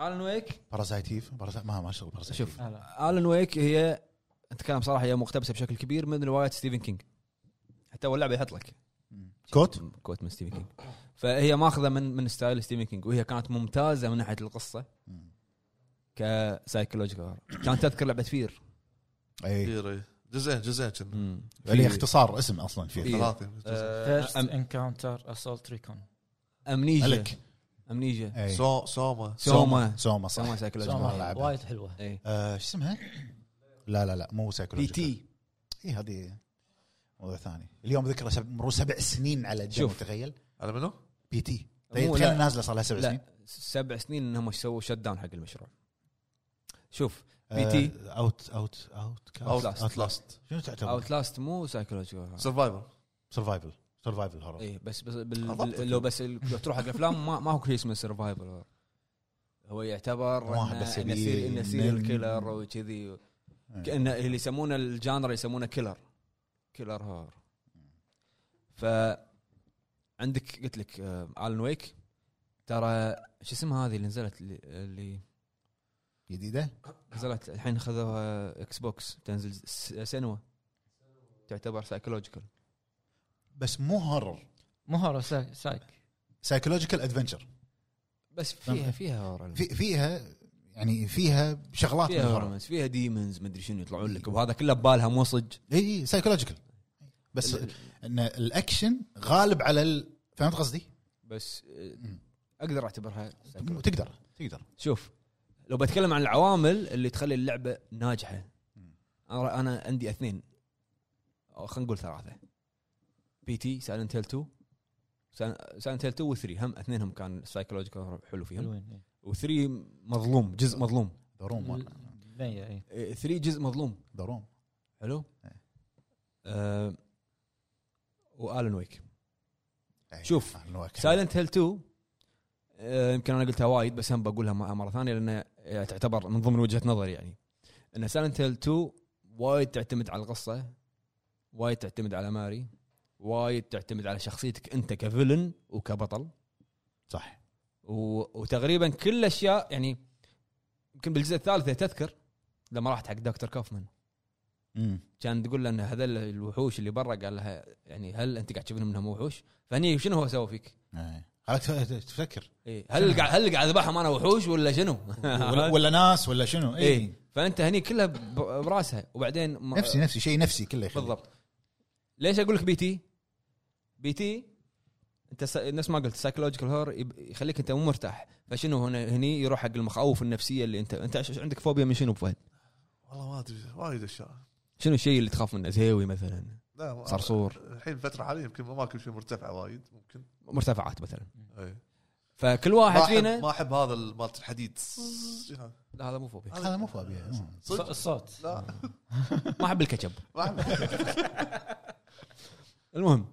الن ويك
بارازايتيف بارازايت ما ما شغل بارازايتيف
شوف الن ويك هي اتكلم صراحه هي مقتبسه بشكل كبير من روايه ستيفن كينج حتى اول لعبه يحط لك
كوت
كوت من ستيفن كينج فهي ماخذه من من ستايل ستيفن كينج وهي كانت ممتازه من ناحيه القصه كسايكولوجيكال كانت تذكر لعبه فير إيه.
اي
كثير إيه. جزئين جزئين كنا
عليه إيه، يعني اختصار اسم اصلا فيه
إيه.
ثلاثة جزئين.
آه،
فيرست
أم-
انكاونتر اسولت ريكون
امنيجا
هلك
امنيجا
أي.
سو سوما
سوما
سوما إيه، صح
سوما سايكولوجيكال
سوما
هورر.
لعبها.
وايد حلوه
اي
آه، شو اسمها؟ لا لا لا مو
إيه. بي
سايكولوجيكال
تي
اي هذه موضوع ثاني اليوم ذكرى سب... مرور سبع سنين على الجو
شوف.
تخيل
على منو؟
بي تي
مو-
تخيل
لا.
نازله صار لها سبع
لا
سنين
سبع سنين انهم سووا شت داون حق المشروع شوف
آه،
PT.
اوت اوت اوت
Outlast.
اوت لاست
شنو تعتبر؟
اوت لاست مو سايكولوجيكال
سرفايفر
سرفايفل سرفايفل هورر
اي إيه، بس بس بال...
أضبطك.
بال- لو بس ال- لو تروح حق الافلام ما, ما هو شيء اسمه سرفايفل هو يعتبر
واحد
إنه-
بس
انه
يبي نعم.
سير- انه سيريال
ينام.
كيلر وكذي
إيه.
كانه اللي يسمونه الجانر يسمونه كيلر كيلر هور ف عندك قلت لك الن ويك ترى شو اسمها هذه اللي نزلت اللي- اللي
جديده؟
نزلت الحين خذوها اكس بوكس تنزل س- سنوا تعتبر سايكولوجيكال
بس مو هورر
مو هورو سايك, سايك.
سايكولوجيكال ادفنشر
بس فيها فيها هورر
في فيها يعني فيها شغلات
فيها
من
هورمونز فيها ديمونز مدري شنو يطلعون لك وهذا كله ببالها مو صج
اي اي سايكولوجيكال بس
ال-
ان الاكشن غالب على ال... فهمت قصدي؟
بس آه،
مم.
اقدر اعتبرها psychological.
تقدر تقدر
شوف لو بتكلم عن العوامل اللي تخلي اللعبه ناجحه
مم.
انا أنا عندي اثنين أو خلينا نقول ثلاثه بي تي سايلنت هيل 2 سايلنت هيل 2 و 3 هم اثنينهم كان سايكولوجيكال حلو فيهم
حلوين إيه.
و 3 مظلوم جزء مظلوم
دروم
اي اي
3 جزء مظلوم
دروم
حلو
إيه.
آه والن ويك
أي.
شوف.
آه، نوعك.
سايلنت هيل 2 آه، يمكن انا قلتها وايد بس هم بقولها م- مره ثانيه لان آه، تعتبر من ضمن وجهه نظري يعني ان سايلنت هيل 2 وايد تعتمد على القصه وايد تعتمد على ماري وايد تعتمد على شخصيتك انت كفيلن وكبطل
صح
و... وتقريبا كل الاشياء يعني يمكن بالجزء الثالث إذا تذكر لما راحت حق دكتور كوفمان
مم.
كان تقول له ان هذول الوحوش اللي برا قال لها يعني هل انت قاعد تشوفهم انهم وحوش؟ فهني شنو هو سوى فيك؟
إيه. خلاك تف- تفكر
إيه هل قاعد هل قاعد اذبحهم انا وحوش ولا شنو؟
ولا, ولا ناس ولا شنو اي
ايه فانت هني كلها ب- براسها وبعدين ما-
نفسي نفسي شيء نفسي كله يخلي.
بالضبط ليش اقول لك بي تي؟ بي تي انت س- نفس ما قلت سايكولوجيكال هور يخليك انت مو مرتاح فشنو هنا هني يروح حق المخاوف النفسيه اللي انت انت عش- عندك فوبيا من شنو بفهد؟
والله ما ادري وايد اشياء
شنو الشيء اللي تخاف منه؟ زهيوي مثلا
لا ما-
صرصور
الحين الفتره الحاليه يمكن ما اكل شيء مرتفع وايد ممكن
مرتفعات مثلا
اي
فكل
ما
واحد
احب
فينا
ما احب هذا ال- مالت الحديد صز- هذا.
لا هذا مو فوبيا
هذا مو فوبيا مم.
الص-
صدق
الصوت
لا
ما احب الكاتشب
ما احب
المهم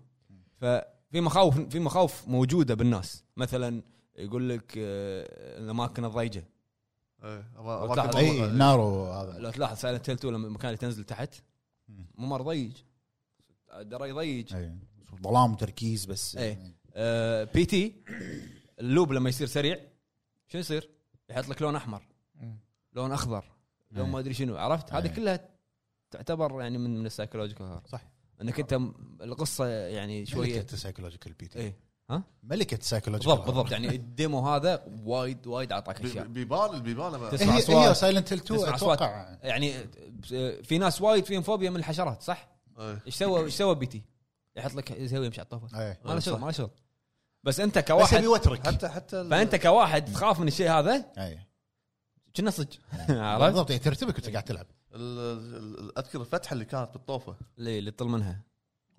ففي مخاوف في مخاوف موجوده بالناس مثلا يقول لك آه، الاماكن الضيجه
إيه، أما-
وتلاحظ-
أماكن
اي
مغلقة.
نارو هذا
لو تلاحظ سايلنت هيل 2 لما المكان اللي تنزل تحت مو مره ضيج درى يضيج
إي. إيه. ظلام وتركيز بس إيه.
إي. آه، بي تي اللوب لما يصير سريع شو يصير؟ يحط لك لون احمر
إيه.
لون اخضر لون
إي.
ما ادري شنو عرفت؟ هذه
إي.
كلها تعتبر يعني من من السايكولوجيكال هورر
صح.
انك انت م- القصه يعني شويه
ملكه سايكولوجيكال بي تي
ايه
ملكه سايكولوجيكال
بالضبط بالضبط يعني الديمو هذا وايد وايد اعطاك
بي-
اشياء
بيبان البيبان لما-
تس- تسمع
هي هي
أصوات.
سايلنت هيل 2
تسمع أصوات.
اتوقع
يعني في ناس وايد فيهم فوبيا من الحشرات صح؟
إيه.
ايش سوى ايش سوى بيتي؟ يحط لك زاويه مش على الطوفه
إي.
ما له شغل
صح.
ما له شغل بس انت
إيه. بس
كواحد
يبي وترك
حتى حتى ال-
فانت كواحد تخاف من الشيء هذا
إي.
كنا صدق عرفت؟
بالضبط إي، ترتبك وانت قاعد تلعب
ال- ال- ال- اذكر الفتحه اللي كانت بالطوفه
اللي اللي تطل منها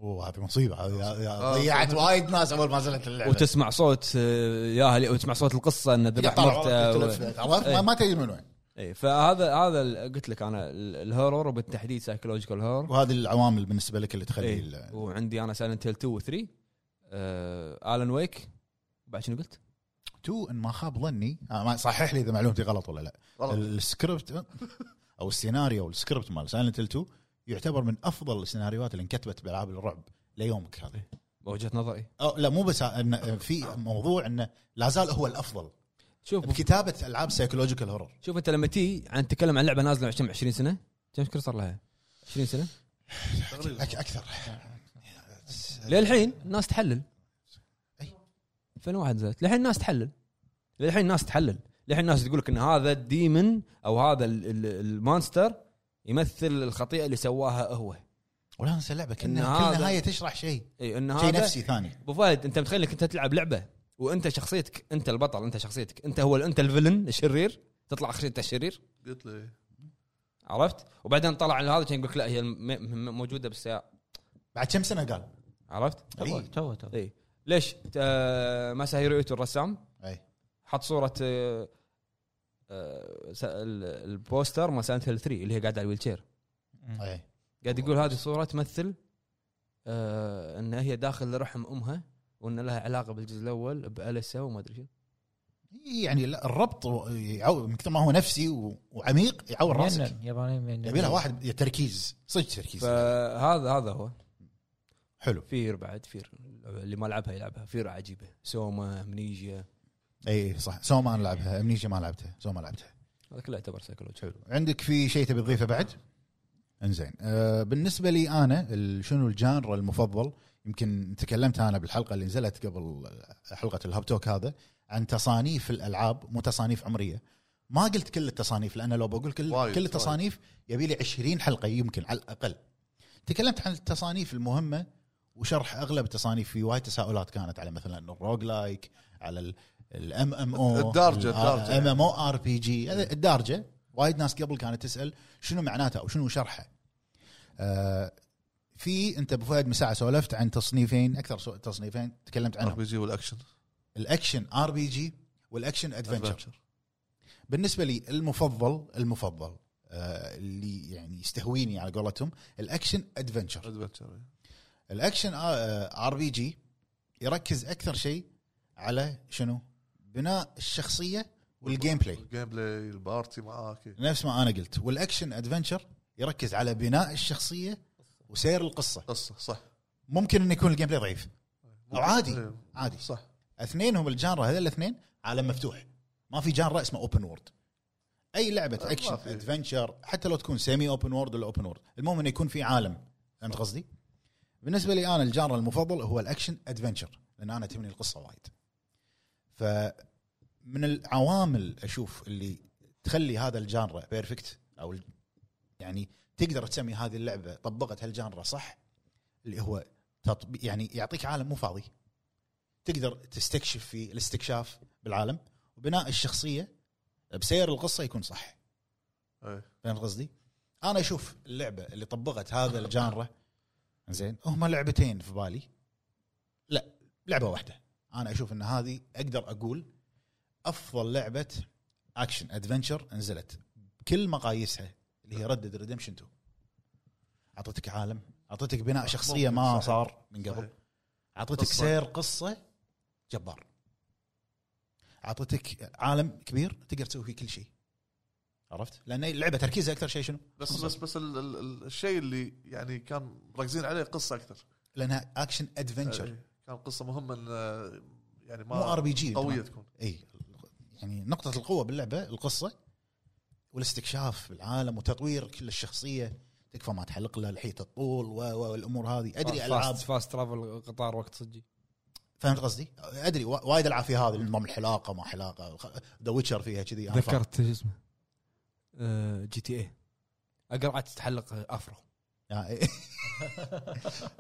اوه هذه مصيبه هذه- هذه
آه.
ضيعت وايد ناس اول ما نزلت اللعبه
وتسمع صوت آه، ياهل وتسمع صوت القصه انه ذبح
يطلع
مرته
وراك
و- إيه.
تلف- عرفت ما-
إي.
ما تدري من وين
إي، فهذا هذا ال- قلت لك انا ال- الهورور وبالتحديد سايكولوجيكال هورر
وهذه العوامل بالنسبه لك اللي تخلي
إيه.
ال-
وعندي انا سايلنت هيل 2 و 3 الن ويك بعد شنو قلت؟
تو ان ما خاب ظني آه ما- صحح لي اذا معلومتي غلط ولا لا
والله
السكريبت او السيناريو السكريبت مال سايلنت 2 يعتبر من افضل السيناريوهات اللي انكتبت بالعاب الرعب ليومك هذا
إيه. وجهه نظري
أو لا مو بس ان في موضوع انه لا زال هو الافضل
شوف
بكتابه العاب سايكولوجيكال هورر
شوف انت لما تي عن تتكلم عن لعبه نازله كم 20 سنه كم كثر صار لها؟ 20 سنه
تقريبا.
اكثر
للحين الناس تحلل
أي.
2001 نزلت للحين الناس تحلل للحين الناس تحلل للحين الناس تقول لك ان هذا الديمن او هذا ال- ال- المونستر يمثل الخطيئه اللي سواها هو
ولا انسى اللعبه كل
إن هذا-
كل نهايه تشرح شيء
اي ان
شيء
هذا
نفسي ثاني
ابو فهد انت متخيل انك انت تلعب لعبه وانت شخصيتك انت البطل انت شخصيتك انت هو انت الفيلن الشرير تطلع شخصيته الشرير
قلت له
عرفت وبعدين طلع هذا كان يقول لك لا هي الم- م- م- موجوده بالسياره
بعد كم سنه قال
عرفت
تو تو تو
اي ليش آه، ماساهيرو ايتو الرسام
اي
حط صوره آه، آه، س- ال- البوستر مال سايلنت هيل 3 اللي هي قاعده على الويل شير
إيه. طيب.
اي
قاعد يقول هذه صوره تمثل آه ان هي داخل رحم امها وان لها علاقه بالجزء الاول باليسا وما ادري شو
يعني لا، الربط يعو- من كثر ما هو نفسي و- وعميق يعور راسك
مينن، ياباني مينن.
يبي لها واحد تركيز صدق تركيز
فهذا هذا هو
حلو
فير بعد فير اللي ما لعبها يلعبها فير عجيبه سوما منيجيا
اي صح سوما انا لعبها امنيجا ما لعبتها سوما لعبتها
هذا كله يعتبر سايكولوجي
حلو عندك في شيء تبي تضيفه بعد؟ انزين آه بالنسبه لي انا ال- شنو الجانر المفضل يمكن تكلمت انا بالحلقه اللي نزلت قبل حلقه الهاب توك هذا عن تصانيف الالعاب مو تصانيف عمريه ما قلت كل التصانيف لان لو بقول كل
وايد،
كل التصانيف يبي لي 20 حلقه يمكن على الاقل تكلمت عن التصانيف المهمه وشرح اغلب التصانيف في وايد تساؤلات كانت على مثلا الروج لايك على الام ام او
الدارجة- الدارجة.
ام ام او ار بي جي الدارجه وايد ناس قبل كانت تسال شنو معناته او شنو شرحه آه في انت ابو فهد من ساعه سولفت عن تصنيفين اكثر سو- تصنيفين تكلمت
ار
عنهم
بي جي والاكشن
الاكشن ار بي جي والاكشن ادفنشر
Adventure.
بالنسبه لي المفضل المفضل آه اللي يعني يستهويني على قولتهم الاكشن ادفنشر
Adventure، إيه.
الاكشن ار بي جي يركز اكثر شيء على شنو بناء الشخصيه والجيم بلاي
الجيم بلاي البارتي معاك إيه.
نفس ما انا قلت والاكشن ادفنشر يركز على بناء الشخصيه وسير القصه
قصه صح
ممكن انه يكون الجيم بلاي ضعيف أو عادي.
إيه.
عادي
صح
اثنينهم الجانرا هذول الاثنين عالم مفتوح ما في جانرا اسمه اوبن وورد اي لعبه
آه، ما
اكشن
في.
ادفنشر حتى لو تكون سيمي اوبن وورد ولا اوبن وورد المهم انه يكون في عالم فهمت قصدي بالنسبه لي انا الجانرا المفضل هو الاكشن ادفنشر لان انا تهمني القصه وايد ف من العوامل اشوف اللي تخلي هذا الجانرا بيرفكت او ال- يعني تقدر تسمي هذه اللعبه طبقت هالجانرا صح اللي هو تطبيق يعني يعطيك عالم مو فاضي تقدر تستكشف فيه الاستكشاف بالعالم وبناء الشخصيه بسير القصه يكون صح
إيه.
فهمت قصدي؟ انا اشوف اللعبه اللي طبقت هذا الجانرا زين هما لعبتين في بالي لا لعبه واحده انا اشوف ان هذه اقدر اقول افضل لعبه اكشن ادفنشر نزلت بكل مقاييسها اللي هي ردد ريدمشن 2 اعطتك عالم اعطتك بناء شخصيه ما
صحيح.
صار من
صحيح.
قبل اعطتك
قصة.
سير قصه جبار اعطتك عالم كبير تقدر تسوي فيه كل شيء عرفت؟ لان اللعبه تركيزها اكثر شيء شنو؟
بس بس بس ال- ال- ال- الشيء اللي يعني كان مركزين عليه قصه اكثر
لانها اكشن ادفنشر
إيه. كان قصه مهمه إن، آه، يعني
مو ار
ما
بي جي
قويه تكون
اي إيه. يعني نقطه القوه باللعبه القصه والاستكشاف بالعالم وتطوير كل الشخصيه تكفى ما تحلق له لحيه الطول و- و- والامور هذه ادري العاب
فاست, فاست ترافل قطار وقت صجي
فهمت قصدي؟ ادري وا- وايد العاب في هذا نظام الحلاقه ما حلاقه ذا ويتشر فيها كذي أنا فاهم.
شو اسمه آه، جي تي اي اقرع تتحلق افرو
يعني-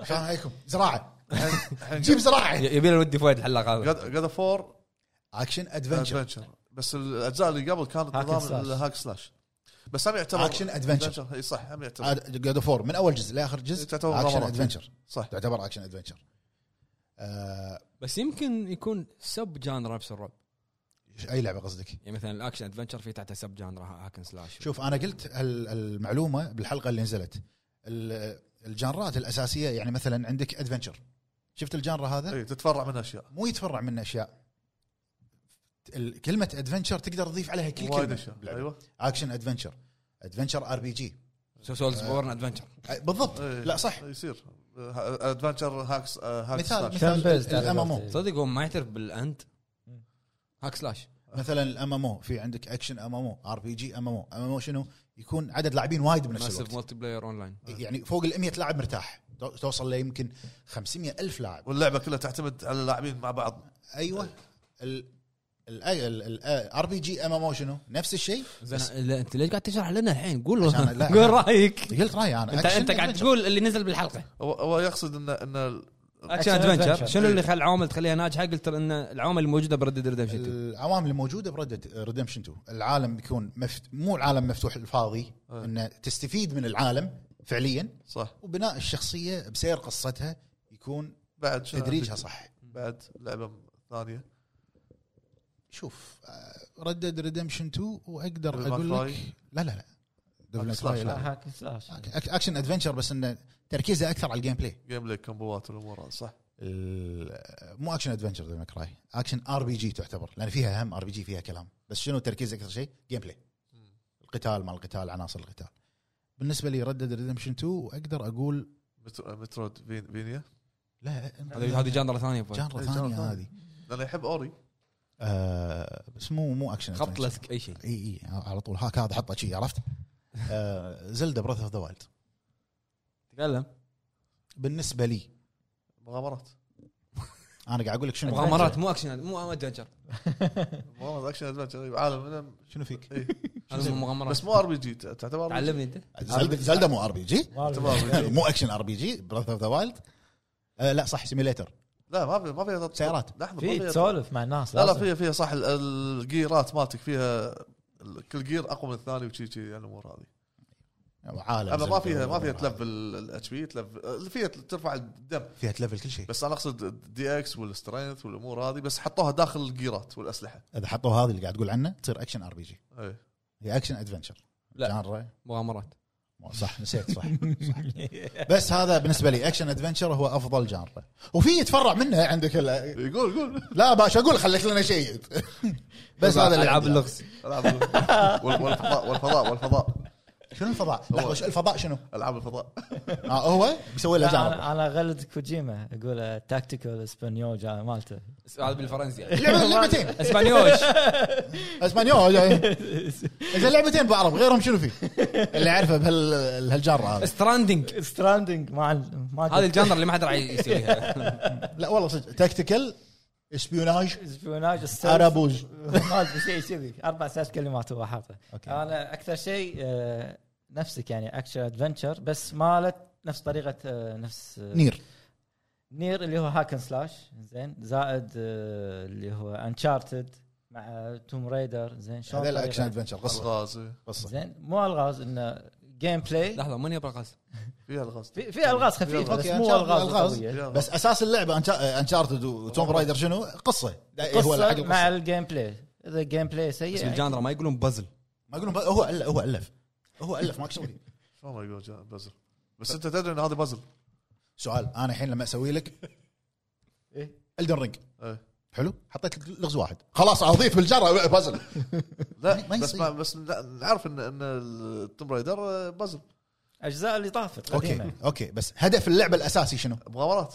شلون عليكم؟ زراعه
الحين
جيب زراعه
يبي له ودي فوايد الحلاق هذا
جاد اوف 4
اكشن ادفنشر
ادفنشر بس الاجزاء اللي قبل كانت
هاك
نظام
سلاش.
الهاك سلاش بس هم يعتبر
اكشن ادفنشر
adventure. اي صح هم يعتبر
جود اوف من اول جزء لاخر جزء
إيه، تعتبر
اكشن
مغامرات.
ادفنشر
صح
تعتبر اكشن ادفنشر آه،
بس يمكن يكون سب جانرا نفس الرعب
اي لعبه قصدك؟
يعني مثلا الاكشن ادفنشر في تحته سب جانرا هاكن سلاش
شوف انا قلت هال- المعلومه بالحلقه اللي نزلت ال- الجانرات الاساسيه يعني مثلا عندك ادفنشر شفت الجانرا هذا
اي تتفرع من اشياء
مو يتفرع منه اشياء ال- كلمه ادفنشر تقدر تضيف عليها كل
وايد
كلمه
اشياء
باللعبة.
ايوه
اكشن ادفنشر ادفنشر ار بي جي
سولز
آه.
بورن ادفنشر
بالضبط
إيه.
لا صح
يصير ادفنشر هاكس هاك
مثال
سلاش
مثال
Turn-based
الام ام او
تعتبر.
صدق هو ما يعترف بالاند
مم.
هاك سلاش
مثلا الام ام او في عندك اكشن ام ام او ار بي جي ام ام او ام ام او شنو يكون عدد لاعبين وايد بنفس
ماسف
الوقت
ملتي بلاير اون لاين
يعني فوق ال 100 لاعب مرتاح تو- توصل ليمكن 500 الف لاعب
واللعبه كلها تعتمد على اللاعبين مع بعض
ايوه الار بي جي ام ام او شنو نفس الشيء بس
زين لا، انت ليش قاعد تشرح لنا الحين قول
عشان لا-
قول رايك
قلت رايي انا
انت
أكشن
انت قاعد
adventure.
تقول اللي نزل بالحلقه
هو- هو يقصد ان ان
اكشن ادفنشر شنو اللي خلى العوامل تخليها ناجحه قلت ان العوامل الموجوده بريد ريدمشن 2
العوامل الموجوده بريد ريدمشن 2 العالم بيكون مفت... مو العالم مفتوح الفاضي
أي.
انه تستفيد من العالم فعليا
صح
وبناء الشخصيه بسير قصتها يكون
بعد شنو
تدريجها
عندك؟
صح
بعد لعبه ثانيه
شوف آه، ردد ريدمشن 2 واقدر
Devil May
اقول لك
Cry.
لا لا لا Devil May Cry
سلاش.
لا.
هاك سلاش
أك- اكشن ادفنشر بس انه تركيزه اكثر على الجيم بلاي
جيم بلاي كومبوات والامور هذه، صح
ال- مو اكشن ادفنشر ديفل كراي اكشن ار بي جي تعتبر لان فيها هم ار بي جي فيها كلام بس شنو تركيز اكثر شيء جيم بلاي القتال مال القتال عناصر القتال بالنسبه لي ردد ريدمشن 2 واقدر اقول
مترو- مترود فين- فينيا
لا
هذه جاندرا ثانيه فوق.
جانرا
إيه، جانرا
ثانيه
ثانية.
هذه
انا يحب اوري
آه بس مو مو اكشن
خبط
adventure.
لسك اي شيء
اي اي على طول هاك هذا حطه شي عرفت آه زلدا براث اوف ذا وايلد
تكلم
بالنسبه لي
مغامرات
انا قاعد اقول لك شنو
مغامرات مو اكشن مو ادفنشر
مغامرات اكشن ادفنشر عالم منهم
شنو فيك؟
إيه.
هذا مو مغامرات
بس مو ار بي جي تعتبر RPG؟
تعلمني انت
زلدا زلدا مو ار بي جي
تعتبر ار بي جي
مو اكشن ار بي جي براث اوف ذا وايلد آه، لا صح سيميليتر
لا ما في ما فيها
سيارات.
لحظه ما
في
فيها-
تسولف مع الناس
لا لا
لازم.
فيها فيها صح ال- الجيرات مالتك فيها ال- كل جير اقوى من الثاني وشي شي يعني الامور هذه
عالم
اما ما
زلدة
فيها ما فيها
والأمور
تلف الاتش بي تلف اللي فيها ترفع الدم
هذه. فيها تلفل كل شيء
بس انا اقصد الدي اكس والسترينث والامور هذه بس حطوها داخل الجيرات والاسلحه
اذا حطوا هذه اللي قاعد تقول عنه تصير اكشن ار بي جي
اي
هي اكشن ادفنشر
لا.
جانرا
مغامرات
مو- صح نسيت صح, صح. بس هذا بالنسبه لي اكشن ادفنشر هو افضل جانرا وفي يتفرع منه عندك ال-
يقول إيه، قول
لا باش اقول خليك لنا شيء بس هذا اللي
العاب
عندي.
اللغز
العاب وال- والفضاء والفضاء والفضاء
شنو الفضاء؟ لحظة، وش- الفضاء شنو؟
العاب الفضاء
آه هو بيسوي له
لا،
جانرا
انا انا اغلد كوجيما اقول تاكتيكال اسبانيول جا- مالته
هذا بالفرنسي يعني.
لعبة- لعبتين
اسبانيوش
اسبانيول جاي. اذا لعبتين بعرب غيرهم شنو في؟ اللي اعرفه بهال هالجانرا هذا
ستراندنج
ستراندنج مع ال- مع
هذه الجندر اللي ما حد راح يسويها
لا والله صدق تكتيكال اسبيوناج
اسبيوناج السيلف.
أرابوز.
ما ادري شيء كذي اربع ثلاث كلمات هو حاطه
أوكي.
انا اكثر شيء آه، نفسك يعني اكشن ادفنشر بس مالت نفس طريقه آه، نفس آه،
نير
نير اللي هو هاكن سلاش زين زائد آه، اللي هو انشارتد مع توم رايدر زين شلون
هذا
طريقة-
الاكشن ادفنشر قصه
الغاز
قصه
زين مو الغاز انه جيم بلاي
لحظه من يبغى قص
فيها الغاز
في, في الغاز
أوكي،
خفيفه بس مو
أنشارتد
الغاز
ألغاز.
قويه
فيها
بس اساس اللعبه أنشا- انشارتد وتوم رايدر شنو؟ قصه إيه هو حق
قصه
القصه
مع الجيم بلاي اذا الجيم بلاي
بس
سيء
بالجندر ما يقولون بازل
ما يقولون ب- هو أل- هو الف هو الف ماك شغل
شلون ما يقول جا- بازل بس انت تدري ان هذا بازل
سؤال انا الحين لما اسوي لك
إيه؟
الدن رينج
إيه.
حلو حطيت لك لغز واحد خلاص اضيف بالجره بازل ما- ما
لا بس
يصير.
ما بس لا- نعرف ان ان التوم رايدر بازل
اجزاء اللي طافت
اوكي
قديمه
اوكي بس هدف اللعبه الاساسي شنو؟
مغامرات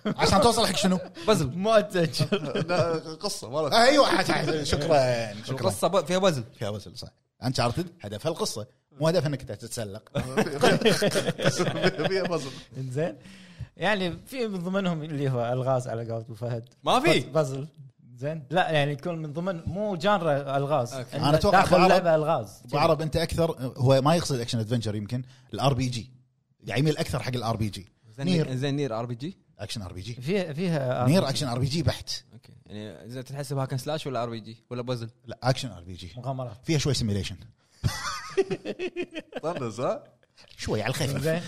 عشان توصل حق شنو؟
بازل
مو ادفنشر
لا، قصه مالت
ايوه حت- حت- شكرا شكرا
القصه ب- فيها بازل
فيها وزن صح انشارتد هدفها القصه مو هدفها انك تتسلق
فيها بازل
زين يعني في من ضمنهم اللي هو الغاز على قولة ابو فهد
ما في
بازل زين لا يعني يكون من ضمن مو جانرا الغاز
أوكي.
إنه
أنا أتوقع
داخل
بعرب-
لعبه الغاز
بعرب انت اكثر هو ما يقصد اكشن ادفنشر يمكن الار بي جي يعني يميل اكثر حق الار بي جي
زين إيه.
نير.
نير زين نير ار بي جي
اكشن ار بي جي
فيها فيها
نير اكشن ار بي جي بحت
اوكي يعني زين تحسب هاكن سلاش ولا ار بي جي ولا بازل
لا اكشن ار بي جي
مغامرات
فيها شوي سيميليشن
طنز ها
شوي على الخفيف
زين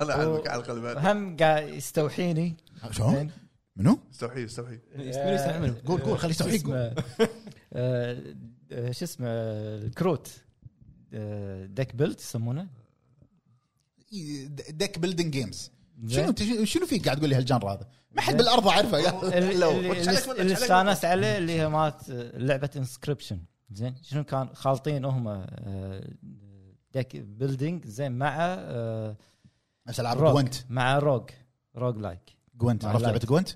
انا اعلمك على القلب
هم قاعد يستوحيني
شلون؟
زين.
منو؟
استوحي استوحي
منو يستحي منه؟
قول قول خليه
آه، شو
يستوحيك قول.
اسمه آه، آه، شو اسمه الكروت آه، ديك بيلت يسمونه
ديك بيلدينج جيمز
زين.
شنو أنت- شنو فيك قاعد تقول لي هالجنرا هذا؟ ما حد
زين.
بالارض عارفه
اللي-
لو.
اللي-
وش عليك ولا
اللي
وش عليك؟
استانست عليه اللي هي مالت لعبه انسكربشن زين شنو كان خالطين هم آه، ديك بيلدينج زين مع آه،
نفس العاب
روك.
جوانت
مع روج روج لايك
جوانت عرفت لعبه جوانت؟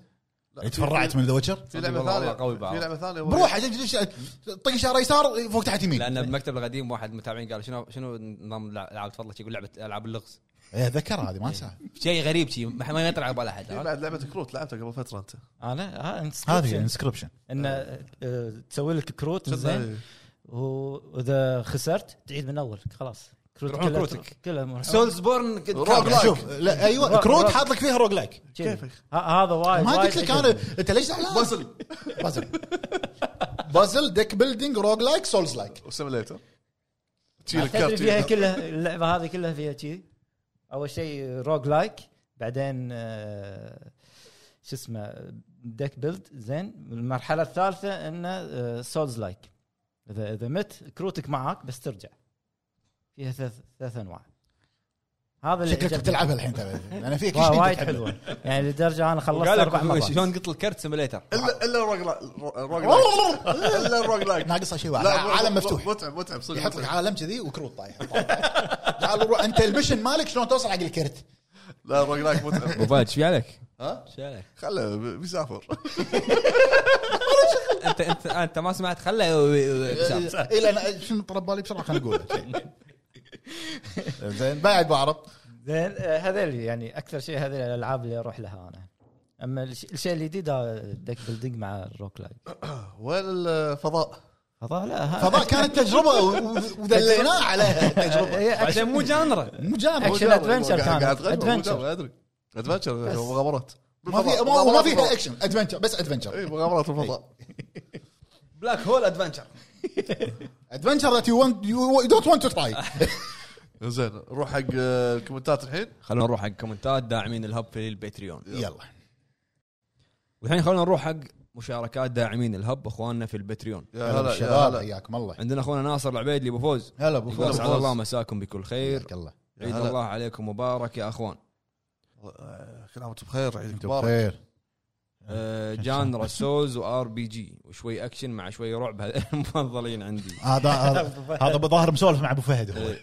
لا،
اللي
في-
تفرعت من ذا ويتشر؟
في لعبه
والله
ثانيه
قوي بعض.
في لعبه ثانيه
بروح طق شاره يسار فوق تحت يمين
لان بمكتب القديم واحد من المتابعين قال شنو شنو نظام العاب تفضلك يقول لعبه العاب اللغز
ايه اتذكرها هذه ما انساها
شيء غريب شيء ما ما يطلع على بال
في
احد
بعد لعبه كروت لعبتها قبل فتره انت
انا
هذه
انسكربشن
انسكربشن
ان آه، تسوي لك كروت زين
شنو
واذا خسرت تعيد من اول خلاص كروت
يروحون
كلها-
كروتك.
كلها مرعبة.
سولز بورن
روج لايك.
شوف لا ايوه
روك-
كروت
روك.
حاط لك فيها روج لايك
كذي.
كيفك؟
ه- هذا وايد
ما
وايد
قلت لك انا
عجبني.
انت ليش زعلان؟
بازل
بازل بازل ديك بيلدينج روج لايك سولز لايك
وسيميليتر تشيل
تدري
الكارت
فيها
تشيل-
كلها اللعبه هذه كلها فيها كذي اول شيء روج لايك بعدين آه، شو اسمه ديك بيلد زين المرحله الثالثه انه سولز لايك اذا اذا مت كروتك معاك بس ترجع فيها ثلاث ثلاث انواع هذا اللي
شكلك
عجبني.
بتلعبها الحين ترى انا فيها كل
وا-
شيء
وايد
بتحبه.
حلوه يعني لدرجه انا خلصت
وقال
اربع
لك
مرات
شلون قلت الكرت سيميليتر
الا الا الروج لايك الروج لايك. الا الروج لايك
ناقصها شيء واحد
لا
عالم
م-
مفتوح
متعب متعب صدق
يحط لك
متعب.
عالم كذي وكروت طايح تعال روح انت المشن مالك شلون توصل حق
إيه،
الكرت
لا الروج لايك متعب
ابو فهد ايش في عليك؟
ها
ايش في عليك؟
خله ب- بيسافر
انت انت انت ما سمعت خله
إيه،
اي لا إيه، شنو طرب بالي بسرعه خليني اقول زين بعد بعرض
زين آه، هذول يعني اكثر شيء هذول الالعاب اللي اروح لها انا اما الش- الشيء الجديد هذا ديك بيلدينج مع الروك لايك
وين الفضاء؟
فضاء لا ها-
فضاء كانت تجربه و- و- ودليناه عليها تجربه
إيه،
بعدين مو جانرا
مو جامع
أكشن أدفنشر كانت.
قاعد تغني، مو
أدفنشر.
جاب، ادري ادفنشر مغامرات
ما في ما ما فيها اكشن ادفنشر بس ادفنشر
اي مغامرات الفضاء
بلاك هول ادفنشر
ادفنشر ذات يو ونت يو دونت ونت تو تراي
زين نروح حق آه، الكومنتات الحين
خلونا نروح حق كومنتات داعمين الهب في الباتريون
يلا
والحين خلونا نروح حق مشاركات داعمين الهب اخواننا في الباتريون
يا
هلا
هلا يا
الشباب
هلا
حياكم الله
عندنا اخونا ناصر العبيد اللي بفوز
هلا ابو
يقول
فوز
اسعد الله مساكم بكل خير
حياك الله
يا
عيد
هلا.
الله عليكم مبارك يا اخوان
آه، كل عام وانتم بخير عيدك
انت
مبارك
بخير
آه، جانرا سولز وار بي جي وشوي اكشن مع شوي رعب هذول المفضلين عندي
هذا هذا- هذا بظاهر مسولف مع ابو فهد هو
إيه.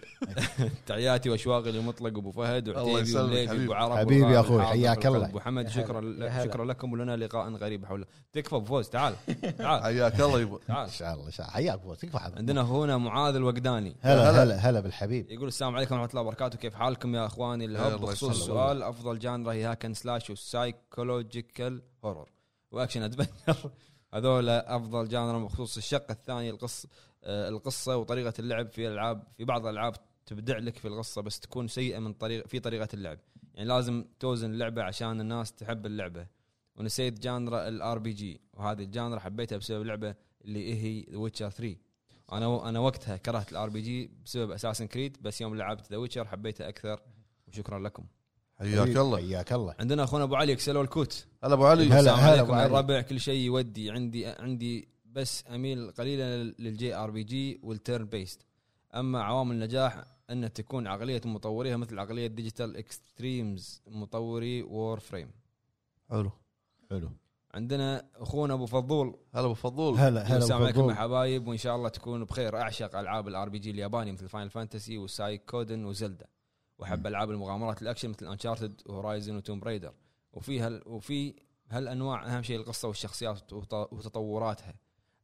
تحياتي واشواغلي مطلق ابو فهد
الله
وعتيبي
يسلمك
والليبي
حبيبي.
وابو عرب
حبيبي
والغالي
يا أخوي،
الحاضر
حياك
والقلب.
الله.
ابو حمد
يا
شكرا
هلا.
ل-
يا هلا.
شكرا لكم ولنا لقاء غريب حول تكفى أبو فوز تعال تعال
حياك الله يبا
تعال
ان شاء الله ان شاء الله حياك ابو فهد تكفى حبيبي.
عندنا هنا معاذ الوجداني
هلا
هلا.
هلا هلا بالحبيب
يقول السلام عليكم ورحمه الله وبركاته كيف حالكم يا اخواني الهب
الله
بخصوص
يسلمك.
السؤال افضل جانرا هي هاكن سلاش والسايكولوجيكال هورر واكشن ادفنشر هذول افضل جانرا بخصوص الشق الثاني القص آه، القصه وطريقه اللعب في العاب في بعض الالعاب تبدع لك في القصه بس تكون سيئه من طريق في طريقه اللعب يعني لازم توزن اللعبه عشان الناس تحب اللعبه ونسيت جانرا الار بي جي وهذه الجانرا حبيتها بسبب لعبه اللي هي ذا ويتشر 3 انا انا وقتها كرهت الار بي جي بسبب اساسن كريد بس يوم لعبت ذا ويتشر حبيتها اكثر وشكرا لكم
حياك الله
حياك الله
عندنا اخونا ابو علي اكسلو الكوت
هلا ابو علي
هلا.
السلام عليكم
أبو علي.
الربع كل شيء يودي عندي عندي بس اميل قليلا للجي ار بي جي والتيرن بيست اما عوامل النجاح ان تكون عقليه مطوريها مثل عقليه ديجيتال اكستريمز مطوري وور فريم
حلو
حلو
عندنا اخونا ابو فضول
هلا ابو فضول
هلا
يقول
هلا
السلام
ابو
عليكم يا
فضول
حبايب وان شاء الله تكونوا بخير اعشق العاب الار بي جي الياباني مثل فاينل فانتسي وسايكودن وزلدا واحب العاب المغامرات الاكشن مثل انشارتد وهورايزن وتوم برايدر وفي هل وفي هالانواع اهم شيء القصه والشخصيات وت- وتطوراتها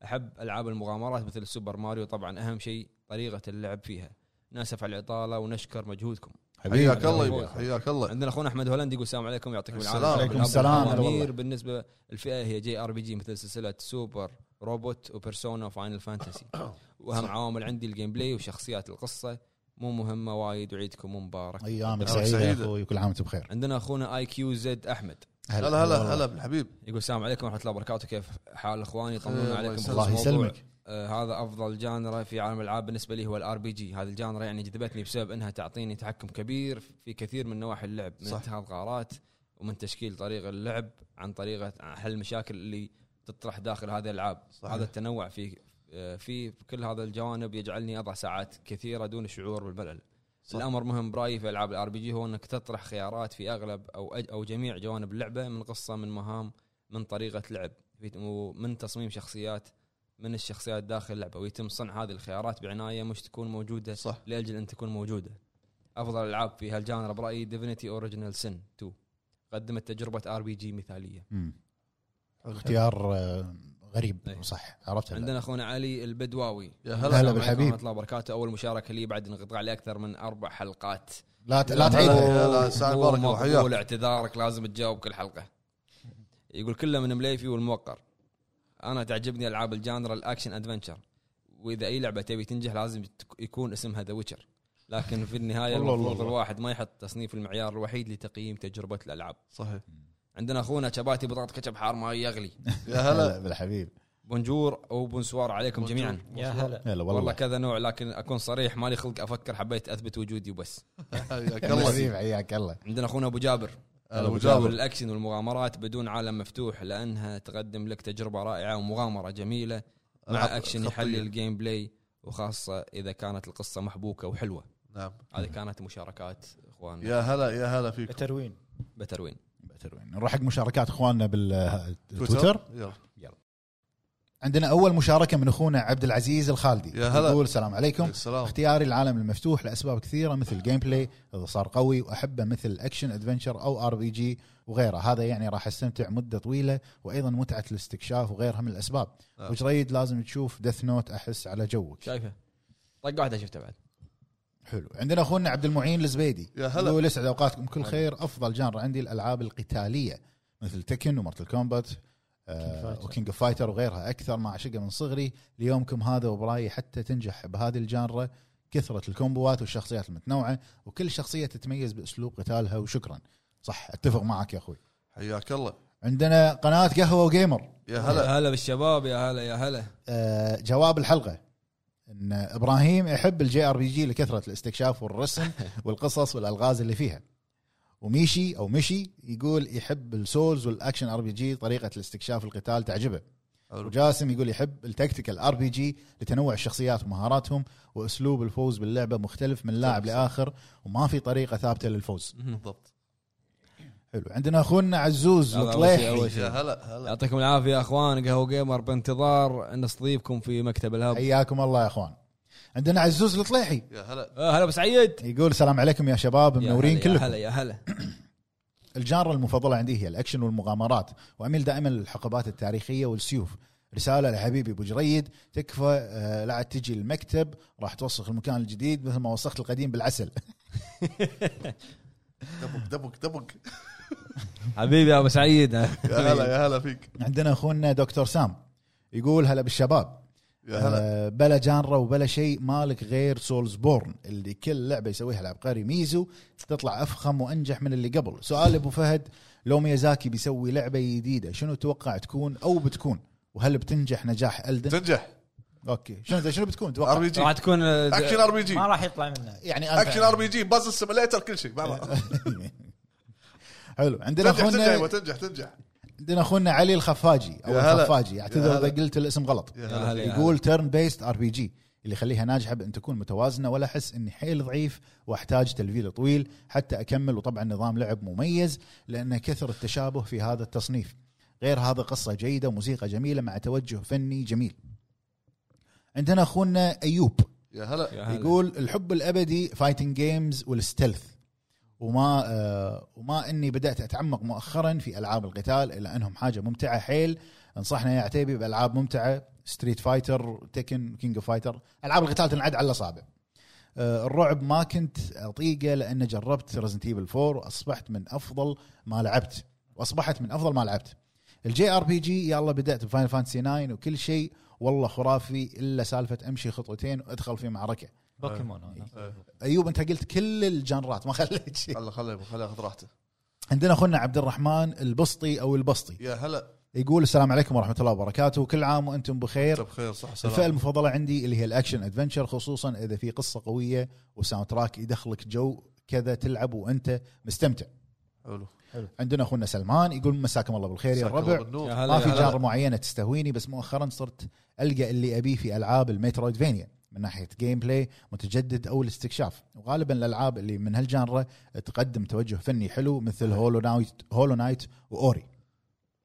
احب العاب المغامرات مثل سوبر ماريو طبعا اهم شيء طريقه اللعب فيها ناسف على الاطاله ونشكر مجهودكم
حياك الله
حبيبي.
يبا حياك الله
عندنا اخونا احمد هولندي يقول السلام عليكم يعطيكم العافيه
السلام
عليكم.
بالأب
السلام، هلا
والأمير.
والله.
بالنسبه الفئه هي جي ار بي جي مثل سلسله سوبر روبوت وبيرسونا وفاينل فانتسي واهم عوامل عندي الجيم بلاي وشخصيات القصه مو مهمه وايد وعيدكم مبارك
ايام
أيام
سعيده يا
سعيدة.
اخوي كل عام وانتم بخير
عندنا اخونا اي كيو زد احمد
هلا هلا
والله.
هلا بالحبيب
يقول السلام عليكم ورحمه الله وبركاته كيف حال اخواني
الله
طمنونا عليكم بخصوص
الله
موضوع
يسلمك
آه، هذا افضل جانرا في عالم الالعاب بالنسبه لي هو الار بي جي هذه الجانرا يعني جذبتني بسبب انها تعطيني تحكم كبير في كثير من نواحي اللعب من
صح.
انتهاء الغارات ومن تشكيل طريق اللعب عن طريقه حل المشاكل اللي تطرح داخل هذه الالعاب
صحيح.
هذا التنوع في آه، في كل هذا الجوانب يجعلني اضع ساعات كثيره دون الشعور بالملل
صح.
الامر مهم برايي في العاب الار بي جي هو انك تطرح خيارات في اغلب او أج- او جميع جوانب اللعبه من قصه من مهام من طريقه لعب في- ومن تصميم شخصيات من الشخصيات داخل اللعبه ويتم صنع هذه الخيارات بعنايه مش تكون موجوده
صح
لاجل ان تكون موجوده. افضل العاب في هالجانر برايي ديفينيتي اوريجينال سن 2 قدمت تجربه ار بي جي مثاليه.
مم. اختيار آه، غريب
أي.
صح عرفت هلا.
إيه. عندنا اخونا علي البدواوي
يا
السلام
هلا
عليكم
بالحبيب.
ورحمه الله وبركاته اول مشاركه لي بعد انقطاع لاكثر من اربع حلقات.
لا ت- لا
هلا.
تعيد
هلا، ساعة
مو
مباركة وحياك.
مقبول اعتذارك لازم تجاوب كل حلقه يقول كله من مليفي والموقر انا تعجبني العاب الجانرا الاكشن ادفنشر واذا اي لعبه تبي تنجح لازم تك- يكون اسمها ذا ويتشر لكن في النهايه
والله
المفروض
والله.
الواحد ما يحط تصنيف المعيار الوحيد لتقييم تجربه الالعاب
صحيح
عندنا اخونا شباتي بطاطا كتشب حار ما يغلي
يا هلا
بالحبيب
بونجور او بونسوار عليكم جميعا
يا هلا
هلا
والله,
والله
كذا نوع لكن اكون صريح مالي خلق افكر حبيت اثبت وجودي وبس
حياك
يلا
الله
حبيب حياك الله
عندنا اخونا ابو جابر
هلا ابو
جابر
جابر
الاكشن والمغامرات بدون عالم مفتوح لانها تقدم لك تجربه رائعه ومغامره جميله
ألعاب
مع اكشن
خطية.
يحلي الجيم بلاي وخاصه اذا كانت القصه محبوكه وحلوه
نعم
هذه كانت مشاركات اخواننا
يا هلا يا هلا فيك
تروين
بتروين
نروح حق مشاركات اخواننا بالتويتر
يلا
عندنا اول مشاركه من اخونا عبد العزيز الخالدي
يا هلا.
يقول السلام عليكم
السلام
اختياري العالم المفتوح لاسباب كثيره مثل جيم بلاي اذا صار قوي واحبه مثل اكشن ادفنشر او ار بي جي وغيره هذا يعني راح استمتع مده طويله وايضا متعه الاستكشاف وغيرها من الاسباب
نعم.
وجريد لازم تشوف دث نوت احس على جوك
شايفه طق واحده شفتها بعد
حلو عندنا اخونا عبد المعين الزبيدي
يا هلا.
يقول يسعد اوقاتكم كل
هلا.
خير افضل جانر عندي الالعاب القتاليه مثل تكن ومارتل كومبات
King Fighter.
وكينج اوف فايتر وغيرها اكثر ما اعشقها من صغري ليومكم هذا وبرايي حتى تنجح بهذه الجانرة كثره الكومبوات والشخصيات المتنوعه وكل شخصيه تتميز باسلوب قتالها وشكرا صح اتفق معك يا اخوي
حياك الله
عندنا قناه قهوه وجيمر
يا هلا
هلا هلا بالشباب يا هلا يا هلا
آه، جواب الحلقه ان ابراهيم يحب الجي ار بي جي لكثره الاستكشاف والرسم والقصص والالغاز اللي فيها وميشي او مشي يقول يحب السولز والاكشن ار بي جي طريقه الاستكشاف القتال تعجبه
حلو.
وجاسم يقول يحب التكتيكال ار بي جي لتنوع الشخصيات ومهاراتهم واسلوب الفوز باللعبه مختلف من
طيب.
لاعب لاخر وما في طريقه ثابته للفوز
بالضبط
حلو عندنا اخونا عزوز
هذا أول شيء،
الطليحي
أول شيء.
يا هلا هلا
يعطيكم العافيه يا اخوان قهوه جيمر بانتظار نستضيفكم في مكتب الهب
حياكم الله يا اخوان عندنا عزوز الطليحي
يا هلا
آه، هلا بسعيد
يقول السلام عليكم يا شباب منورين كلكم
هلا يا هلا
الجانرا المفضلة عندي هي الأكشن والمغامرات وأميل دائما للحقبات التاريخية والسيوف رسالة لحبيبي أبو جريد تكفى آه، لا عاد تجي المكتب راح توسخ المكان الجديد مثل ما وسخت القديم بالعسل
دبق دبق دبق
حبيبي يا ابو سعيد
يا هلا يا هلا فيك
عندنا أخونا دكتور سام يقول هلا بالشباب
يا هلا
آه، بلا جانرا وبلا شيء مالك غير سولز بورن اللي كل لعبه يسويها العبقري ميزو تطلع افخم وانجح من اللي قبل سؤال ابو فهد لو ميازاكي بيسوي لعبه جديده شنو تتوقع تكون او بتكون وهل بتنجح نجاح الدن
تنجح
اوكي شنو شنو بتكون
ار
تتوقع
بي جي
راح تكون آه،
اكشن ار بي جي
ما راح يطلع منها
يعني أنا-
اكشن ار بي جي باز سيميليتر كل شيء مع بعض.
حلو عندنا
تنجح تنجح يبا،
اخونا
تنجح تنجح
عندنا اخونا علي الخفاجي او
يا هلا.
الخفاجي اعتذر اذا
يا هلا.
قلت الاسم غلط
يا
يا
هلا
هلا يا
يقول تيرن بيست ار بي جي اللي يخليها ناجحه بان تكون متوازنه ولا احس اني حيل ضعيف واحتاج تلفيل طويل حتى اكمل وطبعا نظام لعب مميز لانه كثر التشابه في هذا التصنيف غير هذا قصه جيده وموسيقى جميله مع توجه فني جميل عندنا اخونا ايوب
يا هلا
هلا. يا هلا.
يقول الحب الابدي فايتنج جيمز والستلث وما آه وما اني بدات اتعمق مؤخرا في العاب القتال الا انهم حاجه ممتعه حيل انصحنا يا عتيبي بالعاب ممتعه ستريت فايتر تكن كينج اوف فايتر العاب القتال تنعد على الاصابع آه، الرعب ما كنت اطيقه لان جربت ريزنت ايفل 4 واصبحت من افضل ما لعبت واصبحت من افضل ما لعبت الجي ار بي جي يلا بدات بفاينل فانتسي 9 وكل شيء والله خرافي الا سالفه امشي خطوتين وادخل في معركه
بوكيمون هذا.
ايوب انت قلت كل الجنرات ما خليت شيء
خله خله يبا، خله ياخذ راحته
عندنا اخونا عبد الرحمن البسطي او البسطي
يا هلا
يقول السلام عليكم ورحمه الله وبركاته كل عام وانتم
انت
بخير
بخير طيب، صح
الفئه
سلام
المفضله عندي اللي هي الاكشن ادفنشر خصوصا اذا في قصه قويه وساوند تراك يدخلك جو كذا تلعب وانت مستمتع
حلو
عندنا اخونا سلمان يقول مساكم الله بالخير يا
مساك الله
الربع
بالنور.
يا هلا.
ما في
هلا.
جاره معينه تستهويني بس مؤخرا صرت القى اللي ابيه في العاب المترويدفينيا من ناحيه جيم بلاي متجدد او الاستكشاف وغالبا الالعاب اللي من هالجانرا تقدم توجه فني حلو مثل هولو نايت هولو نايت واوري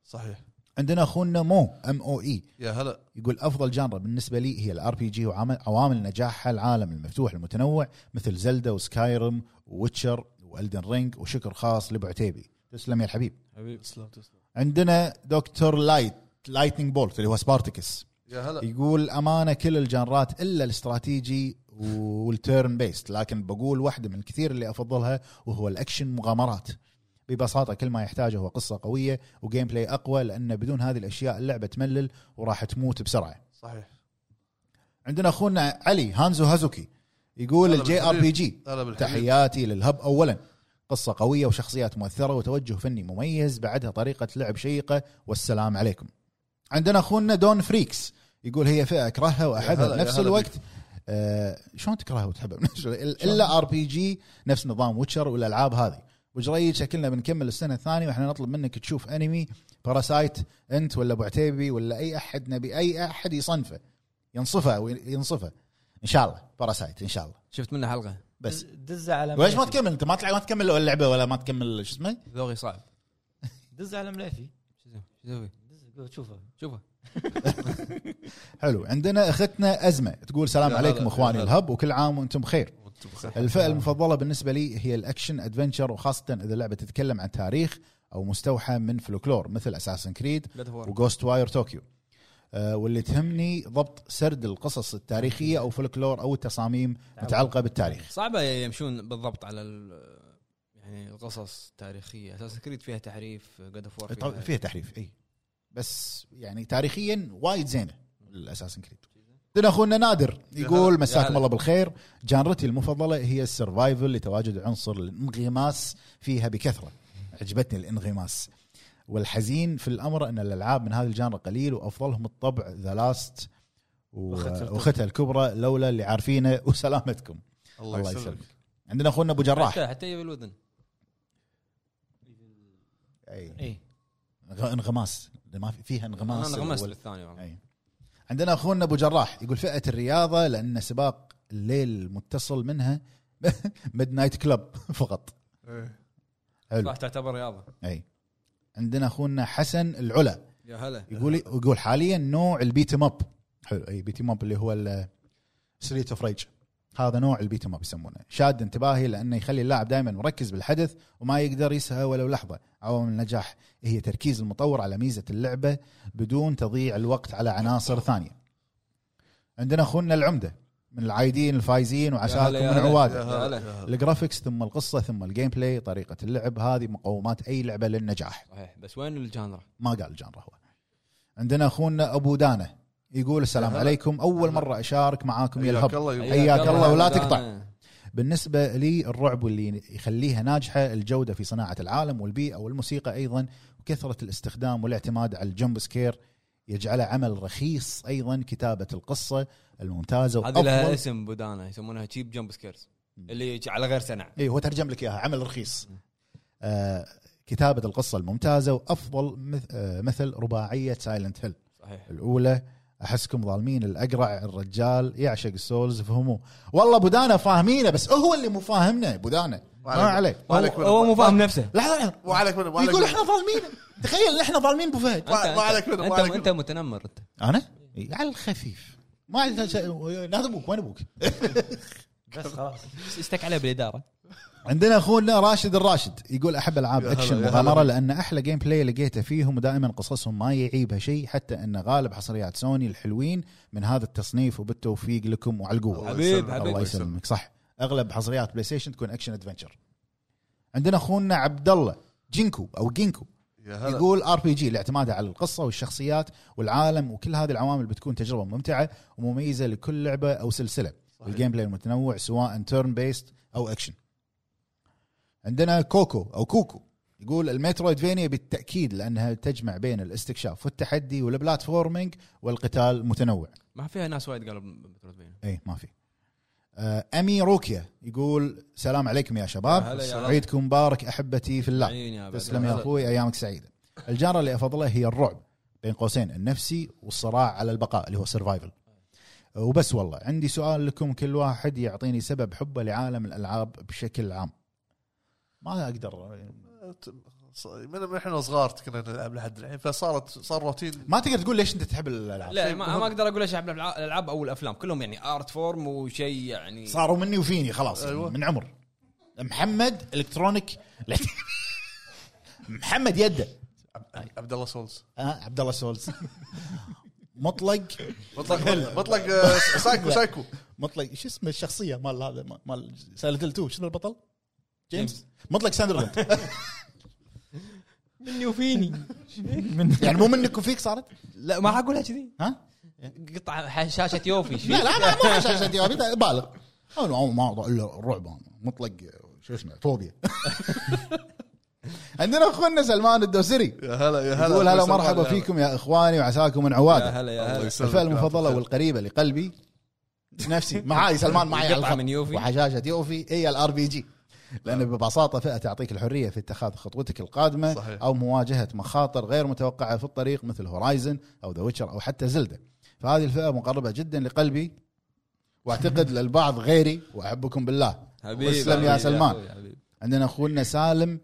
صحيح
عندنا اخونا مو ام او اي
يا هلا
يقول افضل جانرا بالنسبه لي هي الار بي جي وعوامل نجاحها العالم المفتوح المتنوع مثل زلدا وسكايرم وويتشر والدن رينج وشكر خاص لبعتيبي تسلم يا الحبيب
حبيبي
تسلم تسلم
عندنا دكتور لايت لايتنينج بولت اللي هو سبارتكس
يا هلا
يقول امانه كل الجانرات الا الاستراتيجي والتيرن بيست لكن بقول واحده من الكثير اللي افضلها وهو الاكشن مغامرات ببساطه كل ما يحتاجه هو قصه قويه وجيم بلاي اقوى لان بدون هذه الاشياء اللعبه تملل وراح تموت بسرعه
صحيح
عندنا اخونا علي هانزو هازوكي يقول
هلا
الجي ار
بالحبيب.
بي جي
هلا بالحبيب
تحياتي للهب اولا قصه قويه وشخصيات مؤثره وتوجه فني مميز بعدها طريقه لعب شيقه والسلام عليكم عندنا اخونا دون فريكس يقول هي فئه اكرهها
يا هلا-
واحبها
يا
بنفس
هلا
الوقت آه شلون تكرهها وتحبها بنفس الوقت؟ الا ار بي جي نفس نظام ويتشر والالعاب هذه وجريد شكلنا بنكمل السنه الثانيه واحنا نطلب منك تشوف انمي باراسايت انت ولا ابو عتيبي ولا اي احد نبي اي احد يصنفه ينصفه وينصفه ان شاء الله باراسايت ان شاء الله
شفت منه حلقه
بس
دز على
وليش ما
مليفي.
تكمل انت ما تلعب ما تكمل ولا لعبه ولا ما تكمل شو اسمه؟
ذوقي صعب
دز على مليفي
شو اسمه؟ شو اسمه؟
دز قول شوفه
شوفه
حلو عندنا اختنا ازمه تقول سلام
يا هلا،
عليكم
يا
اخواني
هلا. نعم.
الهب وكل عام وانتم بخير
وأنتم بخير.
الفئه المفضله بالنسبه لي هي الاكشن ادفنشر وخاصه اذا اللعبه تتكلم عن تاريخ او مستوحى من فلكلور مثل اساسن كريد وجوست واير طوكيو آه، واللي تهمني ضبط سرد القصص التاريخيه او فلكلور او التصاميم
نعم.
متعلقه بالتاريخ
صعبه يمشون بالضبط على ال- يعني القصص تاريخيه اساسا كريد فيها تحريف جاد اوف وور
طبعاً فيها تحريف اي بس يعني تاريخيا وايد زينه الاساسن كريد عندنا اخونا نادر
يا
يقول
هلا.
مساكم الله بالخير جانرتي المفضله هي السرفايفل لتواجد عنصر الانغماس فيها بكثره عجبتني الانغماس والحزين في الامر ان الالعاب من هذا الجانر قليل وافضلهم الطبع ذا لاست
وختها الكبرى.
وختها الكبرى لولا اللي عارفينه وسلامتكم الله
الله
يسلمك
يسلمك
عندنا اخونا ابو جراح
حتى حتى يبي الودن
أي.
اي
انغماس ما في- فيها
انا
انغماس
انغمست
وال-
بالثاني والله
أي. عندنا اخونا ابو جراح يقول فئه الرياضه لان سباق الليل المتصل منها ميد نايت كلب فقط حلو
صح تعتبر رياضه
اي عندنا اخونا حسن العلا
يا هلا
يقول يقول حاليا نوع البيت اب حلو اي بيت اب اللي هو ستريت اوف ريج هذا نوع البيت اب يسمونه شاد انتباهي لانه يخلي اللاعب دائما مركز بالحدث وما يقدر يسهى ولو لحظه عوامل النجاح هي تركيز المطور على ميزه اللعبه بدون تضييع الوقت على عناصر ثانيه عندنا اخونا العمده من العايدين الفايزين وعساكم من
يا هلا،
عواده
يا هلا.
الجرافيكس ثم القصه ثم الجيم بلاي طريقه اللعب هذه مقومات اي لعبه للنجاح
صحيح بس وين الجانرا؟
ما قال جانرا هو عندنا اخونا ابو دانه يقول السلام
هلا.
عليكم اول
هلا.
مره اشارك معاكم يا
حياك
الهب
الله يبقى.
حياك الله ولا
يا
تقطع.
دانا.
بالنسبه لي الرعب واللي يخليها ناجحه الجوده في صناعه العالم والبيئه والموسيقى ايضا وكثره الاستخدام والاعتماد على الجمب سكير يجعله عمل رخيص ايضا كتابه القصه الممتازه
هذه لها
وافضل
اسم بدانا يسمونها تشيب جمب سكيرز اللي يجي على غير سنع
اي هو ترجم إيه، لك اياها عمل رخيص آه كتابه القصه الممتازه وافضل مث... آه مثل رباعيه سايلنت هيل
صحيح
الاولى احسكم ظالمين الاقرع الرجال يعشق السولز فهموه والله ابو دانا فاهمينه بس هو اللي مو فاهمنا ابو دانا ما
وعليك-
عليه
هو
وعليك منه.
هو مو فاهم نفسه
لحظه لحظه
وعليك منه وعليك
يقول
منه.
احنا ظالمين تخيل احنا ظالمين ابو فهد
ما- ما عليك منه، ما عليك
انت
منه.
انت متنمر انت
انا إي، على الخفيف ما عندنا شيء نادي ابوك وين ابوك
بس خلاص
اشتك عليه بالاداره
عندنا اخونا راشد الراشد يقول احب العاب
يا هلا،
اكشن
يا هلا.
مغامره لان احلى جيم بلاي لقيته فيهم ودائما قصصهم ما يعيبها شيء حتى ان غالب حصريات سوني الحلوين من هذا التصنيف وبالتوفيق لكم وعلى القوه
الله
حبيب،
يسلمك.
حبيب.
الله يسلمك صح اغلب حصريات بلاي ستيشن تكون اكشن ادفنشر عندنا اخونا عبد الله جينكو او جينكو
يا هلا
يقول ار بي جي لاعتماده على القصه والشخصيات والعالم وكل هذه العوامل بتكون تجربه ممتعه ومميزه لكل لعبه او سلسله والجيم بلاي المتنوع سواء تيرن بيست او اكشن عندنا كوكو او كوكو يقول المترويدفينيا بالتاكيد لانها تجمع بين الاستكشاف والتحدي والبلاتفورمينج والقتال المتنوع
ما فيها ناس وايد قالوا مترويدفينيا
اي إيه، ما في آه، امي روكيا يقول سلام عليكم يا
يا
شباب
هلا يا هلا.
عيدكم مبارك احبتي في الله
عيني يعني يا أبد.
تسلم يا اخوي ايامك سعيده الجاره اللي افضلها هي الرعب بين قوسين النفسي والصراع على البقاء اللي هو سرفايفل وبس والله عندي سؤال لكم كل واحد يعطيني سبب حبه لعالم الالعاب بشكل عام ما اقدر
ص- من احنا صغار كنا نلعب لحد الحين فصارت صار روتين
ما تقدر تقول ليش انت تحب الالعاب
لا ما, ما اقدر اقول ايش أحب الألعاب- الالعاب او الافلام كلهم يعني ارت فورم وشيء يعني
صاروا مني وفيني خلاص أيوة.
أيوة.
من عمر محمد الكترونيك محمد يده
عبد الله سولز
آه عبد الله سولز مطلق
مطلق مطلق آه، سايكو
لا.
سايكو
مطلق شو اسمه الشخصيه مال هذا مال- مال سالت التو شنو البطل؟
جيمس.
مطلق ساندرلاند
مني وفيني
يعني مو منك وفيك صارت؟
لا ما اقولها كذي
ها؟
قطع شاشه يوفي
لا لا ما ما عشان- عشان تبي- أبي بالغ انا أول ما اعطى الا الرعب أنا. مطلق شو اسمه فوبيا عندنا اخونا سلمان الدوسري
يا هلا يا هلا
يقول هلا
سلمان،
مرحبا
يا هلا.
فيكم يا اخواني وعساكم من
يا
عواده
هلا يا
الله
هلا
يسلمك.
الفئه المفضله والقريبه لقلبي نفسي معاي سلمان معاي على
قطعه
الخط
من يوفي آه.
وحشاشه يوفي هي الار بي جي لان ببساطه فئه تعطيك الحريه في اتخاذ خطوتك القادمه
صحيح.
او مواجهه مخاطر غير متوقعه في الطريق مثل هورايزن او ذا ويتشر او حتى زلده فهذه الفئه مقربه جدا لقلبي واعتقد للبعض غيري واحبكم بالله
حبيبي
واسلم يا
حبيبي
سلمان.
أخوي، حبيبي.
عندنا اخونا سالم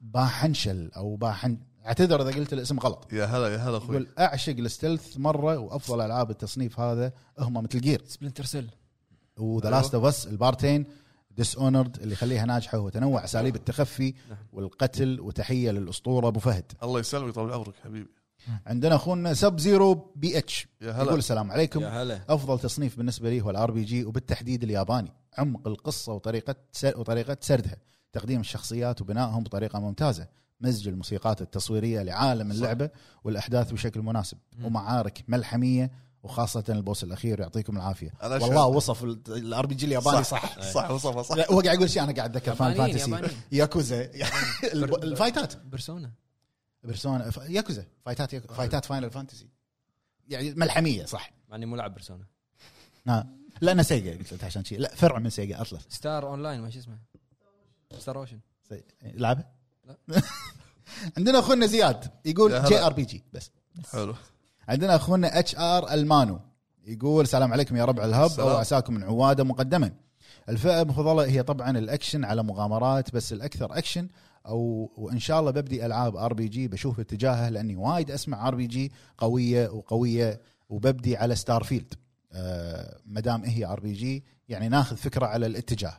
باحنشل او باحن اعتذر اذا قلت الاسم غلط
يا هلا يا هلا اخوي
يقول اعشق الستلث مره وافضل العاب التصنيف هذا هم مثل جير
سبلنتر سيل
وذا
أيوة.
لاست اوف اس البارتين ديس اونرد اللي يخليها ناجحه هو تنوع اساليب التخفي
نعم.
والقتل وتحيه للاسطوره ابو فهد
الله يسلمك طول عمرك حبيبي
عندنا اخونا سب زيرو بي اتش
يا هلا.
يقول السلام عليكم
يا هلا
افضل تصنيف بالنسبه لي هو الار بي جي وبالتحديد الياباني عمق القصه وطريقه سر وطريقه سردها تقديم الشخصيات وبنائهم بطريقه ممتازه مزج الموسيقات التصويريه لعالم اللعبه والاحداث بشكل مناسب
مم.
ومعارك ملحميه وخاصه البوس الاخير يعطيكم العافيه
أنا
والله
شايف.
وصف الار بي جي الياباني صح, صح.
صح وصفه صح
لا هو قاعد يقول شيء انا قاعد اتذكر فان
يابانيين،
فانتسي
يابانيين.
ياكوزا الب- الفايتات
بيرسونا
بيرسونا ف- ياكوزا فايتات ياك- فايتات فاينل فانتسي يعني ملحميه صح
مع اني مو لاعب بيرسونا
ها لا انا سيجا قلت لك عشان شيء لا فرع من سيجا اطلس
ستار اون لاين ما شو اسمه ستار اوشن
سي- لعبه
لا.
عندنا اخونا زياد
يا
يقول
هلا.
جي ار بي جي بس
حلو
عندنا اخونا اتش ار المانو يقول السلام عليكم يا ربع الهب
السلام.
او عساكم من عواده مقدما الفئه المفضله هي طبعا الاكشن على مغامرات بس الاكثر اكشن او وان شاء الله ببدي العاب ار بي جي بشوف اتجاهه لاني وايد اسمع ار بي جي قويه وقويه وببدي على ستار فيلد آه مدام هي ار بي جي يعني ناخذ فكره على الاتجاه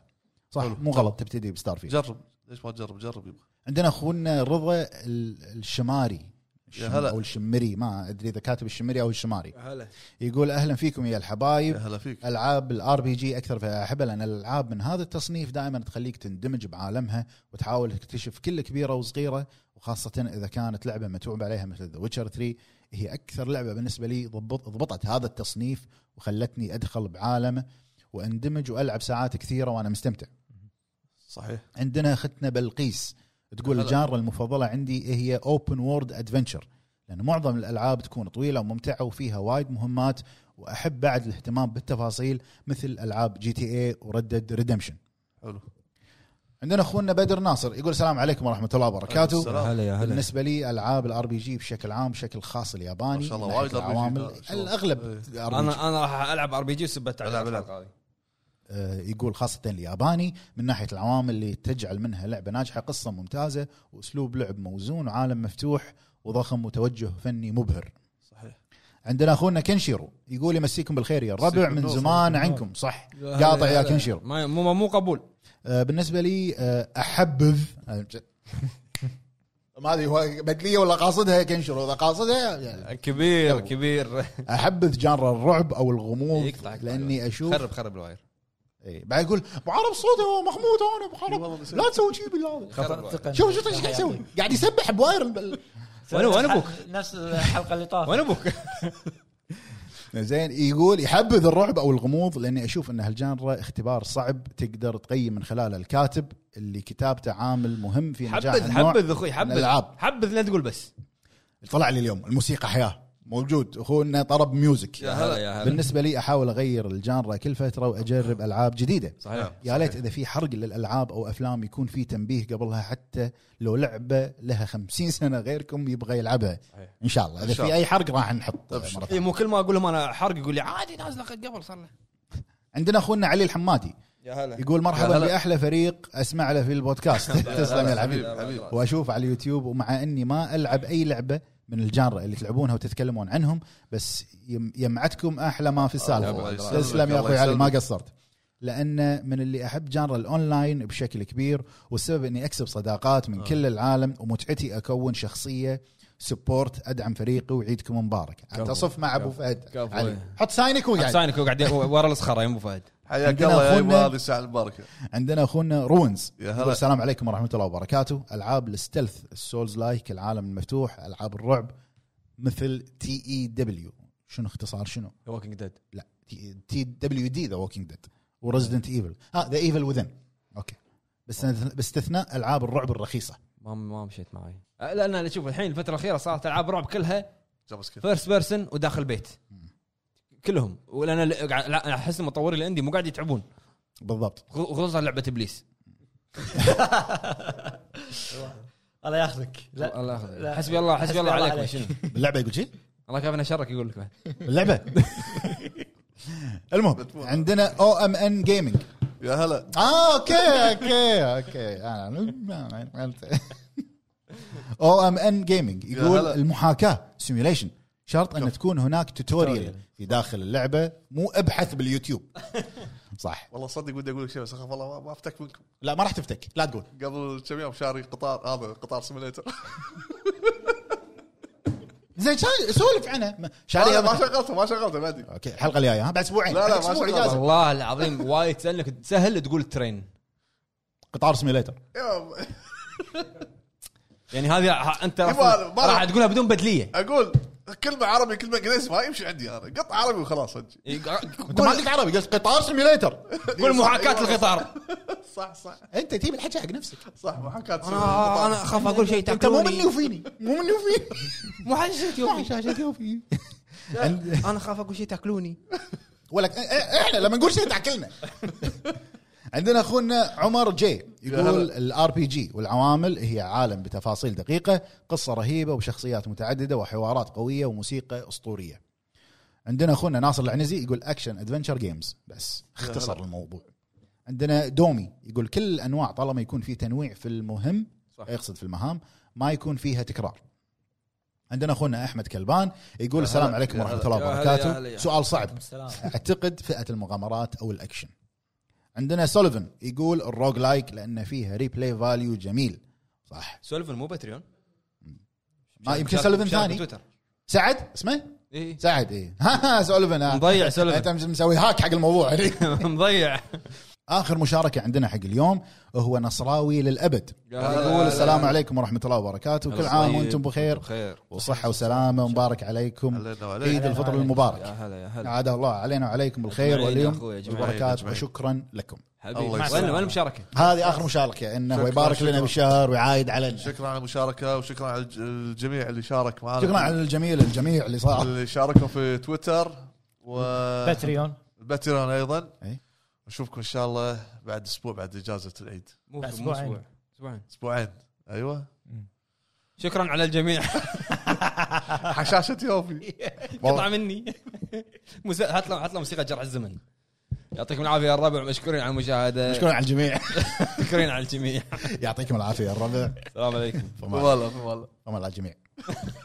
صح
حلو.
مو غلط تبتدي بستار فيلد
جرب ليش ما تجرب جرب يبا
عندنا اخونا رضا ال- الشماري
يا هلا.
او الشمري ما ادري اذا كاتب الشمري او الشماري
هلا
يقول اهلا فيكم يا
يا
الحبايب
هلا فيك
العاب الار بي جي اكثر فيها احبها لان الالعاب من هذا التصنيف دائما تخليك تندمج بعالمها وتحاول تكتشف كل كبيره وصغيره وخاصه اذا كانت لعبه متعوب عليها مثل ذا ويتشر 3 هي اكثر لعبه بالنسبه لي ضبط ضبطت هذا التصنيف وخلتني ادخل بعالمه واندمج والعب ساعات كثيره وانا مستمتع
صحيح
عندنا اختنا بلقيس تقول
هلا.
الجانرا المفضله عندي هي اوبن وورد ادفنشر لان معظم الالعاب تكون طويله وممتعه وفيها وايد مهمات واحب بعد الاهتمام بالتفاصيل مثل العاب جي تي إيه اي وردد ريدمشن
حلو
عندنا اخونا بدر ناصر يقول السلام عليكم ورحمه الله وبركاته
السلام.
هلا يا هلا
بالنسبه لي العاب الار بي جي بشكل عام بشكل خاص الياباني
ما شاء الله
من ناحية
وايد RPG
العوامل
إن شاء الله.
الاغلب RPG.
انا انا راح العب ار بي جي وسبت على
العب،
الحلقه هذه
آه، يقول خاصة الياباني من ناحية العوامل اللي تجعل منها لعبة ناجحة قصة ممتازة وأسلوب لعب موزون وعالم مفتوح وضخم وتوجه فني مبهر
صحيح
عندنا أخونا كنشيرو يقول يمسيكم بالخير يا الربع
مسيكم
من
بالنور،
زمان
مسيكم
عنكم صح قاطع يا كنشيرو
ما مو مو قبول
آه، بالنسبة لي آه، أحبذ آه، ما ادري هو بدليه ولا قاصدها يا كنشيرو اذا قاصدها يعني
كبير كبير
احبذ جانر الرعب او الغموض
يقطع- يقطع
لاني اشوف
خرب خرب الواير
إيه، بعد يقول ابو عرب صوته هو مخمود هون ابو
والله
عرب
بس-
لا تسوي شيء بالله
خرب الواير.
تقن.
شوف شوف ايش قاعد يسوي قاعد يسبح بواير الب-
وين- وين أبوك؟
نفس الحلقه اللي طافت
وين ابوك؟
زين يقول يحبذ الرعب او الغموض لاني اشوف ان هالجانرا اختبار صعب تقدر تقيم من خلاله الكاتب اللي كتابته عامل مهم في نجاح
حبذ
النوع
حبذ اخوي
من
حبذ
الالعاب
حبذ لا تقول بس
طلع لي اليوم الموسيقى حياه موجود اخونا طرب ميوزك
يا هلا.
يا
بالنسبه لي احاول اغير الجانرا كل فتره واجرب العاب جديده
صحيح
يا ليت اذا في حرق للالعاب او افلام يكون في تنبيه قبلها حتى لو لعبه لها 50 سنه غيركم يبغى يلعبها
صحيح.
ان شاء الله
إن
اذا
شاء
في اي حرق راح نحط مره
أبشر.
اي
ثانية.
إيه، مو كل ما اقول لهم انا حرق يقول لي عادي نازله قد قبل صار له
عندنا اخونا علي الحمادي
يا هلا
يقول مرحبا
هلا.
باحلى فريق اسمع له في البودكاست تسلم يا الحبيب
حبيبي.
واشوفه على اليوتيوب ومع اني ما العب اي لعبه من الجانرا اللي تلعبونها وتتكلمون عنهم بس يم- يمعتكم احلى ما في
الله
السالفه
يسلمك،
تسلم يا
الله
اخوي علي ما
يسلمك.
قصرت لان من اللي احب جانرا الاونلاين بشكل كبير والسبب اني اكسب صداقات من
آه.
كل العالم ومتعتي اكون شخصيه سبورت ادعم فريقي وعيدكم مبارك
كفو.
اتصف مع ابو
كفو.
فهد
كفو.
علي. حط يعني. ساينك وقعد
حسينك وقاعد ورا الصخره يا ابو فهد
حياك
عندنا
الله يا
أخونا-
يبا هذه الساعه المباركه
عندنا اخونا رونز
يا
يقول
هلا
السلام عليكم ورحمه الله وبركاته العاب الستلث السولز لايك العالم المفتوح العاب الرعب مثل تي اي دبليو شنو E اختصار شنو
ووكينج ديد
تي دبليو دي ذا ووكينج ديد ورزدنت ايفل اه ذا ايفل وذن اوكي بس باستثناء العاب الرعب الرخيصه
ما ما مشيت معي أه، لان أنا شوف الحين الفتره الاخيره صارت العاب رعب كلها
جاب سكيل
فيرست بيرسون وداخل بيت كلهم ولان ال- قاعد- لا، احس المطورين اللي عندي مو قاعد يتعبون
بالضبط
خو- خصوصا لعبه ابليس
الله ياخذك لا
الله ياخذك
لا.
حسبي الله حسبي الله عليكم شنو
باللعبه يقول شيء
الله كافينا شرك يقول لك بعد
اللعبه المهم عندنا او ام ان جيمنج
يا هلا
اه اوكي اوكي اوكي او ام ان جيمنج يقول
هلا.
المحاكاه سيميوليشن شرط ان تكون هناك توتوريال في داخل اللعبه مو ابحث باليوتيوب صح
والله صدق بدي اقول لك شيء بس اخاف والله ما- ما افتك منكم
لا ما راح تفتك لا تقول
قبل كم يوم شاري قطار هذا قطار سيميليتر
زين شا- سولف عنها ما- شاريها
ما
مثلاً.
شغلته ما شغلته بعدي
اوكي الحلقه الجايه ها بعد اسبوعين
لا، لا،
بعد
ما
اسبوع
شاء الله.
اجازه
والله العظيم وايد تسالك سهل تقول ترين
قطار سيميليتر
يا-
يعني هذه ح- انت
يبا
أصلاً
أنا ما
راح
أعرف.
تقولها بدون بدليه
اقول كلمه عربي كلمه انجليزي ما يمشي عندي انا قط عربي وخلاص صدق
انت ما قلت عربي قلت قطار سيميليتر
إيه، قول محاكاه القطار
صح صح
انت تجيب الحكي حق نفسك
صح محاكاه
انا انا اخاف اقول شيء
انت مو
تاكلوني.
مني وفيني مو مني وفيني
مو حشيت
ما شاشة يوفي
انا اخاف اقول شيء تاكلوني
ولا ك- إ- إ- احنا لما نقول شيء تاكلنا عندنا اخونا عمر جي يقول
هلا.
الار بي جي والعوامل هي عالم بتفاصيل دقيقه قصه رهيبه وشخصيات متعدده وحوارات قويه وموسيقى اسطوريه عندنا اخونا ناصر العنزي يقول اكشن ادفنشر جيمز بس اختصر
هلا.
الموضوع عندنا دومي يقول كل الانواع طالما يكون في تنويع في المهم
صح.
يقصد في المهام ما يكون فيها تكرار عندنا اخونا احمد كلبان يقول
هلا.
السلام عليكم
يا
ورحمه
هلا.
الله
يا هلا، يا هلا،
وبركاته
يا
سؤال صعب
السلام
اعتقد فئه المغامرات او الاكشن عندنا سوليفن يقول الروج لايك لان فيها ريبلاي فاليو جميل صح
سولفن مو باتريون
ما آه، يمكن سوليفن ثاني سعد اسمه
اي
سعد اي ها ها سوليفن آه.
مضيع
انت
سوليفن
مسوي هاك حق الموضوع يعني.
مضيع
اخر مشاركه عندنا حق اليوم هو نصراوي للابد يقول السلام عليكم ورحمه الله وبركاته كل عام وانتم بخير
بخير
وصحه وسلامه ومبارك عليكم
علينا وعليك
عيد الفطر المبارك
هلا يا هلا
عاد الله علينا وعليكم بالخير
أجمعين يا
واليوم
أخوي، أجمعين.
والبركات
أجمعين.
وشكرا لكم
حبيبي
الله
وين
يسلمك.
وين المشاركه؟
هذه اخر مشاركه انه
شكراً،
يبارك لنا
شكراً.
بالشهر ويعايد علينا
شكرا على المشاركه وشكرا على الج- الجميع اللي شارك معنا
شكرا على الجميل الجميع اللي صار
اللي شاركوا في تويتر و
باتريون
باتريون ايضا
إي.
نشوفكم ان شاء الله بعد اسبوع بعد اجازه العيد
مو
بعد
مو
أسبوعين.
اسبوع اسبوعين
اسبوعين ايوه
شكرا على الجميع
حشاشه يوفي
قطع مني مس- هات له هات له موسيقى جرح الزمن يعطيكم العافيه يا الربع مشكورين على المشاهده
شكرا على الجميع
مشكورين على الجميع
يعطيكم العافيه يا الربع
السلام عليكم
فما
والله والله
فما على الجميع